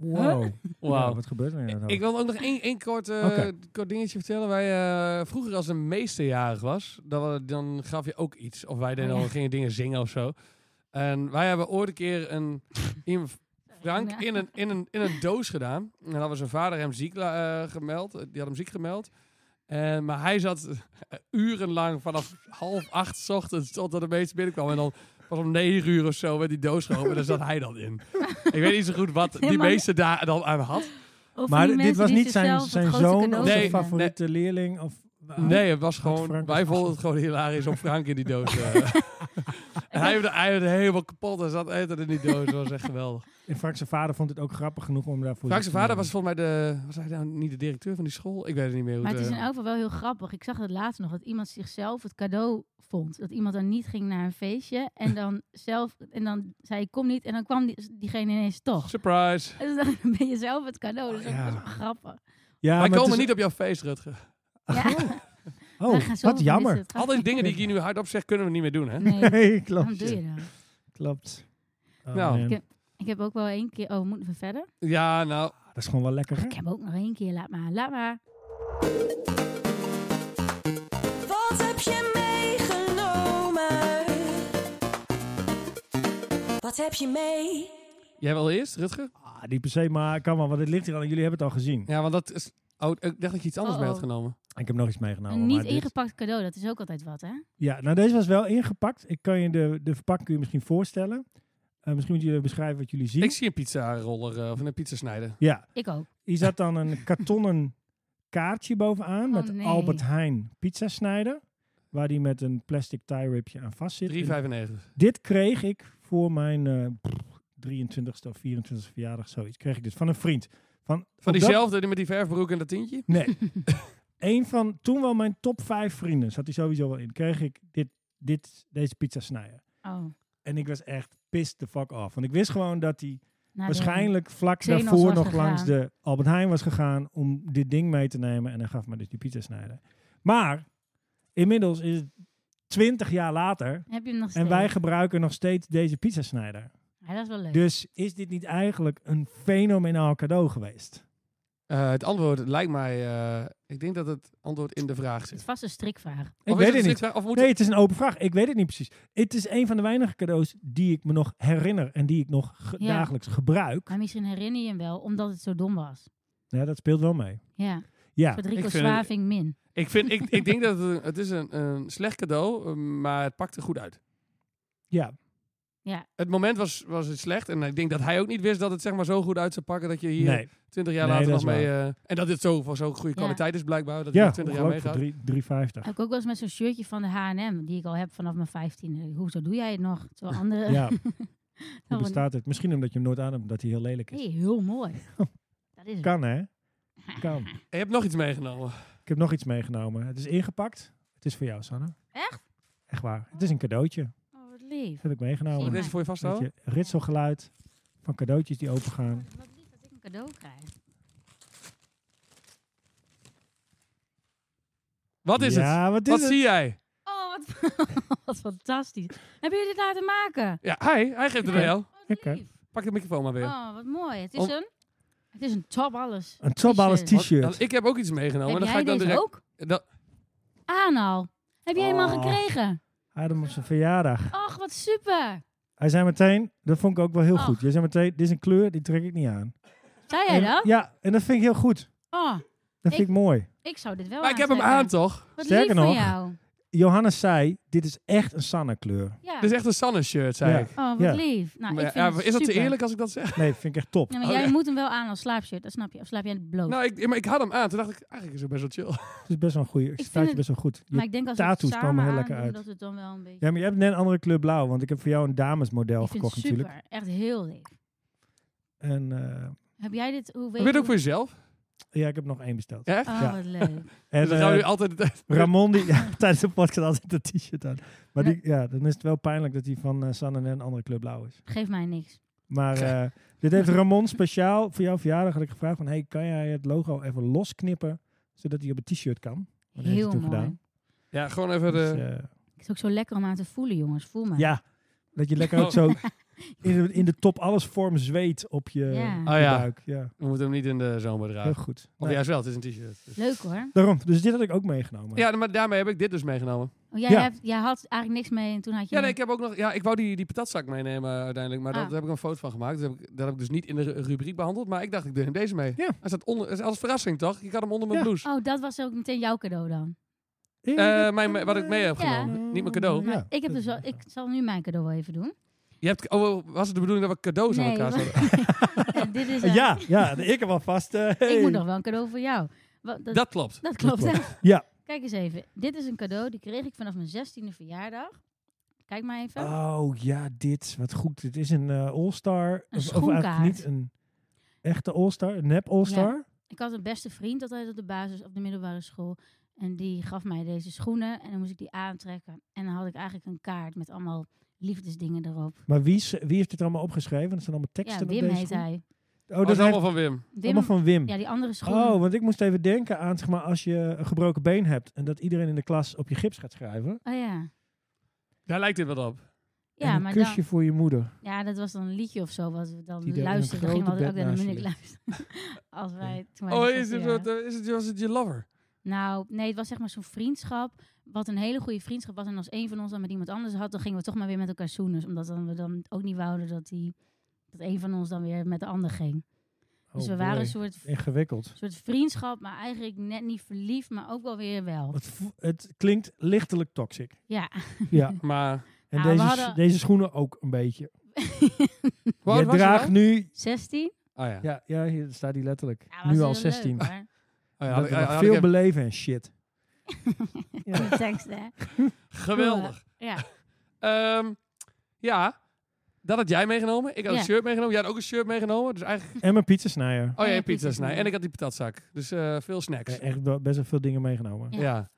[SPEAKER 1] Wow.
[SPEAKER 3] Wauw.
[SPEAKER 1] Ja, wat gebeurt er nou?
[SPEAKER 3] Ik wil ook nog één, één kort, eh,
[SPEAKER 1] Oké.
[SPEAKER 3] kort dingetje vertellen. Wij, eh, vroeger als een meesterjarig was, dan, wa- dan gaf je ook iets. Of wij deden
[SPEAKER 2] Oh, ja.
[SPEAKER 3] al gingen dingen zingen of zo. En wij hebben ooit een keer een
[SPEAKER 2] <laughs>
[SPEAKER 3] in Frank
[SPEAKER 2] Ja.
[SPEAKER 3] in een, in, een, in een doos gedaan. En dan was zijn vader hem ziek la- eh, gemeld. Eh, Die had hem ziek gemeld. En, maar hij zat eh, urenlang vanaf half acht 's ochtends totdat de meester binnenkwam. En dan pas om negen uur of zo werd die doos geopend. En daar zat hij dan in. Ik weet niet zo
[SPEAKER 2] <laughs>
[SPEAKER 3] goed wat die
[SPEAKER 2] Helemaal-
[SPEAKER 3] meester daar dan aan had.
[SPEAKER 2] Of
[SPEAKER 1] maar
[SPEAKER 2] die
[SPEAKER 1] dit
[SPEAKER 2] mensen
[SPEAKER 1] was
[SPEAKER 2] die
[SPEAKER 1] niet zijn,
[SPEAKER 2] zichzelf het
[SPEAKER 1] zijn
[SPEAKER 2] grootste
[SPEAKER 1] zoon
[SPEAKER 2] cadeau
[SPEAKER 1] of
[SPEAKER 3] Nee,
[SPEAKER 1] zijn
[SPEAKER 2] geven.
[SPEAKER 1] favoriete leerling. Of,
[SPEAKER 3] Nee, het was gewoon.
[SPEAKER 1] Frank
[SPEAKER 3] wij
[SPEAKER 1] was
[SPEAKER 3] vonden Ah. het
[SPEAKER 1] vast-
[SPEAKER 3] gewoon hilarisch om Frank in die <laughs> doos. eh. en hij werd, hij werd helemaal kapot en zat eten in die doos. Dat was echt geweldig.
[SPEAKER 1] En Frank zijn vader vond het ook grappig genoeg om daarvoor
[SPEAKER 3] Frank's
[SPEAKER 1] te
[SPEAKER 3] vader was
[SPEAKER 1] nemen.
[SPEAKER 3] volgens mij de. Was hij nou niet de directeur van die school? Ik weet het niet meer. Hoe
[SPEAKER 2] Maar het
[SPEAKER 3] het,
[SPEAKER 2] is in
[SPEAKER 3] eh,
[SPEAKER 2] elk geval wel heel grappig. Ik zag het laatst nog, dat iemand zichzelf het cadeau vond. Dat iemand dan niet ging naar een feestje.
[SPEAKER 1] <laughs>
[SPEAKER 2] En dan zelf, en dan zei ik kom niet. En dan kwam die, diegene ineens toch.
[SPEAKER 3] Surprise.
[SPEAKER 2] En dan ben je zelf het cadeau. Dus dat
[SPEAKER 1] Oh ja.
[SPEAKER 2] was wel grappig.
[SPEAKER 1] Ja,
[SPEAKER 3] wij
[SPEAKER 1] maar het
[SPEAKER 3] komen
[SPEAKER 1] is-
[SPEAKER 3] niet op jouw feest, Rutger.
[SPEAKER 2] Ja,
[SPEAKER 1] Oh,
[SPEAKER 2] wij gaan zo
[SPEAKER 1] wat jammer.
[SPEAKER 2] vermissen. Het gaat
[SPEAKER 3] Al die
[SPEAKER 2] echt-
[SPEAKER 3] dingen die ik hier nu hardop zeg, kunnen we niet meer doen, hè?
[SPEAKER 2] Nee,
[SPEAKER 1] Nee,
[SPEAKER 2] waarom
[SPEAKER 1] <laughs> klopt.
[SPEAKER 2] doe je dat?
[SPEAKER 1] Klopt. Oh,
[SPEAKER 3] Nou.
[SPEAKER 1] man.
[SPEAKER 2] Ik heb ook wel één keer... Oh, moeten we verder?
[SPEAKER 3] Ja, nou.
[SPEAKER 1] Ah, dat is gewoon wel lekker.
[SPEAKER 2] Ik heb ook nog één keer. Laat maar, laat maar.
[SPEAKER 1] Nou,
[SPEAKER 4] Wat heb je meegenomen? Wat heb je mee?
[SPEAKER 3] Jij wel eerst, Rutger?
[SPEAKER 1] Ah, niet per se, maar kan wel, want het ligt hier al. en Jullie hebben het al gezien.
[SPEAKER 3] Ja, want dat is. Oh, ik dacht dat je iets anders
[SPEAKER 2] Oh,
[SPEAKER 3] mee had
[SPEAKER 2] oh.
[SPEAKER 3] genomen.
[SPEAKER 1] Ik heb nog iets meegenomen.
[SPEAKER 2] een niet
[SPEAKER 1] maar dit-
[SPEAKER 2] ingepakt cadeau, dat is ook altijd wat, hè?
[SPEAKER 1] Ja, nou deze was wel ingepakt. Ik kan je de, de verpakking kun je misschien voorstellen. Eh, misschien moet jullie beschrijven wat jullie zien.
[SPEAKER 3] Ik zie een pizzaroller eh, of een pizzasnijder.
[SPEAKER 1] Ja,
[SPEAKER 2] Ik ook.
[SPEAKER 1] hier zat dan een kartonnen kaartje bovenaan
[SPEAKER 2] Oh,
[SPEAKER 1] met
[SPEAKER 2] nee.
[SPEAKER 1] Albert Heijn pizzasnijder. Waar die met een plastic tie ripje aan vast zit. En
[SPEAKER 3] 3,95.
[SPEAKER 1] Dit kreeg ik voor mijn eh, pff, 23ste of 24ste verjaardag, zoiets. Kreeg ik dit van een vriend. Van,
[SPEAKER 3] Van
[SPEAKER 1] op dat-
[SPEAKER 3] diezelfde die met die verfbroek en dat tientje?
[SPEAKER 1] Nee. <laughs> Eén van toen wel mijn top vijf vrienden zat hij sowieso wel in. Kreeg ik dit, dit, deze pizza snijden.
[SPEAKER 2] Oh.
[SPEAKER 1] En ik was echt pissed the fuck off. Want ik wist gewoon dat hij
[SPEAKER 2] naar de-
[SPEAKER 1] waarschijnlijk vlak
[SPEAKER 2] Xenos
[SPEAKER 1] daarvoor
[SPEAKER 2] was
[SPEAKER 1] nog
[SPEAKER 2] gegaan.
[SPEAKER 1] langs de Albert Heijn was gegaan om dit ding mee te nemen. En hij gaf me dus die pizza snijden. Maar inmiddels is het twintig jaar later.
[SPEAKER 2] Heb je hem nog steeds?
[SPEAKER 1] En wij gebruiken nog steeds deze pizza snijder.
[SPEAKER 2] Ja, dat is wel leuk.
[SPEAKER 1] Dus is dit niet eigenlijk een fenomenaal cadeau geweest?
[SPEAKER 3] Eh, het antwoord lijkt mij... eh, ik denk dat het antwoord in de vraag
[SPEAKER 2] Het
[SPEAKER 3] zit.
[SPEAKER 2] is vast een strikvraag.
[SPEAKER 1] Ik
[SPEAKER 3] Of is
[SPEAKER 1] weet het
[SPEAKER 3] een
[SPEAKER 1] niet.
[SPEAKER 3] strikvraag? Of moet
[SPEAKER 1] Nee, het is een open vraag. Ik weet het niet precies. Het is een van de weinige cadeaus die ik me nog herinner en die ik nog ge-
[SPEAKER 2] Ja.
[SPEAKER 1] dagelijks gebruik.
[SPEAKER 2] Maar misschien herinner je hem wel, omdat het zo dom was.
[SPEAKER 1] Ja, dat speelt wel mee.
[SPEAKER 2] Ja,
[SPEAKER 1] Ja,
[SPEAKER 2] Federico
[SPEAKER 3] ik vind-
[SPEAKER 2] Swaving min.
[SPEAKER 3] Ik, vind, ik, ik denk dat het, een- het is een, een slecht cadeau eh, maar het pakte goed uit.
[SPEAKER 1] ja.
[SPEAKER 3] Het moment was, was het slecht. En ik denk dat hij ook niet wist dat het zeg maar, zo goed uit zou pakken dat je hier
[SPEAKER 1] Nee.
[SPEAKER 3] 20 jaar
[SPEAKER 1] Nee,
[SPEAKER 3] later
[SPEAKER 1] dat
[SPEAKER 3] nog
[SPEAKER 1] is
[SPEAKER 3] mee... eh, en dat dit zo van zo'n goede
[SPEAKER 2] Ja.
[SPEAKER 3] kwaliteit is blijkbaar. Dat hij
[SPEAKER 1] Ja,
[SPEAKER 3] nog 20 jaar
[SPEAKER 1] ongelooflijk voor
[SPEAKER 3] meegaat.
[SPEAKER 2] <laughs>
[SPEAKER 1] drie- 3,50.
[SPEAKER 2] Heb ik ook wel eens met zo'n shirtje van de H&M, die ik al heb vanaf mijn 15e. Hoezo doe jij het nog? Terwijl anderen...
[SPEAKER 1] Ja, hoe
[SPEAKER 2] Oh,
[SPEAKER 1] bestaat het? Misschien omdat je hem nooit aan hebt, dat hij heel lelijk is.
[SPEAKER 2] hey, heel mooi.
[SPEAKER 1] <laughs>
[SPEAKER 2] Dat is het.
[SPEAKER 1] Kan hè? Kan.
[SPEAKER 3] Je hebt nog iets meegenomen.
[SPEAKER 1] Ik heb nog iets meegenomen. Het is ingepakt. Het is voor jou, Sanne.
[SPEAKER 2] Echt?
[SPEAKER 1] Echt waar. Het is een cadeautje.
[SPEAKER 2] Oh, wat lief.
[SPEAKER 1] Dat heb ik meegenomen.
[SPEAKER 3] Zal ik
[SPEAKER 2] Ja.
[SPEAKER 3] deze voor je
[SPEAKER 1] Weet
[SPEAKER 3] vasthouden?
[SPEAKER 1] je, ritselgeluid van cadeautjes die opengaan.
[SPEAKER 2] Wat lief dat ik een cadeau krijg.
[SPEAKER 3] Wat is het?
[SPEAKER 1] ja, wat is
[SPEAKER 3] Wat
[SPEAKER 1] het?
[SPEAKER 3] zie jij?
[SPEAKER 2] Oh, wat, wat <laughs> fantastisch. Hebben jullie dit laten maken?
[SPEAKER 3] Ja, hij. Hij geeft het aan
[SPEAKER 1] Ja.
[SPEAKER 3] jou.
[SPEAKER 2] Wat
[SPEAKER 1] Oké. Ah.
[SPEAKER 2] lief.
[SPEAKER 3] Pak de microfoon maar weer.
[SPEAKER 2] Oh, wat mooi. Het is
[SPEAKER 3] Oh, Om-
[SPEAKER 2] een... Het is een top alles.
[SPEAKER 1] Een topballers
[SPEAKER 2] T-shirt.
[SPEAKER 3] Want-
[SPEAKER 1] t-shirt.
[SPEAKER 3] nou, ik heb ook iets meegenomen.
[SPEAKER 2] Heb
[SPEAKER 3] dan ga
[SPEAKER 2] jij
[SPEAKER 3] ik dan
[SPEAKER 2] deze
[SPEAKER 3] direct.
[SPEAKER 2] ook?
[SPEAKER 3] dat-
[SPEAKER 2] Ah nou. Heb jij hem al
[SPEAKER 1] Oh.
[SPEAKER 2] gekregen?
[SPEAKER 1] Hij had hem op zijn verjaardag.
[SPEAKER 2] Och, wat super.
[SPEAKER 1] Hij zei meteen, dat vond ik ook wel heel
[SPEAKER 2] Ach.
[SPEAKER 1] goed. Jij zei meteen, dit is een kleur, die trek ik niet aan.
[SPEAKER 2] Zei jij
[SPEAKER 1] En-
[SPEAKER 2] dat?
[SPEAKER 1] Ja, en dat vind ik heel goed.
[SPEAKER 2] Oh,
[SPEAKER 1] Dat vind ik,
[SPEAKER 2] Ik-
[SPEAKER 1] mooi.
[SPEAKER 2] ik zou dit wel
[SPEAKER 3] maar ik heb hem aan
[SPEAKER 2] aantrekken.
[SPEAKER 3] toch?
[SPEAKER 2] Wat
[SPEAKER 1] Sterker
[SPEAKER 2] lief van
[SPEAKER 1] nog.
[SPEAKER 2] jou.
[SPEAKER 1] Johannes zei, dit is echt een Sanne kleur.
[SPEAKER 2] Ja.
[SPEAKER 3] Dit is echt een Sanne shirt, zei
[SPEAKER 1] Ja.
[SPEAKER 3] ik.
[SPEAKER 2] Oh, wat
[SPEAKER 1] Ja.
[SPEAKER 2] lief. Nou,
[SPEAKER 3] Maar
[SPEAKER 2] ik vind
[SPEAKER 3] Dus- ja,
[SPEAKER 2] het
[SPEAKER 3] is dat te
[SPEAKER 2] super.
[SPEAKER 3] eerlijk als ik dat
[SPEAKER 2] <laughs>
[SPEAKER 3] zeg?
[SPEAKER 1] Nee, vind ik echt top.
[SPEAKER 2] Ja, maar
[SPEAKER 3] Oh,
[SPEAKER 2] jij
[SPEAKER 3] ja.
[SPEAKER 2] moet hem wel aan als slaapshirt, dat snap je. Of slaap jij het bloot.
[SPEAKER 3] Nou, ik, maar ik had hem aan. Toen dacht ik, eigenlijk is het best wel chill.
[SPEAKER 1] Het is best wel een goeie. Het
[SPEAKER 2] vind
[SPEAKER 1] staat je
[SPEAKER 2] het-
[SPEAKER 1] best wel goed. Je-
[SPEAKER 2] maar ik denk als we het
[SPEAKER 1] tattoos
[SPEAKER 2] samen
[SPEAKER 1] kwamen heel
[SPEAKER 2] aan
[SPEAKER 1] lekker
[SPEAKER 2] doen,
[SPEAKER 1] uit.
[SPEAKER 2] dat het dan wel een beetje...
[SPEAKER 1] ja, maar je hebt net een andere kleur blauw. Want ik heb voor jou een damesmodel
[SPEAKER 2] ik vind het
[SPEAKER 1] gekocht
[SPEAKER 2] super.
[SPEAKER 1] natuurlijk.
[SPEAKER 2] Echt heel lief.
[SPEAKER 1] En eh,
[SPEAKER 2] Heb jij dit... Hoe
[SPEAKER 3] <laughs>
[SPEAKER 2] weet
[SPEAKER 3] Heb je het ook
[SPEAKER 2] hoe-
[SPEAKER 3] voor jezelf?
[SPEAKER 1] ja, ik heb nog één besteld.
[SPEAKER 3] Echt?
[SPEAKER 2] Oh,
[SPEAKER 1] Ja.
[SPEAKER 2] wat leuk.
[SPEAKER 1] En,
[SPEAKER 3] dus dan gaan we
[SPEAKER 1] eh,
[SPEAKER 3] nu altijd... <laughs>
[SPEAKER 1] Ramon, die <laughs> ja, tijdens de podcast altijd dat t-shirt aan. Maar die, ja, dan is het wel pijnlijk dat hij van eh Sanne en een andere club blauw is.
[SPEAKER 2] Geef mij niks.
[SPEAKER 1] Maar eh, dit heeft Ramon speciaal voor jouw verjaardag had ik gevraagd van... Hey, kan jij het logo even losknippen, zodat hij op het t-shirt kan? Dat heeft
[SPEAKER 2] Heel
[SPEAKER 1] hij toen
[SPEAKER 2] mooi.
[SPEAKER 1] gedaan.
[SPEAKER 3] Ja, gewoon even... De...
[SPEAKER 1] Dus, eh,
[SPEAKER 2] Het is ook zo lekker om aan te voelen, jongens. Voel me.
[SPEAKER 1] ja, dat je lekker ook
[SPEAKER 3] <laughs> Oh.
[SPEAKER 1] zo in de, in de top alles vorm zweet op je,
[SPEAKER 2] Ja.
[SPEAKER 1] op
[SPEAKER 3] Oh
[SPEAKER 1] je
[SPEAKER 3] ja.
[SPEAKER 1] buik. Ja,
[SPEAKER 3] We moeten hem niet in de zomer dragen.
[SPEAKER 1] heel goed.
[SPEAKER 3] Of
[SPEAKER 1] Nou,
[SPEAKER 3] juist wel, het is een t-shirt. dus.
[SPEAKER 2] Leuk hoor.
[SPEAKER 1] Daarom, dus dit had ik ook meegenomen.
[SPEAKER 3] Ja, maar daarmee heb ik dit dus meegenomen.
[SPEAKER 2] Oh, jij,
[SPEAKER 1] Ja.
[SPEAKER 2] hebt- jij had eigenlijk niks mee en toen had je...
[SPEAKER 3] Ja, nee, ik heb ook nog... Ja, ik wou die, die patatzak meenemen uiteindelijk, maar
[SPEAKER 2] Ah.
[SPEAKER 3] daar heb ik een foto van gemaakt. Dat heb, ik, dat heb ik dus niet in de ru- rubriek behandeld, maar ik dacht, ik neem deze mee.
[SPEAKER 1] Ja.
[SPEAKER 3] Hij staat onder, als verrassing, toch? Ik had hem onder mijn
[SPEAKER 1] Ja.
[SPEAKER 3] blouse.
[SPEAKER 2] Oh, dat was ook meteen jouw cadeau dan.
[SPEAKER 1] Ja,
[SPEAKER 3] Eh, mijn, wat ik mee heb genomen. Niet mijn cadeau.
[SPEAKER 1] Ja,
[SPEAKER 2] Maar ik, heb
[SPEAKER 1] dat
[SPEAKER 2] dus
[SPEAKER 1] is
[SPEAKER 2] wel, ik zal nu mijn cadeau wel even
[SPEAKER 1] <laughs>
[SPEAKER 2] doen.
[SPEAKER 3] Je hebt, oh, was het de bedoeling dat we cadeaus aan
[SPEAKER 2] Nee,
[SPEAKER 3] elkaar
[SPEAKER 2] want-
[SPEAKER 3] zouden?
[SPEAKER 2] Ja, dit is, eh,
[SPEAKER 1] ja, ja, ik heb alvast... eh
[SPEAKER 2] Ik
[SPEAKER 1] hey.
[SPEAKER 2] moet nog wel een cadeau voor jou. Wa- dat,
[SPEAKER 3] Dat klopt.
[SPEAKER 2] dat klopt, hè? <laughs>
[SPEAKER 1] Ja.
[SPEAKER 2] Kijk eens even. Dit is een cadeau, die kreeg ik vanaf mijn 16e verjaardag. Kijk maar even.
[SPEAKER 1] Oh ja, dit. Wat goed. Dit is een eh All-Star.
[SPEAKER 2] Een
[SPEAKER 1] Of- of eigenlijk
[SPEAKER 2] schoenkaart.
[SPEAKER 1] niet een echte All-Star. Een nep All-Star.
[SPEAKER 2] Ik had een beste vriend altijd op de basis, op de middelbare school. En die gaf mij deze schoenen en dan moest ik die aantrekken. En dan had ik eigenlijk een kaart met allemaal liefdesdingen erop.
[SPEAKER 1] Maar wie, is- wie heeft dit allemaal opgeschreven? Dat zijn allemaal teksten
[SPEAKER 2] ja,
[SPEAKER 1] op
[SPEAKER 2] Wim
[SPEAKER 1] deze
[SPEAKER 2] heet
[SPEAKER 1] schoen?
[SPEAKER 2] hij.
[SPEAKER 1] Oh,
[SPEAKER 3] dat
[SPEAKER 1] dat
[SPEAKER 3] is
[SPEAKER 1] zijn
[SPEAKER 3] allemaal van Wim.
[SPEAKER 2] Wim,
[SPEAKER 1] allemaal van Wim.
[SPEAKER 2] ja, die andere schoenen.
[SPEAKER 1] Oh, want ik moest even denken aan zeg maar, als je een gebroken been hebt en dat iedereen in de klas op je gips gaat schrijven.
[SPEAKER 2] Oh ja.
[SPEAKER 3] Daar lijkt dit wat op.
[SPEAKER 1] en
[SPEAKER 2] Ja,
[SPEAKER 1] een
[SPEAKER 2] maar
[SPEAKER 1] kusje
[SPEAKER 2] dan,
[SPEAKER 1] voor je moeder.
[SPEAKER 2] ja, dat was dan een liedje of zo wat we
[SPEAKER 1] Die
[SPEAKER 2] dan
[SPEAKER 1] daar in een
[SPEAKER 2] luisterden. Dan gingen we
[SPEAKER 1] grote
[SPEAKER 2] altijd oh, ook
[SPEAKER 1] bed
[SPEAKER 2] naar de
[SPEAKER 1] naast
[SPEAKER 2] muziek
[SPEAKER 1] je
[SPEAKER 2] luisteren. <laughs> Als wij toen wij
[SPEAKER 3] Oh,
[SPEAKER 2] de
[SPEAKER 3] is
[SPEAKER 2] zesde
[SPEAKER 3] het,
[SPEAKER 2] waren.
[SPEAKER 3] wat, eh, is het, was het je lover?
[SPEAKER 2] Nou, nee, het was zeg maar zo'n vriendschap. Wat een hele goede vriendschap was. En als een van ons dan met iemand anders had, dan gingen we toch maar weer met elkaar zoenen. Dus Omdat dan we dan ook niet wouden dat, die, dat een van ons dan weer met de ander ging. dus
[SPEAKER 1] Oh,
[SPEAKER 2] we waren
[SPEAKER 1] boy.
[SPEAKER 2] een soort,
[SPEAKER 1] Ingewikkeld.
[SPEAKER 2] soort vriendschap, maar eigenlijk net niet verliefd, maar ook wel weer wel.
[SPEAKER 1] Het, vo- het klinkt lichtelijk toxic.
[SPEAKER 2] <laughs> Ja,
[SPEAKER 1] Ja.
[SPEAKER 3] Maar
[SPEAKER 1] En
[SPEAKER 2] Ah, we
[SPEAKER 1] deze,
[SPEAKER 2] hadden-
[SPEAKER 1] deze schoenen ook een beetje.
[SPEAKER 3] hoe
[SPEAKER 1] je
[SPEAKER 3] oud was je
[SPEAKER 1] draagt
[SPEAKER 3] dan?
[SPEAKER 1] nu.
[SPEAKER 2] 16?
[SPEAKER 3] Oh ja.
[SPEAKER 1] Ja, ja, hier staat die letterlijk.
[SPEAKER 2] Ja, was
[SPEAKER 1] nu
[SPEAKER 2] heel
[SPEAKER 1] al
[SPEAKER 2] leuk,
[SPEAKER 1] 16.
[SPEAKER 2] hoor.
[SPEAKER 3] Oh ja,
[SPEAKER 1] dat
[SPEAKER 3] had
[SPEAKER 1] we
[SPEAKER 3] ik-
[SPEAKER 1] nog
[SPEAKER 3] had ik
[SPEAKER 1] veel
[SPEAKER 3] even-
[SPEAKER 1] beleven en
[SPEAKER 2] <laughs>
[SPEAKER 1] shit.
[SPEAKER 2] Die tekst,
[SPEAKER 1] <laughs>
[SPEAKER 2] hè?
[SPEAKER 3] Geweldig.
[SPEAKER 2] Ja.
[SPEAKER 3] <laughs> Ehm, ja, dat had jij meegenomen. Ik had
[SPEAKER 2] Ja.
[SPEAKER 3] een shirt meegenomen. Jij had ook een shirt meegenomen. Dus eigenlijk...
[SPEAKER 1] En mijn pizzasnijer.
[SPEAKER 3] Oh ja,
[SPEAKER 2] ja,
[SPEAKER 3] je
[SPEAKER 2] pizza's
[SPEAKER 3] pizza's. Nee.
[SPEAKER 2] mee.
[SPEAKER 3] En ik had die patatzak. Dus eh, veel snacks.
[SPEAKER 1] Ja,
[SPEAKER 3] Ja.
[SPEAKER 1] E- echt wel best wel veel dingen meegenomen.
[SPEAKER 2] Ja.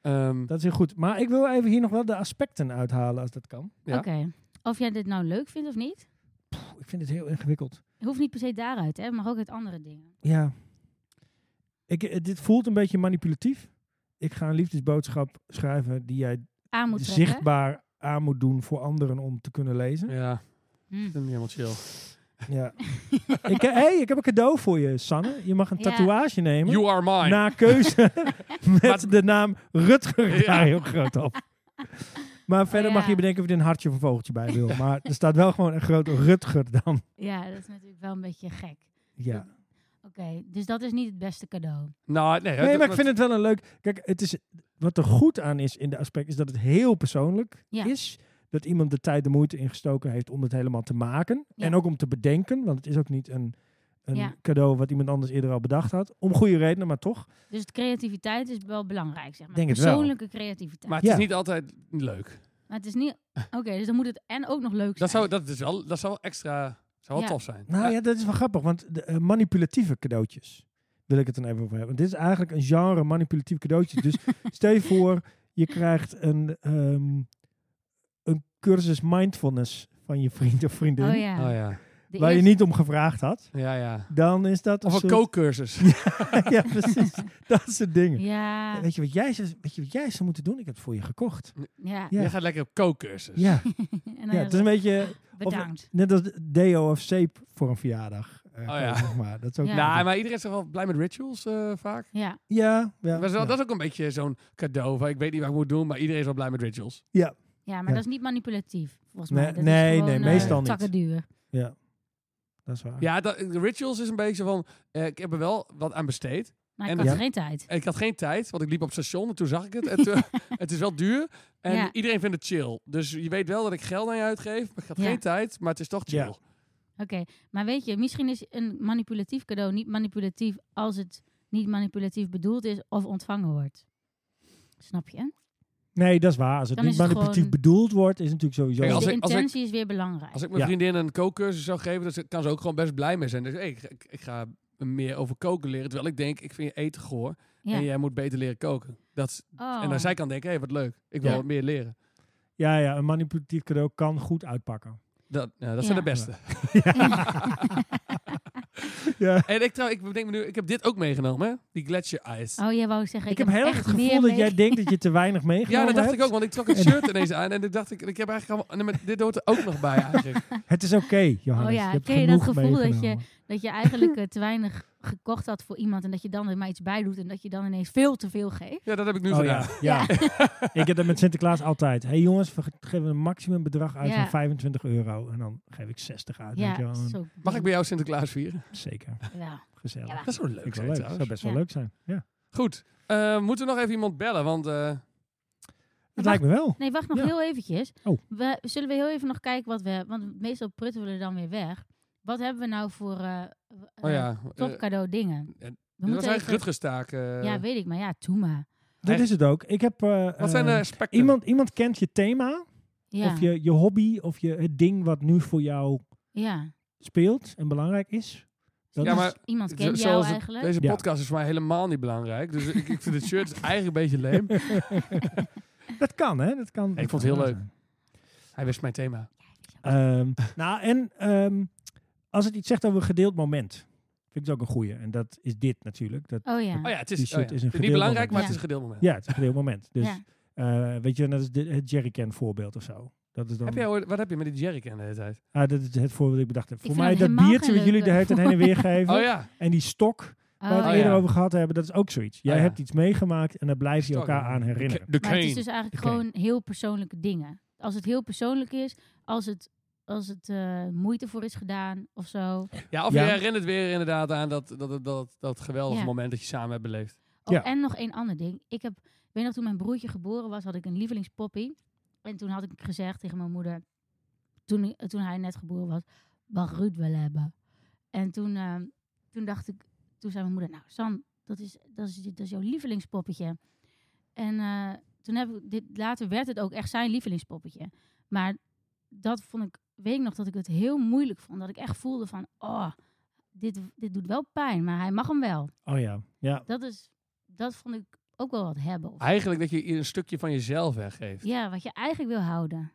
[SPEAKER 3] Ehm,
[SPEAKER 1] Dat is heel goed. Maar ik wil even hier nog wel de aspecten uithalen als dat kan.
[SPEAKER 3] Ja.
[SPEAKER 2] Oké. Of jij dit nou leuk vindt of niet?
[SPEAKER 1] Pff, ik vind het heel ingewikkeld.
[SPEAKER 2] Hoeft niet per se daaruit, hè? Maar ook uit andere dingen.
[SPEAKER 1] Ja. Ik, eh, dit voelt een beetje manipulatief. Ik ga een liefdesboodschap schrijven die jij
[SPEAKER 2] Aan moet trekken.
[SPEAKER 1] zichtbaar aan moet doen voor anderen om te kunnen lezen.
[SPEAKER 3] ja, ik
[SPEAKER 2] Hm.
[SPEAKER 3] vind hem niet helemaal chill.
[SPEAKER 1] Ja. <laughs> ik, he- hey, ik heb een cadeau voor je, Sanne. Je mag een
[SPEAKER 2] Ja.
[SPEAKER 1] tatoeage nemen.
[SPEAKER 3] You are mine.
[SPEAKER 1] Na
[SPEAKER 3] <laughs>
[SPEAKER 1] keuze
[SPEAKER 3] Maar-
[SPEAKER 1] met de naam Rutger
[SPEAKER 3] Ja.
[SPEAKER 1] daar heel groot op. Maar verder
[SPEAKER 2] Oh ja.
[SPEAKER 1] mag je bedenken of je er een hartje of een vogeltje bij wil. Maar er staat wel gewoon een groot Rutger dan.
[SPEAKER 2] Ja, dat is natuurlijk wel een beetje gek.
[SPEAKER 1] Ja.
[SPEAKER 2] Oké, dus dat is niet het beste cadeau.
[SPEAKER 3] Nou, nee.
[SPEAKER 1] Nee,
[SPEAKER 3] dat-
[SPEAKER 1] maar ik vind het wel een leuk... Kijk, het is, wat er goed aan is in de aspect is dat het heel persoonlijk
[SPEAKER 2] Ja.
[SPEAKER 1] is. Dat iemand de tijd de moeite ingestoken heeft om het helemaal te maken.
[SPEAKER 2] Ja.
[SPEAKER 1] En ook om te bedenken, want het is ook niet een, een
[SPEAKER 2] Ja.
[SPEAKER 1] cadeau wat iemand anders eerder al bedacht had. Om goede redenen, maar toch.
[SPEAKER 2] Dus het creativiteit is wel belangrijk, zeg maar.
[SPEAKER 1] Denk het wel.
[SPEAKER 2] Persoonlijke creativiteit.
[SPEAKER 3] Maar
[SPEAKER 2] Maar,
[SPEAKER 3] het is
[SPEAKER 1] Ja.
[SPEAKER 3] niet altijd leuk.
[SPEAKER 2] het is
[SPEAKER 3] <laughs>
[SPEAKER 2] niet... Oké, dus dan moet het en ook nog leuk zijn. Oh
[SPEAKER 3] Dat zou, dat is wel, dat zou wel extra zou wel
[SPEAKER 2] Ja.
[SPEAKER 3] tof zijn.
[SPEAKER 1] Nou ja, dat is wel grappig, want de, eh, manipulatieve cadeautjes wil ik het dan even over hebben. Want dit is eigenlijk een genre manipulatief cadeautjes.
[SPEAKER 2] <laughs>
[SPEAKER 1] Dus stel je voor, je krijgt een, ehm, een cursus mindfulness van je vriend of vriendin,
[SPEAKER 2] Oh ja.
[SPEAKER 3] Oh ja.
[SPEAKER 2] De
[SPEAKER 1] waar je
[SPEAKER 2] eerste-
[SPEAKER 1] niet om gevraagd had.
[SPEAKER 3] Ja, ja.
[SPEAKER 1] Dan is dat
[SPEAKER 3] Of een
[SPEAKER 1] soort-
[SPEAKER 3] kookcursus.
[SPEAKER 1] <laughs> ja,
[SPEAKER 3] <laughs>
[SPEAKER 1] precies. Dat soort dingen.
[SPEAKER 2] Ja,
[SPEAKER 1] Weet, je wat jij zou, weet je wat jij zou moeten doen? Ik heb het voor je gekocht.
[SPEAKER 2] ja.
[SPEAKER 1] Ja.
[SPEAKER 3] Je gaat lekker op kookcursus.
[SPEAKER 2] <laughs>
[SPEAKER 1] Ja,
[SPEAKER 2] Nou En dan
[SPEAKER 1] ja het is een beetje
[SPEAKER 2] bedankt.
[SPEAKER 1] net als deo of zeep voor een verjaardag. eh,
[SPEAKER 3] Oh ja.
[SPEAKER 1] zeg maar. Dat is ook
[SPEAKER 2] Ja.
[SPEAKER 3] Nou, maar iedereen is toch wel blij met rituals eh, vaak.
[SPEAKER 2] Ja,
[SPEAKER 1] ja, ja,
[SPEAKER 3] Dat is, wel-
[SPEAKER 1] ja.
[SPEAKER 3] dat is ook een beetje zo'n cadeau van ik weet niet wat ik moet doen, maar iedereen is wel blij met rituals.
[SPEAKER 2] ja maar
[SPEAKER 1] Ja.
[SPEAKER 2] dat is niet manipulatief, volgens
[SPEAKER 1] Nee,
[SPEAKER 2] mij. Dat is
[SPEAKER 1] nee,
[SPEAKER 2] gewoon,
[SPEAKER 1] nee,
[SPEAKER 2] eh,
[SPEAKER 1] meestal niet.
[SPEAKER 2] takken duwen.
[SPEAKER 1] Dat is waar.
[SPEAKER 3] Ja, dat, rituals is een beetje van eh, ik heb er wel wat aan besteed.
[SPEAKER 2] Maar
[SPEAKER 3] En
[SPEAKER 2] ik had
[SPEAKER 1] dat-
[SPEAKER 2] geen tijd.
[SPEAKER 3] En Ik had geen tijd, want ik liep op het station en toen zag ik het. En
[SPEAKER 1] <laughs>
[SPEAKER 3] toen- het is wel duur en
[SPEAKER 2] Ja.
[SPEAKER 3] iedereen vindt het chill. Dus je weet wel dat ik geld aan je uitgeef, maar ik had
[SPEAKER 2] Ja.
[SPEAKER 3] geen tijd, maar het is toch chill.
[SPEAKER 1] Ja.
[SPEAKER 2] Oké, maar weet je, misschien is een manipulatief cadeau niet manipulatief als het niet manipulatief bedoeld is of ontvangen wordt. Snap je?
[SPEAKER 1] Nee, dat is waar. Als het
[SPEAKER 2] Dan
[SPEAKER 1] niet
[SPEAKER 2] is het
[SPEAKER 1] manipulatief
[SPEAKER 2] gewoon-
[SPEAKER 1] bedoeld wordt, is het natuurlijk sowieso...
[SPEAKER 3] Kijk,
[SPEAKER 2] Dus
[SPEAKER 3] als
[SPEAKER 2] de
[SPEAKER 3] ik- als ik-
[SPEAKER 2] intentie is weer belangrijk.
[SPEAKER 3] Als ik mijn
[SPEAKER 1] Ja.
[SPEAKER 3] vriendin een kookcursus zou geven, dan ze- kan ze ook gewoon best blij mee zijn. Dus hey, ik, ik, ik ga meer over koken leren, terwijl ik denk, ik vind je eten goor
[SPEAKER 2] ja.
[SPEAKER 3] en jij moet beter leren koken. Dat, is-
[SPEAKER 2] Oh.
[SPEAKER 3] En dan zij kan denken, hé, hey, wat leuk, ik wil
[SPEAKER 1] Ja.
[SPEAKER 3] wat meer leren.
[SPEAKER 1] Ja, ja, een manipulatief cadeau kan goed uitpakken.
[SPEAKER 3] Dat, ja, dat zijn
[SPEAKER 2] Ja.
[SPEAKER 3] de beste.
[SPEAKER 1] Ja.
[SPEAKER 3] En ik, trouw, ik bedenk me nu, ik heb dit ook meegenomen, hè? die Gletscher Ice.
[SPEAKER 2] Oh, jij wou zeggen,
[SPEAKER 1] Ik
[SPEAKER 2] ik,
[SPEAKER 1] heb
[SPEAKER 2] heb
[SPEAKER 1] heel erg
[SPEAKER 2] echt
[SPEAKER 1] het gevoel
[SPEAKER 2] meer
[SPEAKER 1] dat
[SPEAKER 2] mee-
[SPEAKER 1] jij denkt dat je te weinig meegenomen
[SPEAKER 3] <laughs> Ja, dat dacht
[SPEAKER 1] hebt.
[SPEAKER 3] ik ook, want ik trok het shirt ineens aan en dan dacht ik, ik heb eigenlijk allemaal, en met- dit hoort er ook nog bij eigenlijk.
[SPEAKER 1] Het is oké, Johannes.
[SPEAKER 2] Oh ja,
[SPEAKER 1] je hebt
[SPEAKER 2] ken je dat
[SPEAKER 1] genoeg
[SPEAKER 2] gevoel dat je-
[SPEAKER 1] meegenomen.
[SPEAKER 2] Dat je
[SPEAKER 1] <laughs>
[SPEAKER 2] eigenlijk eh, te weinig gekocht had voor iemand en dat je dan er maar iets bij doet en dat je dan ineens veel te veel geeft.
[SPEAKER 3] Ja, dat heb ik nu
[SPEAKER 1] Oh
[SPEAKER 3] gedaan.
[SPEAKER 1] ja, ja. <laughs> ik heb dat met Sinterklaas altijd. Hé hey jongens, we ge- geven een maximum bedrag uit
[SPEAKER 2] Ja.
[SPEAKER 1] van 25 euro. En dan geef ik 60 uit. weet
[SPEAKER 2] Ja,
[SPEAKER 1] je wel. En
[SPEAKER 2] zo.
[SPEAKER 3] Mag ik bij jou Sinterklaas vieren?
[SPEAKER 1] Zeker,
[SPEAKER 2] Ja.
[SPEAKER 1] gezellig.
[SPEAKER 2] Ja.
[SPEAKER 3] Dat is wel
[SPEAKER 1] Vind
[SPEAKER 3] leuk
[SPEAKER 1] ik wel
[SPEAKER 3] zijn
[SPEAKER 1] leuk.
[SPEAKER 3] trouwens.
[SPEAKER 1] zou best wel
[SPEAKER 2] Ja.
[SPEAKER 1] leuk zijn. Ja. Het
[SPEAKER 3] Goed, Eh, moeten we nog even iemand bellen? Want eh,
[SPEAKER 2] mag-
[SPEAKER 1] lijkt me wel.
[SPEAKER 2] Nee, wacht nog
[SPEAKER 1] Ja.
[SPEAKER 2] heel eventjes.
[SPEAKER 1] Oh.
[SPEAKER 2] We, zullen we heel even nog kijken wat we... Want meestal prutten we er dan weer weg. Wat hebben we nou voor eh, eh,
[SPEAKER 3] oh ja, eh,
[SPEAKER 2] topcadeau dingen?
[SPEAKER 3] eh, dit
[SPEAKER 2] We
[SPEAKER 3] was eigenlijk
[SPEAKER 2] even-
[SPEAKER 3] Rutgestaak. eh,
[SPEAKER 2] Ja, weet ik, maar ja, doe maar.
[SPEAKER 1] Dat is het ook. Ik heb... eh,
[SPEAKER 3] wat zijn de
[SPEAKER 1] eh,
[SPEAKER 3] aspecten?
[SPEAKER 1] Iemand, iemand kent je thema,
[SPEAKER 2] Ja,
[SPEAKER 1] of je, je hobby, of je, het ding wat nu voor jou
[SPEAKER 2] ja. Dus
[SPEAKER 1] speelt en belangrijk is. Dat
[SPEAKER 3] Ja,
[SPEAKER 1] is-
[SPEAKER 3] maar
[SPEAKER 2] iemand
[SPEAKER 3] Zo-
[SPEAKER 2] kent jou
[SPEAKER 3] zoals het-
[SPEAKER 2] eigenlijk.
[SPEAKER 3] Deze
[SPEAKER 1] Ja.
[SPEAKER 3] podcast is voor mij helemaal niet belangrijk. Dus ik, ik vind het
[SPEAKER 2] <laughs>
[SPEAKER 3] shirt is eigenlijk een beetje leem.
[SPEAKER 1] dat kan, hè? Dat kan,
[SPEAKER 3] Ik vond het heel leuk. Hij wist mijn thema.
[SPEAKER 1] Ehm, <laughs> nou, en ehm, als het iets zegt over een gedeeld moment, vind ik het ook een goeie. En dat is dit natuurlijk. Dat,
[SPEAKER 2] Oh ja.
[SPEAKER 3] Oh ja, het
[SPEAKER 1] Die
[SPEAKER 3] is,
[SPEAKER 1] shirt
[SPEAKER 3] oh
[SPEAKER 1] is een
[SPEAKER 3] ja, het is niet
[SPEAKER 1] gedeeld
[SPEAKER 3] belangrijk, maar
[SPEAKER 2] moment.
[SPEAKER 3] het is een gedeeld moment.
[SPEAKER 1] ja, het is een gedeeld moment. Dus,
[SPEAKER 2] Ja.
[SPEAKER 1] eh, weet je, dat is de- het jerrycan voorbeeld of zo. Dat is dan,
[SPEAKER 3] Heb jij, ooit- wat heb je met die jerrycan de hele tijd?
[SPEAKER 1] Ah, dat is het voorbeeld dat ik bedacht heb. Voor
[SPEAKER 2] vind
[SPEAKER 1] mij
[SPEAKER 2] dat
[SPEAKER 1] dat
[SPEAKER 2] helemaal
[SPEAKER 1] biertje
[SPEAKER 2] geen
[SPEAKER 1] wat jullie de hele tijd heen en weer geven.
[SPEAKER 3] <laughs> Oh ja,
[SPEAKER 1] En die stok waar we het
[SPEAKER 2] Oh,
[SPEAKER 3] ja.
[SPEAKER 1] eerder over gehad hebben, dat is ook zoiets. Jij
[SPEAKER 3] Oh ja.
[SPEAKER 1] hebt iets meegemaakt en daar blijf je
[SPEAKER 3] Stok,
[SPEAKER 1] elkaar
[SPEAKER 3] ja.
[SPEAKER 1] aan herinneren.
[SPEAKER 3] de
[SPEAKER 2] Maar het is dus
[SPEAKER 3] cane.
[SPEAKER 2] eigenlijk
[SPEAKER 1] Oké.
[SPEAKER 2] gewoon heel persoonlijke dingen. Als het heel persoonlijk is, als het, als het eh, moeite voor is gedaan of zo.
[SPEAKER 3] Ja, of
[SPEAKER 1] Ja.
[SPEAKER 3] je herinnert weer inderdaad aan dat, dat, dat, dat, dat geweldige
[SPEAKER 2] Ja.
[SPEAKER 3] moment dat je samen hebt beleefd.
[SPEAKER 2] Oh,
[SPEAKER 1] Ja.
[SPEAKER 2] En nog één ander ding. Ik heb, ik weet nog, toen mijn broertje geboren was, had ik een lievelingspoppy. En toen had ik gezegd tegen mijn moeder, toen, eh, toen hij net geboren was, mag Ruud wel hebben. En toen, eh, toen dacht ik, toen zei mijn moeder, nou San, dat is, dat is, dat is jouw lievelingspoppetje. En eh, toen heb ik, dit, later werd het ook echt zijn lievelingspoppetje. Maar dat vond ik, weet ik nog, dat ik het heel moeilijk vond. Dat ik echt voelde van, oh, dit, dit doet wel pijn, maar hij mag hem wel
[SPEAKER 1] Oh ja, ja.
[SPEAKER 2] dat is, dat vond ik ook wel wat hebben. Of,
[SPEAKER 3] Eigenlijk dat je een stukje van jezelf weggeeft.
[SPEAKER 2] ja, wat je eigenlijk wil houden.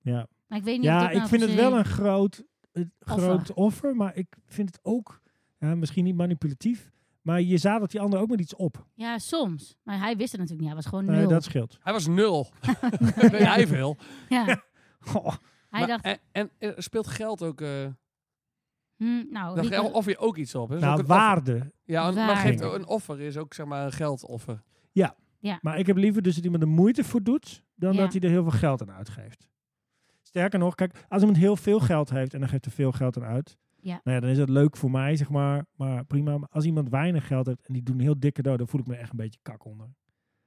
[SPEAKER 1] ja.
[SPEAKER 2] Maar ik weet niet. of
[SPEAKER 1] Ja,
[SPEAKER 2] dat nou
[SPEAKER 1] ik vind het
[SPEAKER 2] per
[SPEAKER 1] wel
[SPEAKER 2] se-
[SPEAKER 1] een groot, het
[SPEAKER 2] Offer.
[SPEAKER 1] groot offer, maar ik vind het ook ja, misschien niet manipulatief, maar je zadelt die ander ook met iets op.
[SPEAKER 2] Ja, soms. Maar hij wist het natuurlijk niet. Hij was gewoon
[SPEAKER 1] Eh,
[SPEAKER 2] nul. <laughs>
[SPEAKER 1] dat scheelt.
[SPEAKER 3] Hij was nul. Weet jij veel.
[SPEAKER 1] <laughs>
[SPEAKER 2] ja.
[SPEAKER 1] Goh,
[SPEAKER 2] Hij
[SPEAKER 3] Maar-
[SPEAKER 1] eh,
[SPEAKER 2] dacht,
[SPEAKER 3] eh,
[SPEAKER 2] Oh,
[SPEAKER 3] en, en er speelt geld ook... eh,
[SPEAKER 2] Hm, nou,
[SPEAKER 3] Dan
[SPEAKER 2] niet-
[SPEAKER 1] oh,
[SPEAKER 3] ge- offer je ook iets op. Hè? Is ook
[SPEAKER 1] Nou,
[SPEAKER 3] een offer.
[SPEAKER 1] waarde.
[SPEAKER 3] Ja, een- maar geeft,
[SPEAKER 2] Waarde.
[SPEAKER 3] een offer is ook zeg maar een geldoffer.
[SPEAKER 1] Maar ik heb liever dus dat iemand er moeite voor doet, dan
[SPEAKER 2] Ja.
[SPEAKER 1] dat hij er heel veel geld aan uitgeeft. Sterker nog, kijk, als iemand heel veel geld heeft en dan geeft er veel geld aan uit,
[SPEAKER 2] Ja.
[SPEAKER 1] nou ja, dan is dat leuk voor mij, zeg maar, maar prima. Maar als iemand weinig geld heeft en die doet een heel dikke cadeau, dan voel ik me echt een beetje kak onder.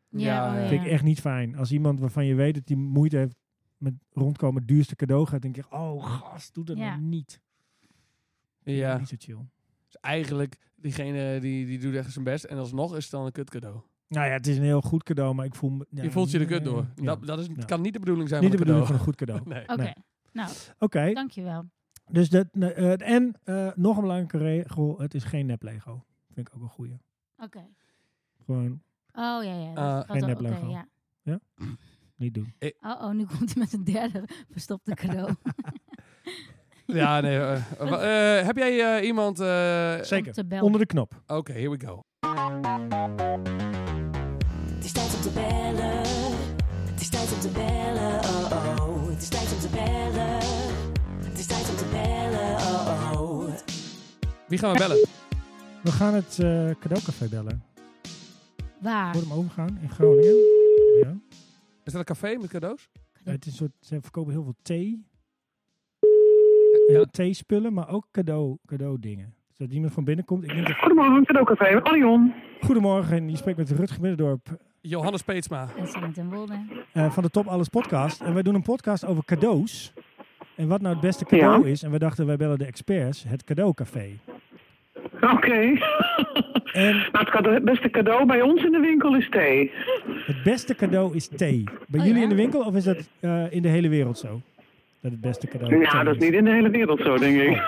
[SPEAKER 2] ja,
[SPEAKER 3] Ja,
[SPEAKER 2] oh,
[SPEAKER 3] ja.
[SPEAKER 1] Vind ik echt niet fijn. Als iemand waarvan je weet dat die moeite heeft met rondkomen het duurste cadeau gaat, denk ik, oh gast, doe dat
[SPEAKER 2] Ja.
[SPEAKER 1] nou niet.
[SPEAKER 3] Ja.
[SPEAKER 1] Niet zo chill.
[SPEAKER 3] Dus eigenlijk, diegene die, die doet echt zijn best. En alsnog is het dan een kut cadeau.
[SPEAKER 1] Nou ja, het is een heel goed cadeau, maar ik voel me... ja,
[SPEAKER 3] je voelt je de kut
[SPEAKER 1] eh,
[SPEAKER 3] door.
[SPEAKER 1] ja.
[SPEAKER 3] Dat, dat is,
[SPEAKER 1] Ja.
[SPEAKER 3] kan niet de bedoeling zijn
[SPEAKER 1] Niet de
[SPEAKER 3] van een
[SPEAKER 1] bedoeling van
[SPEAKER 3] cadeau.
[SPEAKER 1] een goed cadeau.
[SPEAKER 3] <laughs> Nee.
[SPEAKER 2] Oké, nou,
[SPEAKER 1] Oké,
[SPEAKER 2] dankjewel.
[SPEAKER 1] dus dat... nee, eh, en eh, nog een belangrijke regel, het is geen nep Lego. Vind ik ook een goeie.
[SPEAKER 2] Oké.
[SPEAKER 1] Gewoon
[SPEAKER 2] Oh, ja, ja. dat
[SPEAKER 3] Eh,
[SPEAKER 1] Ah, geen
[SPEAKER 2] is wel-
[SPEAKER 1] neplogo.
[SPEAKER 2] oké, ja.
[SPEAKER 1] niet doen.
[SPEAKER 2] Oh, oh, nu <laughs> komt hij met een derde verstopte cadeau.
[SPEAKER 3] Ja, nee. eh,
[SPEAKER 1] <laughs>
[SPEAKER 3] eh, wa- eh, heb jij eh, iemand... eh,
[SPEAKER 1] Zeker.
[SPEAKER 2] Om te bellen.
[SPEAKER 1] Onder de knop.
[SPEAKER 3] Oké, here we go.
[SPEAKER 4] Het is tijd om te bellen. Het is tijd om te bellen. Oh oh. Het is tijd om te bellen. Het is tijd om te bellen. Oh oh.
[SPEAKER 3] Wie gaan we bellen?
[SPEAKER 1] We gaan het eh, cadeaucafé bellen.
[SPEAKER 2] Waar?
[SPEAKER 1] Voor hem overgaan in Groningen. Ja.
[SPEAKER 3] Is dat een café met cadeaus?
[SPEAKER 1] Ja, het is een soort, ze verkopen heel veel thee.
[SPEAKER 3] Ja.
[SPEAKER 1] Ja. Theespullen, maar ook cadeau, cadeau dingen. Zodat iemand van binnen komt. Ik denk dat-
[SPEAKER 6] Goedemorgen, cadeaucafé met Marion.
[SPEAKER 1] Goedemorgen, je spreekt met Rutger Middendorp
[SPEAKER 3] Johannes Peetsma.
[SPEAKER 2] En Sanne ten Wolde.
[SPEAKER 1] eh, van de Top Alles podcast. En wij doen een podcast over cadeaus. En wat nou het beste cadeau is. En we dachten, wij bellen de experts, het cadeaucafé.
[SPEAKER 6] Oké. <laughs>
[SPEAKER 1] En
[SPEAKER 6] Nou, het cade- beste cadeau bij ons in de winkel is thee.
[SPEAKER 1] het beste cadeau is thee. Bij
[SPEAKER 2] Oh,
[SPEAKER 1] jullie
[SPEAKER 2] ja?
[SPEAKER 1] in de winkel of is dat eh, in de hele wereld zo? Dat het beste cadeau
[SPEAKER 6] Nou,
[SPEAKER 1] thee
[SPEAKER 6] dat is niet in de hele wereld zo, denk ik.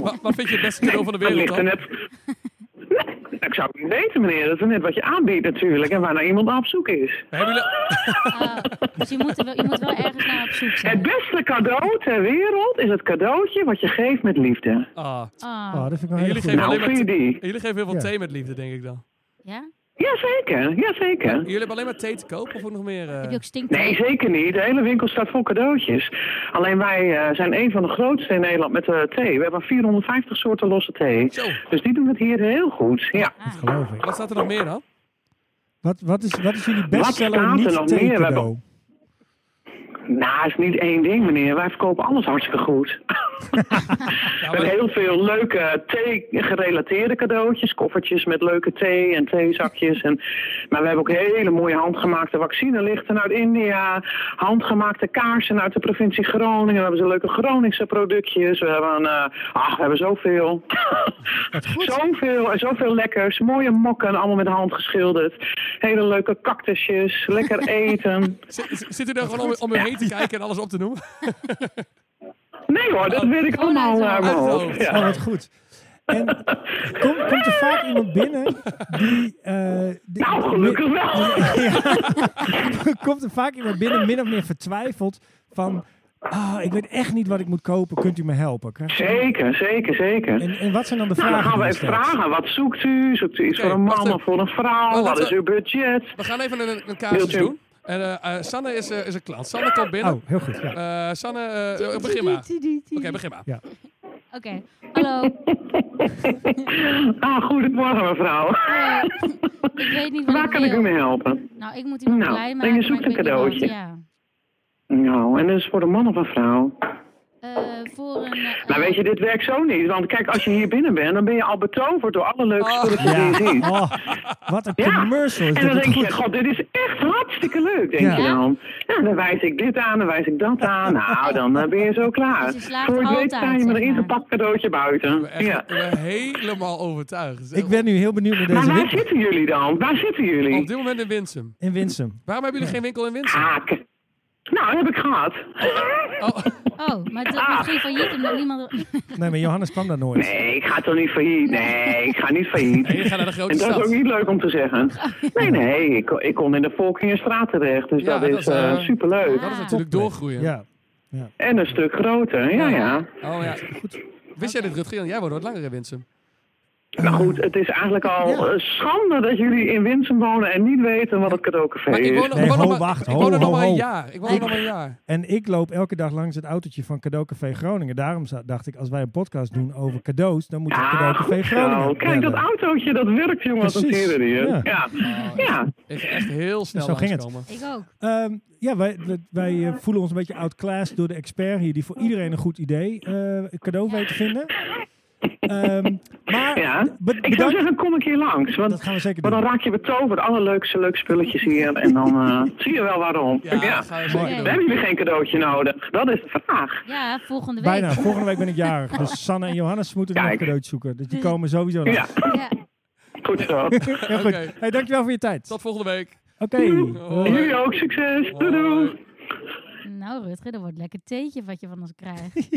[SPEAKER 3] Wat, wat vind je het beste cadeau van de
[SPEAKER 6] Dat
[SPEAKER 3] Oh, wereld
[SPEAKER 6] ligt er
[SPEAKER 3] dan?
[SPEAKER 6] net... <laughs> Nee, ik zou het niet weten, meneer. Dat is net wat je aanbiedt natuurlijk en waar nou iemand naar op zoek is.
[SPEAKER 3] Hebben jullie...
[SPEAKER 2] Ah, dus je moet, er wel, je moet wel ergens naar op zoek
[SPEAKER 6] Het
[SPEAKER 2] zijn.
[SPEAKER 6] beste cadeau ter wereld is het cadeautje wat je geeft met liefde.
[SPEAKER 3] Ah,
[SPEAKER 2] Ah,
[SPEAKER 1] Oh, dat vind ik wel
[SPEAKER 3] En
[SPEAKER 1] heel
[SPEAKER 3] jullie
[SPEAKER 1] goed.
[SPEAKER 3] geven-
[SPEAKER 6] Nou,
[SPEAKER 3] alleen maar
[SPEAKER 6] vind je die?
[SPEAKER 3] jullie geven heel veel
[SPEAKER 1] Ja.
[SPEAKER 3] thee met liefde, denk ik dan.
[SPEAKER 2] ja?
[SPEAKER 6] Jazeker, jazeker.
[SPEAKER 3] Jullie hebben alleen maar thee te kopen of ook nog meer? eh?
[SPEAKER 2] Heb je ook stinkt?
[SPEAKER 6] Nee, zeker niet. De hele winkel staat vol cadeautjes. Alleen wij eh, zijn een van de grootste in Nederland met eh, thee. We hebben 450 soorten losse thee.
[SPEAKER 3] Zo,
[SPEAKER 6] Dus die doen het hier heel goed. Ja.
[SPEAKER 1] Dat geloof ik.
[SPEAKER 3] wat staat er nog meer dan?
[SPEAKER 1] Wat, wat, is, wat is jullie
[SPEAKER 6] staat
[SPEAKER 1] bestseller
[SPEAKER 6] er
[SPEAKER 1] niet
[SPEAKER 6] nog meer? We
[SPEAKER 1] thee
[SPEAKER 6] hebben-
[SPEAKER 1] cadeau?
[SPEAKER 6] Nou, is niet één ding, meneer. Wij verkopen alles hartstikke goed. <laughs>
[SPEAKER 3] Ja,
[SPEAKER 6] We hebben
[SPEAKER 3] maar-
[SPEAKER 6] heel veel leuke thee-gerelateerde cadeautjes. Koffertjes met leuke thee en theezakjes. En, maar we hebben ook hele mooie handgemaakte vaccinelichten uit India. Handgemaakte kaarsen uit de provincie Groningen. We hebben zo leuke Groningse productjes. We hebben, eh ach, we hebben zoveel. zoveel en zoveel lekkers. Mooie mokken, allemaal met de hand geschilderd. Hele leuke cactusjes. Lekker eten.
[SPEAKER 3] Zit- zit- Zit u daar gewoon om, om u heen te kijken en alles op te noemen?
[SPEAKER 6] Nee hoor, dat weet ik
[SPEAKER 2] Gewoon uit
[SPEAKER 6] allemaal eh,
[SPEAKER 2] het
[SPEAKER 6] uit
[SPEAKER 2] hoofd.
[SPEAKER 6] mijn
[SPEAKER 3] Oh, Uit het hoofd.
[SPEAKER 6] hoofd. Ja.
[SPEAKER 1] Oh, wat goed. En kom- komt er vaak iemand binnen die... eh, die-
[SPEAKER 3] Oh.
[SPEAKER 6] Nou, gelukkig wel.
[SPEAKER 1] Ja. komt er vaak iemand binnen min of meer vertwijfeld van... Ah, ik weet echt niet wat ik moet kopen. Kunt u me helpen? Krijg je-
[SPEAKER 6] Zeker, zeker, zeker.
[SPEAKER 1] En, en wat zijn dan de
[SPEAKER 6] nou, dan
[SPEAKER 1] vragen?
[SPEAKER 6] gaan we
[SPEAKER 1] die je
[SPEAKER 6] even
[SPEAKER 1] stelt?
[SPEAKER 6] vragen. Wat zoekt u? Zoekt u iets
[SPEAKER 3] Oké,
[SPEAKER 6] voor een
[SPEAKER 3] wacht
[SPEAKER 6] man
[SPEAKER 3] even. Oh,
[SPEAKER 6] of voor een vrouw?
[SPEAKER 3] Wacht
[SPEAKER 6] Wat is
[SPEAKER 3] even.
[SPEAKER 6] uw budget?
[SPEAKER 3] We gaan even een, een casus
[SPEAKER 6] Wilt u?
[SPEAKER 3] doen. En eh, eh, Sanne is, eh, is een klant. Sanne komt binnen.
[SPEAKER 1] Oh, heel goed. Ja.
[SPEAKER 3] Eh, Sanne, eh, eh, <laughs> begin maar. Oké, begin maar.
[SPEAKER 2] Oké, hallo.
[SPEAKER 6] Ah, goedemorgen mevrouw.
[SPEAKER 2] Eh, ik weet niet wat
[SPEAKER 6] <laughs> Waar
[SPEAKER 2] ik
[SPEAKER 6] kan ik u
[SPEAKER 2] wil.
[SPEAKER 6] mee helpen?
[SPEAKER 2] Nou, ik moet iemand
[SPEAKER 6] Nou,
[SPEAKER 2] blij
[SPEAKER 6] en je
[SPEAKER 2] maken. maar
[SPEAKER 6] zoekt
[SPEAKER 2] ik
[SPEAKER 6] een
[SPEAKER 2] weet niet wat,
[SPEAKER 6] cadeautje.
[SPEAKER 2] Ja.
[SPEAKER 6] Nou, en dat is voor een man of een vrouw?
[SPEAKER 2] Eh, voor een... eh,
[SPEAKER 6] Nou weet je, dit werkt zo niet. Want kijk, als je hier binnen bent, dan ben je al betoverd door alle leuke
[SPEAKER 3] Oh.
[SPEAKER 6] spullen die je ziet.
[SPEAKER 1] Oh, wat een
[SPEAKER 6] Ja.
[SPEAKER 1] commercial is
[SPEAKER 6] En dan
[SPEAKER 1] dit.
[SPEAKER 6] denk
[SPEAKER 1] Wat
[SPEAKER 6] je,
[SPEAKER 1] goed.
[SPEAKER 6] god, dit is echt hartstikke leuk, denk
[SPEAKER 1] Ja.
[SPEAKER 6] je dan. Ja, dan wijs ik dit aan, dan wijs ik dat aan. Nou, dan eh, ben je zo klaar.
[SPEAKER 2] Dus je slaagt
[SPEAKER 6] Voor je
[SPEAKER 2] altijd,
[SPEAKER 6] weet sta je met een
[SPEAKER 2] zeg maar.
[SPEAKER 6] ingepakt cadeautje
[SPEAKER 3] Ik ben,
[SPEAKER 6] buiten.
[SPEAKER 3] echt,
[SPEAKER 6] Ja.
[SPEAKER 3] ik ben helemaal overtuigd.
[SPEAKER 1] Ik ben nu heel benieuwd naar
[SPEAKER 6] Maar
[SPEAKER 1] deze
[SPEAKER 6] waar
[SPEAKER 1] winkel.
[SPEAKER 6] zitten jullie dan? Waar zitten
[SPEAKER 3] Op
[SPEAKER 6] jullie?
[SPEAKER 3] dit moment in Winsum.
[SPEAKER 1] In Winsum.
[SPEAKER 3] Waarom hebben jullie geen winkel in Winsum?
[SPEAKER 6] Ah, k- nou, dat heb ik gehad.
[SPEAKER 3] Oh,
[SPEAKER 2] Oh, maar dat ah. ging failliet omdat niemand... <laughs>
[SPEAKER 1] Nee, maar Johannes kwam daar nooit.
[SPEAKER 6] Nee, ik ga toch niet failliet? Nee, ik ga niet failliet.
[SPEAKER 3] nee, je gaat naar de
[SPEAKER 6] En
[SPEAKER 3] grote
[SPEAKER 6] dat is
[SPEAKER 3] stad.
[SPEAKER 6] ook niet leuk om te zeggen.
[SPEAKER 2] Oh,
[SPEAKER 6] Nee, nee, ik, ik kon in de Volkingenstraat terecht. Dus
[SPEAKER 3] Ja,
[SPEAKER 6] dat
[SPEAKER 3] dat
[SPEAKER 6] is
[SPEAKER 3] is, eh,
[SPEAKER 6] eh, superleuk.
[SPEAKER 3] Dat is
[SPEAKER 2] Ah.
[SPEAKER 3] natuurlijk doorgroeien.
[SPEAKER 1] Ja.
[SPEAKER 6] En een stuk groter, ja, ja.
[SPEAKER 3] Oh ja. Wist jij dit, Rutger? Jij woont wat langer in Winsum.
[SPEAKER 6] Maar Nou goed, het is eigenlijk al
[SPEAKER 1] Mm. Ja.
[SPEAKER 6] eh, schande dat jullie in Winsum wonen en niet weten wat het cadeaucafé
[SPEAKER 3] Maar ik
[SPEAKER 6] is.
[SPEAKER 3] woon, er-
[SPEAKER 1] Nee,
[SPEAKER 3] ik woon
[SPEAKER 1] ho,
[SPEAKER 3] er maar-
[SPEAKER 1] wacht,
[SPEAKER 3] ik
[SPEAKER 1] ho,
[SPEAKER 3] woon er nog
[SPEAKER 1] ho,
[SPEAKER 3] maar een
[SPEAKER 1] ho.
[SPEAKER 3] jaar. Ik woon er nog maar een jaar.
[SPEAKER 1] En ik loop elke dag langs het autootje van cadeaucafé Groningen. Daarom za- dacht ik, als wij een podcast doen over cadeaus, dan moet ik
[SPEAKER 6] Ah,
[SPEAKER 1] cadeaucafé
[SPEAKER 6] goed
[SPEAKER 1] Groningen
[SPEAKER 6] zo. Kijk, dat
[SPEAKER 1] bellen.
[SPEAKER 6] autootje, dat werkt jongen, als een
[SPEAKER 1] Precies,
[SPEAKER 6] tierenlier.
[SPEAKER 1] ja.
[SPEAKER 6] Ja. Ja. ja,
[SPEAKER 3] Ik ga echt heel snel
[SPEAKER 1] Zo ging het.
[SPEAKER 3] langskomen.
[SPEAKER 2] Ik ook.
[SPEAKER 1] Ehm, ja, wij, wij- wij eh, voelen ons een beetje outclassed door de expert hier, die voor iedereen een goed idee eh, cadeau weet te vinden. Ehm, maar be-
[SPEAKER 6] Ik zou
[SPEAKER 1] bedankt.
[SPEAKER 6] zeggen, kom een keer langs. Want,
[SPEAKER 1] Dat gaan we zeker
[SPEAKER 6] want dan
[SPEAKER 1] doen.
[SPEAKER 6] raak je betoverd. Allerleukste leuk spulletjes hier. En dan
[SPEAKER 1] <laughs>
[SPEAKER 6] eh, zie je wel waarom.
[SPEAKER 3] Ja, dat gaan we zeker
[SPEAKER 2] Mooi.
[SPEAKER 6] We
[SPEAKER 3] doen.
[SPEAKER 6] hebben jullie geen cadeautje nodig. Dat is de vraag.
[SPEAKER 2] Ja, volgende week.
[SPEAKER 1] Bijna, volgende week ben ik jarig.
[SPEAKER 6] <laughs>
[SPEAKER 1] Dus Sanne en Johannes moeten nog
[SPEAKER 6] Kijk.
[SPEAKER 1] een cadeautje zoeken. Dus die komen sowieso
[SPEAKER 6] Ja,
[SPEAKER 2] <laughs>
[SPEAKER 1] langs.
[SPEAKER 2] Ja.
[SPEAKER 6] goed zo.
[SPEAKER 1] Heel <laughs> goed.
[SPEAKER 3] Oké.
[SPEAKER 1] Hey, dankjewel voor je tijd.
[SPEAKER 3] Tot volgende week.
[SPEAKER 1] Oké.
[SPEAKER 6] En jullie ook succes. Doei doei.
[SPEAKER 2] Nou, Rutger, dat wordt lekker theetje wat je van ons krijgt.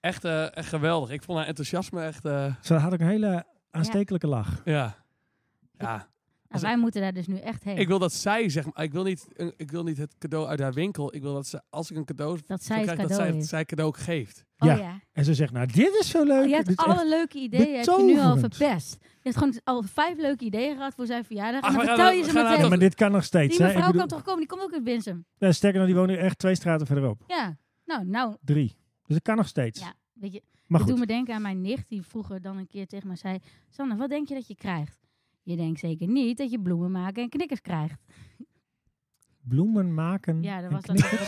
[SPEAKER 3] Echt, eh, echt geweldig. Ik vond haar enthousiasme echt... eh,
[SPEAKER 1] Ze had ook een hele aanstekelijke lach.
[SPEAKER 3] ja. Ja.
[SPEAKER 2] Nou, wij moeten daar dus nu echt heen.
[SPEAKER 3] Ik wil dat zij, zeg maar... Ik wil, niet, een- ik wil niet het cadeau uit haar winkel. Ik wil dat ze, als ik een cadeau zo
[SPEAKER 2] dat zij het
[SPEAKER 3] krijg,
[SPEAKER 2] cadeau
[SPEAKER 3] dat zij
[SPEAKER 2] heeft.
[SPEAKER 3] het zij cadeau ook geeft.
[SPEAKER 2] Oh
[SPEAKER 1] Ja.
[SPEAKER 2] ja.
[SPEAKER 1] En ze zegt, nou dit is zo leuk.
[SPEAKER 2] Oh, je
[SPEAKER 1] Dit
[SPEAKER 2] hebt
[SPEAKER 1] is
[SPEAKER 2] alle
[SPEAKER 1] echt-
[SPEAKER 2] leuke ideeën heb je nu al
[SPEAKER 1] betoverend.
[SPEAKER 2] verpest. Je hebt gewoon al vijf leuke ideeën gehad voor zijn verjaardag.
[SPEAKER 3] Ach,
[SPEAKER 2] en dan
[SPEAKER 3] we gaan-
[SPEAKER 2] vertel je
[SPEAKER 3] we
[SPEAKER 2] ze
[SPEAKER 3] gaan
[SPEAKER 1] Ja,
[SPEAKER 3] aan
[SPEAKER 2] meteen.
[SPEAKER 1] maar dit kan nog steeds.
[SPEAKER 2] Die
[SPEAKER 1] hè?
[SPEAKER 2] mevrouw
[SPEAKER 1] Ik bedoel-
[SPEAKER 2] kan toch komen? Die komt ook uit Winsum.
[SPEAKER 1] Ja, sterker nog, die woont nu echt twee straten verderop.
[SPEAKER 2] Ja. Nou, nou.
[SPEAKER 1] Drie. Dus het kan nog steeds.
[SPEAKER 2] Ja, weet je.
[SPEAKER 1] maar
[SPEAKER 2] Ik
[SPEAKER 1] goed.
[SPEAKER 2] doe me denken aan mijn nicht die vroeger dan een keer tegen me zei... Sanne, wat denk je dat je krijgt? Je denkt zeker niet dat je bloemen maken en knikkers krijgt.
[SPEAKER 1] Bloemen maken.
[SPEAKER 2] Ja, dat
[SPEAKER 1] Mm, en
[SPEAKER 2] was dat.
[SPEAKER 1] knippen.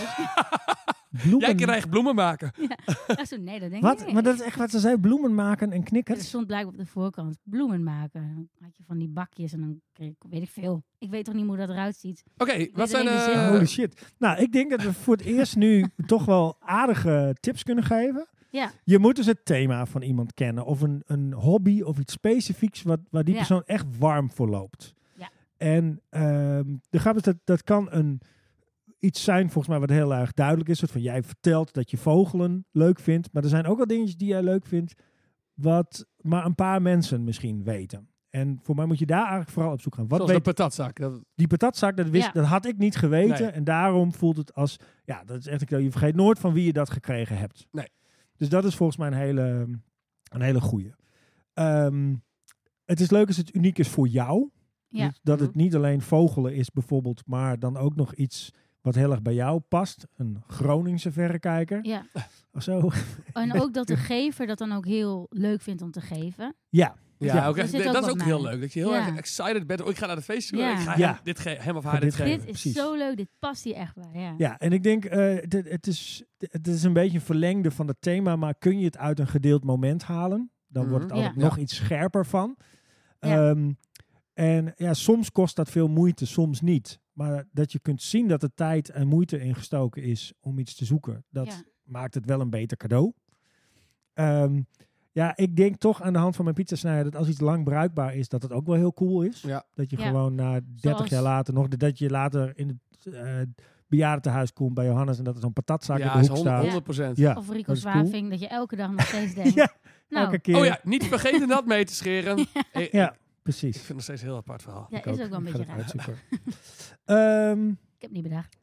[SPEAKER 1] Bloemen.
[SPEAKER 3] Jij krijgt bloemen maken.
[SPEAKER 2] <laughs> Echt zo, nee, dat denk ik
[SPEAKER 1] Wat?
[SPEAKER 2] niet.
[SPEAKER 1] Maar dat is echt wat ze zei. Bloemen maken en
[SPEAKER 2] Er
[SPEAKER 1] knikkers.
[SPEAKER 2] stond blijkbaar op de voorkant bloemen maken. Dan had je van die bakjes en dan kreeg ik, weet ik veel. Ik weet toch niet hoe dat eruit ziet.
[SPEAKER 3] Oké, wat zijn...
[SPEAKER 2] er één die
[SPEAKER 3] eh,
[SPEAKER 2] zegt.
[SPEAKER 1] Holy shit. Nou, ik denk dat we voor het eerst
[SPEAKER 2] <laughs>
[SPEAKER 1] nu toch wel aardige tips kunnen geven.
[SPEAKER 2] Ja.
[SPEAKER 1] Je moet dus het thema van iemand kennen. Of een, een hobby of iets specifieks wat, waar die
[SPEAKER 2] Ja.
[SPEAKER 1] persoon echt warm voor loopt.
[SPEAKER 2] Ja.
[SPEAKER 1] En ehm, de grap is dat dat kan een, iets zijn volgens mij wat heel erg duidelijk is. Een soort van jij vertelt dat je vogelen leuk vindt. Maar er zijn ook wel dingetjes die jij leuk vindt. Wat maar een paar mensen misschien weten. En voor mij moet je daar eigenlijk vooral op zoek gaan. Wat
[SPEAKER 3] zoals
[SPEAKER 1] weet
[SPEAKER 3] een patatzak. Dat,
[SPEAKER 1] die patatzak, dat, wist,
[SPEAKER 2] Ja.
[SPEAKER 1] dat had ik niet geweten.
[SPEAKER 3] Nee.
[SPEAKER 1] En daarom voelt het als... Ja, dat is echt... een- Je vergeet nooit van wie je dat gekregen hebt.
[SPEAKER 3] Nee.
[SPEAKER 1] Dus dat is volgens mij een hele, een hele goeie. Ehm, het is leuk als het uniek is voor jou.
[SPEAKER 2] Ja. Mhm.
[SPEAKER 1] Dus dat het niet alleen vogelen is bijvoorbeeld... maar dan ook nog iets wat heel erg bij jou past. Een Groningse verrekijker
[SPEAKER 2] ja.
[SPEAKER 1] of zo.
[SPEAKER 2] <laughs> En ook dat de gever dat dan ook heel leuk vindt om te geven.
[SPEAKER 1] Ja.
[SPEAKER 3] Ja,
[SPEAKER 1] Ja.
[SPEAKER 3] ook
[SPEAKER 2] Er
[SPEAKER 3] echt-
[SPEAKER 2] zit ook
[SPEAKER 3] dat is
[SPEAKER 2] wat
[SPEAKER 3] ook
[SPEAKER 2] mij.
[SPEAKER 3] heel leuk. Dat je heel
[SPEAKER 2] Ja.
[SPEAKER 3] erg excited bent. Oh, ik ga naar de feestje.
[SPEAKER 2] Ja.
[SPEAKER 3] Ik ga
[SPEAKER 1] Ja.
[SPEAKER 3] hem, dit ge- hem of haar
[SPEAKER 1] dit
[SPEAKER 3] dit
[SPEAKER 1] geven.
[SPEAKER 3] geven.
[SPEAKER 2] Dit is
[SPEAKER 1] precies.
[SPEAKER 2] zo leuk. Dit past hier echt bij. Ja.
[SPEAKER 1] Ja, en ik denk, eh, dit- het, is, het is een beetje een verlengde van het thema, maar kun je het uit een gedeeld moment halen? Dan wordt het
[SPEAKER 2] Mhm.
[SPEAKER 1] altijd
[SPEAKER 3] Ja.
[SPEAKER 1] nog iets scherper van.
[SPEAKER 2] Ja.
[SPEAKER 1] Ehm, en ja, soms kost dat veel moeite, soms niet. Maar dat je kunt zien dat er tijd en moeite ingestoken is om iets te zoeken, dat
[SPEAKER 2] Ja.
[SPEAKER 1] maakt het wel een beter cadeau. Ehm, ja, ik denk toch aan de hand van mijn pizzasnijder dat als iets lang bruikbaar is, dat het ook wel heel cool is.
[SPEAKER 3] Ja.
[SPEAKER 1] Dat je
[SPEAKER 2] Ja.
[SPEAKER 1] gewoon na 30
[SPEAKER 2] Zoals-
[SPEAKER 1] jaar later nog, dat je later in het eh bejaardentehuis komt bij Johannes en dat er zo'n patatzak in
[SPEAKER 3] Ja,
[SPEAKER 1] de
[SPEAKER 3] is
[SPEAKER 1] hoek
[SPEAKER 3] hond- 100%.
[SPEAKER 1] staat. Ja,
[SPEAKER 2] Of Rico
[SPEAKER 1] dat is cool.
[SPEAKER 2] Zwaving, dat je elke dag nog
[SPEAKER 1] <laughs>
[SPEAKER 2] steeds denkt.
[SPEAKER 1] Ja,
[SPEAKER 2] Oh, nou,
[SPEAKER 1] elke keer.
[SPEAKER 3] Oh ja, niet vergeten dat mee te
[SPEAKER 2] <laughs>
[SPEAKER 3] scheren. Eh,
[SPEAKER 1] Ja,
[SPEAKER 3] Ik
[SPEAKER 1] precies.
[SPEAKER 3] vind het nog steeds een heel apart verhaal.
[SPEAKER 2] ja,
[SPEAKER 1] Ik
[SPEAKER 2] is ook wel een
[SPEAKER 1] Ik
[SPEAKER 2] beetje
[SPEAKER 1] ga
[SPEAKER 2] raar. <laughs>
[SPEAKER 1] dat uitzoeken. Ehm,
[SPEAKER 2] Ik heb niet bedacht.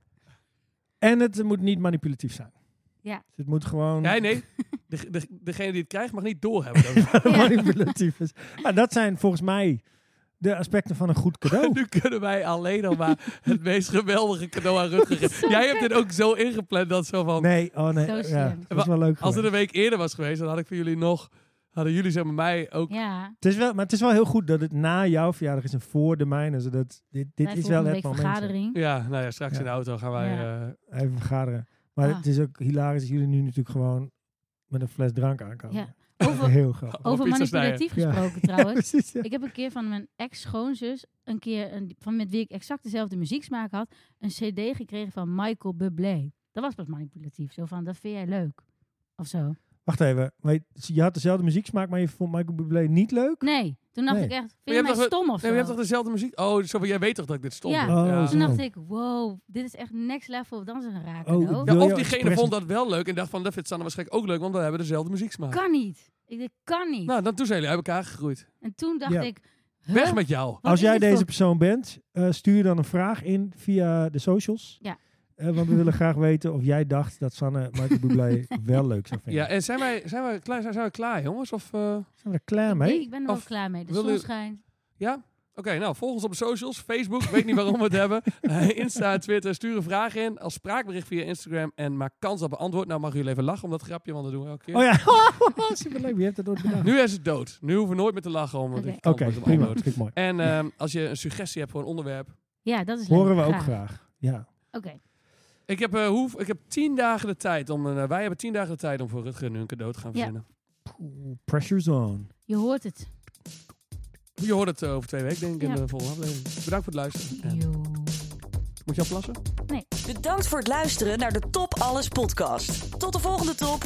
[SPEAKER 1] en het moet niet manipulatief zijn.
[SPEAKER 2] Ja.
[SPEAKER 1] Dus het moet gewoon
[SPEAKER 3] Nee, nee. De, de, degene die het krijgt mag niet
[SPEAKER 1] <laughs>
[SPEAKER 3] doorhebben. dat het
[SPEAKER 1] manipulatief is. Maar dat zijn volgens mij de aspecten van een goed
[SPEAKER 3] <laughs>
[SPEAKER 1] cadeau.
[SPEAKER 3] Nu kunnen wij alleen al maar het meest geweldige cadeau aan Rutger geven. Jij hebt dit ook zo ingepland dat zo van...
[SPEAKER 1] Nee, oh nee.
[SPEAKER 2] Zo
[SPEAKER 1] ja,
[SPEAKER 2] slim.
[SPEAKER 1] dat is wel leuk.
[SPEAKER 3] Als het een
[SPEAKER 1] geweest.
[SPEAKER 3] week eerder was geweest, dan had ik voor jullie nog... Hadden jullie zeg maar mij ook...
[SPEAKER 2] Ja,
[SPEAKER 1] Het is wel, maar het is wel heel goed dat het na jouw verjaardag is en voor de mijne. Zodat dit dit
[SPEAKER 2] wij
[SPEAKER 1] is
[SPEAKER 2] volgende
[SPEAKER 1] wel het
[SPEAKER 2] week
[SPEAKER 1] moment.
[SPEAKER 2] vergadering.
[SPEAKER 3] Ja, nou ja, straks
[SPEAKER 1] Ja.
[SPEAKER 3] in de auto gaan wij...
[SPEAKER 2] Ja.
[SPEAKER 3] eh,
[SPEAKER 1] Even vergaderen. Maar
[SPEAKER 2] Ah.
[SPEAKER 1] het is ook hilarisch dat jullie nu natuurlijk gewoon met een fles drank aankomen.
[SPEAKER 2] Ja.
[SPEAKER 1] Dat is
[SPEAKER 2] Over,
[SPEAKER 1] <laughs> heel grappig.
[SPEAKER 2] over
[SPEAKER 3] pizza snijden.
[SPEAKER 2] manipulatief
[SPEAKER 1] Ja.
[SPEAKER 2] gesproken
[SPEAKER 1] Ja,
[SPEAKER 2] trouwens.
[SPEAKER 1] precies, <laughs> ja.
[SPEAKER 2] Ik heb een keer van mijn ex-schoonzus, een keer een, van met wie ik exact dezelfde muzieksmaak had, een CD gekregen van Michael Bublé. Dat was pas manipulatief. Zo van, dat vind jij leuk. Of zo.
[SPEAKER 1] Wacht even. maar je- Je had dezelfde muzieksmaak, maar je vond Michael Bublé niet leuk?
[SPEAKER 2] Nee, toen dacht
[SPEAKER 1] Nee.
[SPEAKER 2] ik echt,
[SPEAKER 3] je
[SPEAKER 2] vind je
[SPEAKER 3] hebt
[SPEAKER 2] mij
[SPEAKER 3] toch-
[SPEAKER 2] stom of
[SPEAKER 3] Nee, maar je hebt
[SPEAKER 2] zo?
[SPEAKER 3] toch dezelfde muziek? Oh, zo van, jij weet toch dat ik dit stond?
[SPEAKER 2] Ja.
[SPEAKER 1] Oh,
[SPEAKER 2] Toen
[SPEAKER 1] zo.
[SPEAKER 2] dacht ik, wow, dit is echt next level dansen een raar
[SPEAKER 1] Oh, ik
[SPEAKER 2] cadeau.
[SPEAKER 1] dacht-
[SPEAKER 3] Ja,
[SPEAKER 1] Wil
[SPEAKER 3] of
[SPEAKER 1] je
[SPEAKER 3] diegene
[SPEAKER 1] expres-
[SPEAKER 3] vond dat wel leuk en dacht van, dat vindt Sanne waarschijnlijk ook leuk, want we hebben dezelfde muzieksmaak.
[SPEAKER 2] kan niet. Ik dacht, kan niet.
[SPEAKER 3] Nou, dan toen zijn jullie uit elkaar gegroeid.
[SPEAKER 2] en toen dacht
[SPEAKER 1] Ja.
[SPEAKER 2] ik, huh?
[SPEAKER 3] Weg met jou.
[SPEAKER 2] Wat
[SPEAKER 1] Als
[SPEAKER 2] is
[SPEAKER 1] jij
[SPEAKER 2] dit
[SPEAKER 1] deze
[SPEAKER 2] voor-
[SPEAKER 1] persoon bent, eh, stuur dan een vraag in via de socials.
[SPEAKER 2] Ja.
[SPEAKER 1] Eh, Eh, want we willen graag weten of jij dacht dat Sanne Michael
[SPEAKER 2] <laughs>
[SPEAKER 1] Bublé wel leuk zou vinden.
[SPEAKER 3] Ja, en zijn wij, zijn wij, klaar, zijn, zijn wij klaar, jongens? Of, eh,
[SPEAKER 1] Zijn we er klaar mee?
[SPEAKER 2] Nee, ik ben er wel
[SPEAKER 3] Of
[SPEAKER 2] klaar mee. De
[SPEAKER 3] wil
[SPEAKER 2] zon
[SPEAKER 3] u-
[SPEAKER 2] schijnt.
[SPEAKER 3] ja? Oké, nou, volg ons op de socials. Facebook, weet niet waarom we het hebben. Eh, Insta, Twitter, stuur een vraag in. Als spraakbericht via Instagram en maak kans op een antwoord. Nou, mag jullie even lachen om dat grapje, want dat doen we elke
[SPEAKER 2] <laughs>
[SPEAKER 3] keer.
[SPEAKER 1] Oh ja, <laughs> superleuk. Wie heeft dat ooit bedacht?
[SPEAKER 3] Nu is het dood. Nu hoeven we nooit meer te lachen om het
[SPEAKER 2] Oké.
[SPEAKER 1] Oké, prima. Vind ik mooi.
[SPEAKER 3] En ehm, als je een suggestie hebt voor een onderwerp.
[SPEAKER 2] Ja, dat is leuk.
[SPEAKER 1] Horen we ook graag. Ja.
[SPEAKER 2] Oké.
[SPEAKER 3] Ik heb, eh, hoe, ik heb tien dagen de tijd om. een, eh, wij hebben tien dagen de tijd om voor Rutger nu een cadeau te gaan
[SPEAKER 2] Ja.
[SPEAKER 3] verzinnen.
[SPEAKER 1] Oeh, Pressure zone.
[SPEAKER 2] Je hoort het.
[SPEAKER 3] Je hoort het eh, over twee weken, denk ik, in
[SPEAKER 2] Ja.
[SPEAKER 3] de volgende aflevering. Bedankt voor het luisteren. En,
[SPEAKER 2] Yo.
[SPEAKER 3] moet je afplassen?
[SPEAKER 2] Nee.
[SPEAKER 4] Bedankt voor het luisteren naar de Top Alles podcast. Tot de volgende top.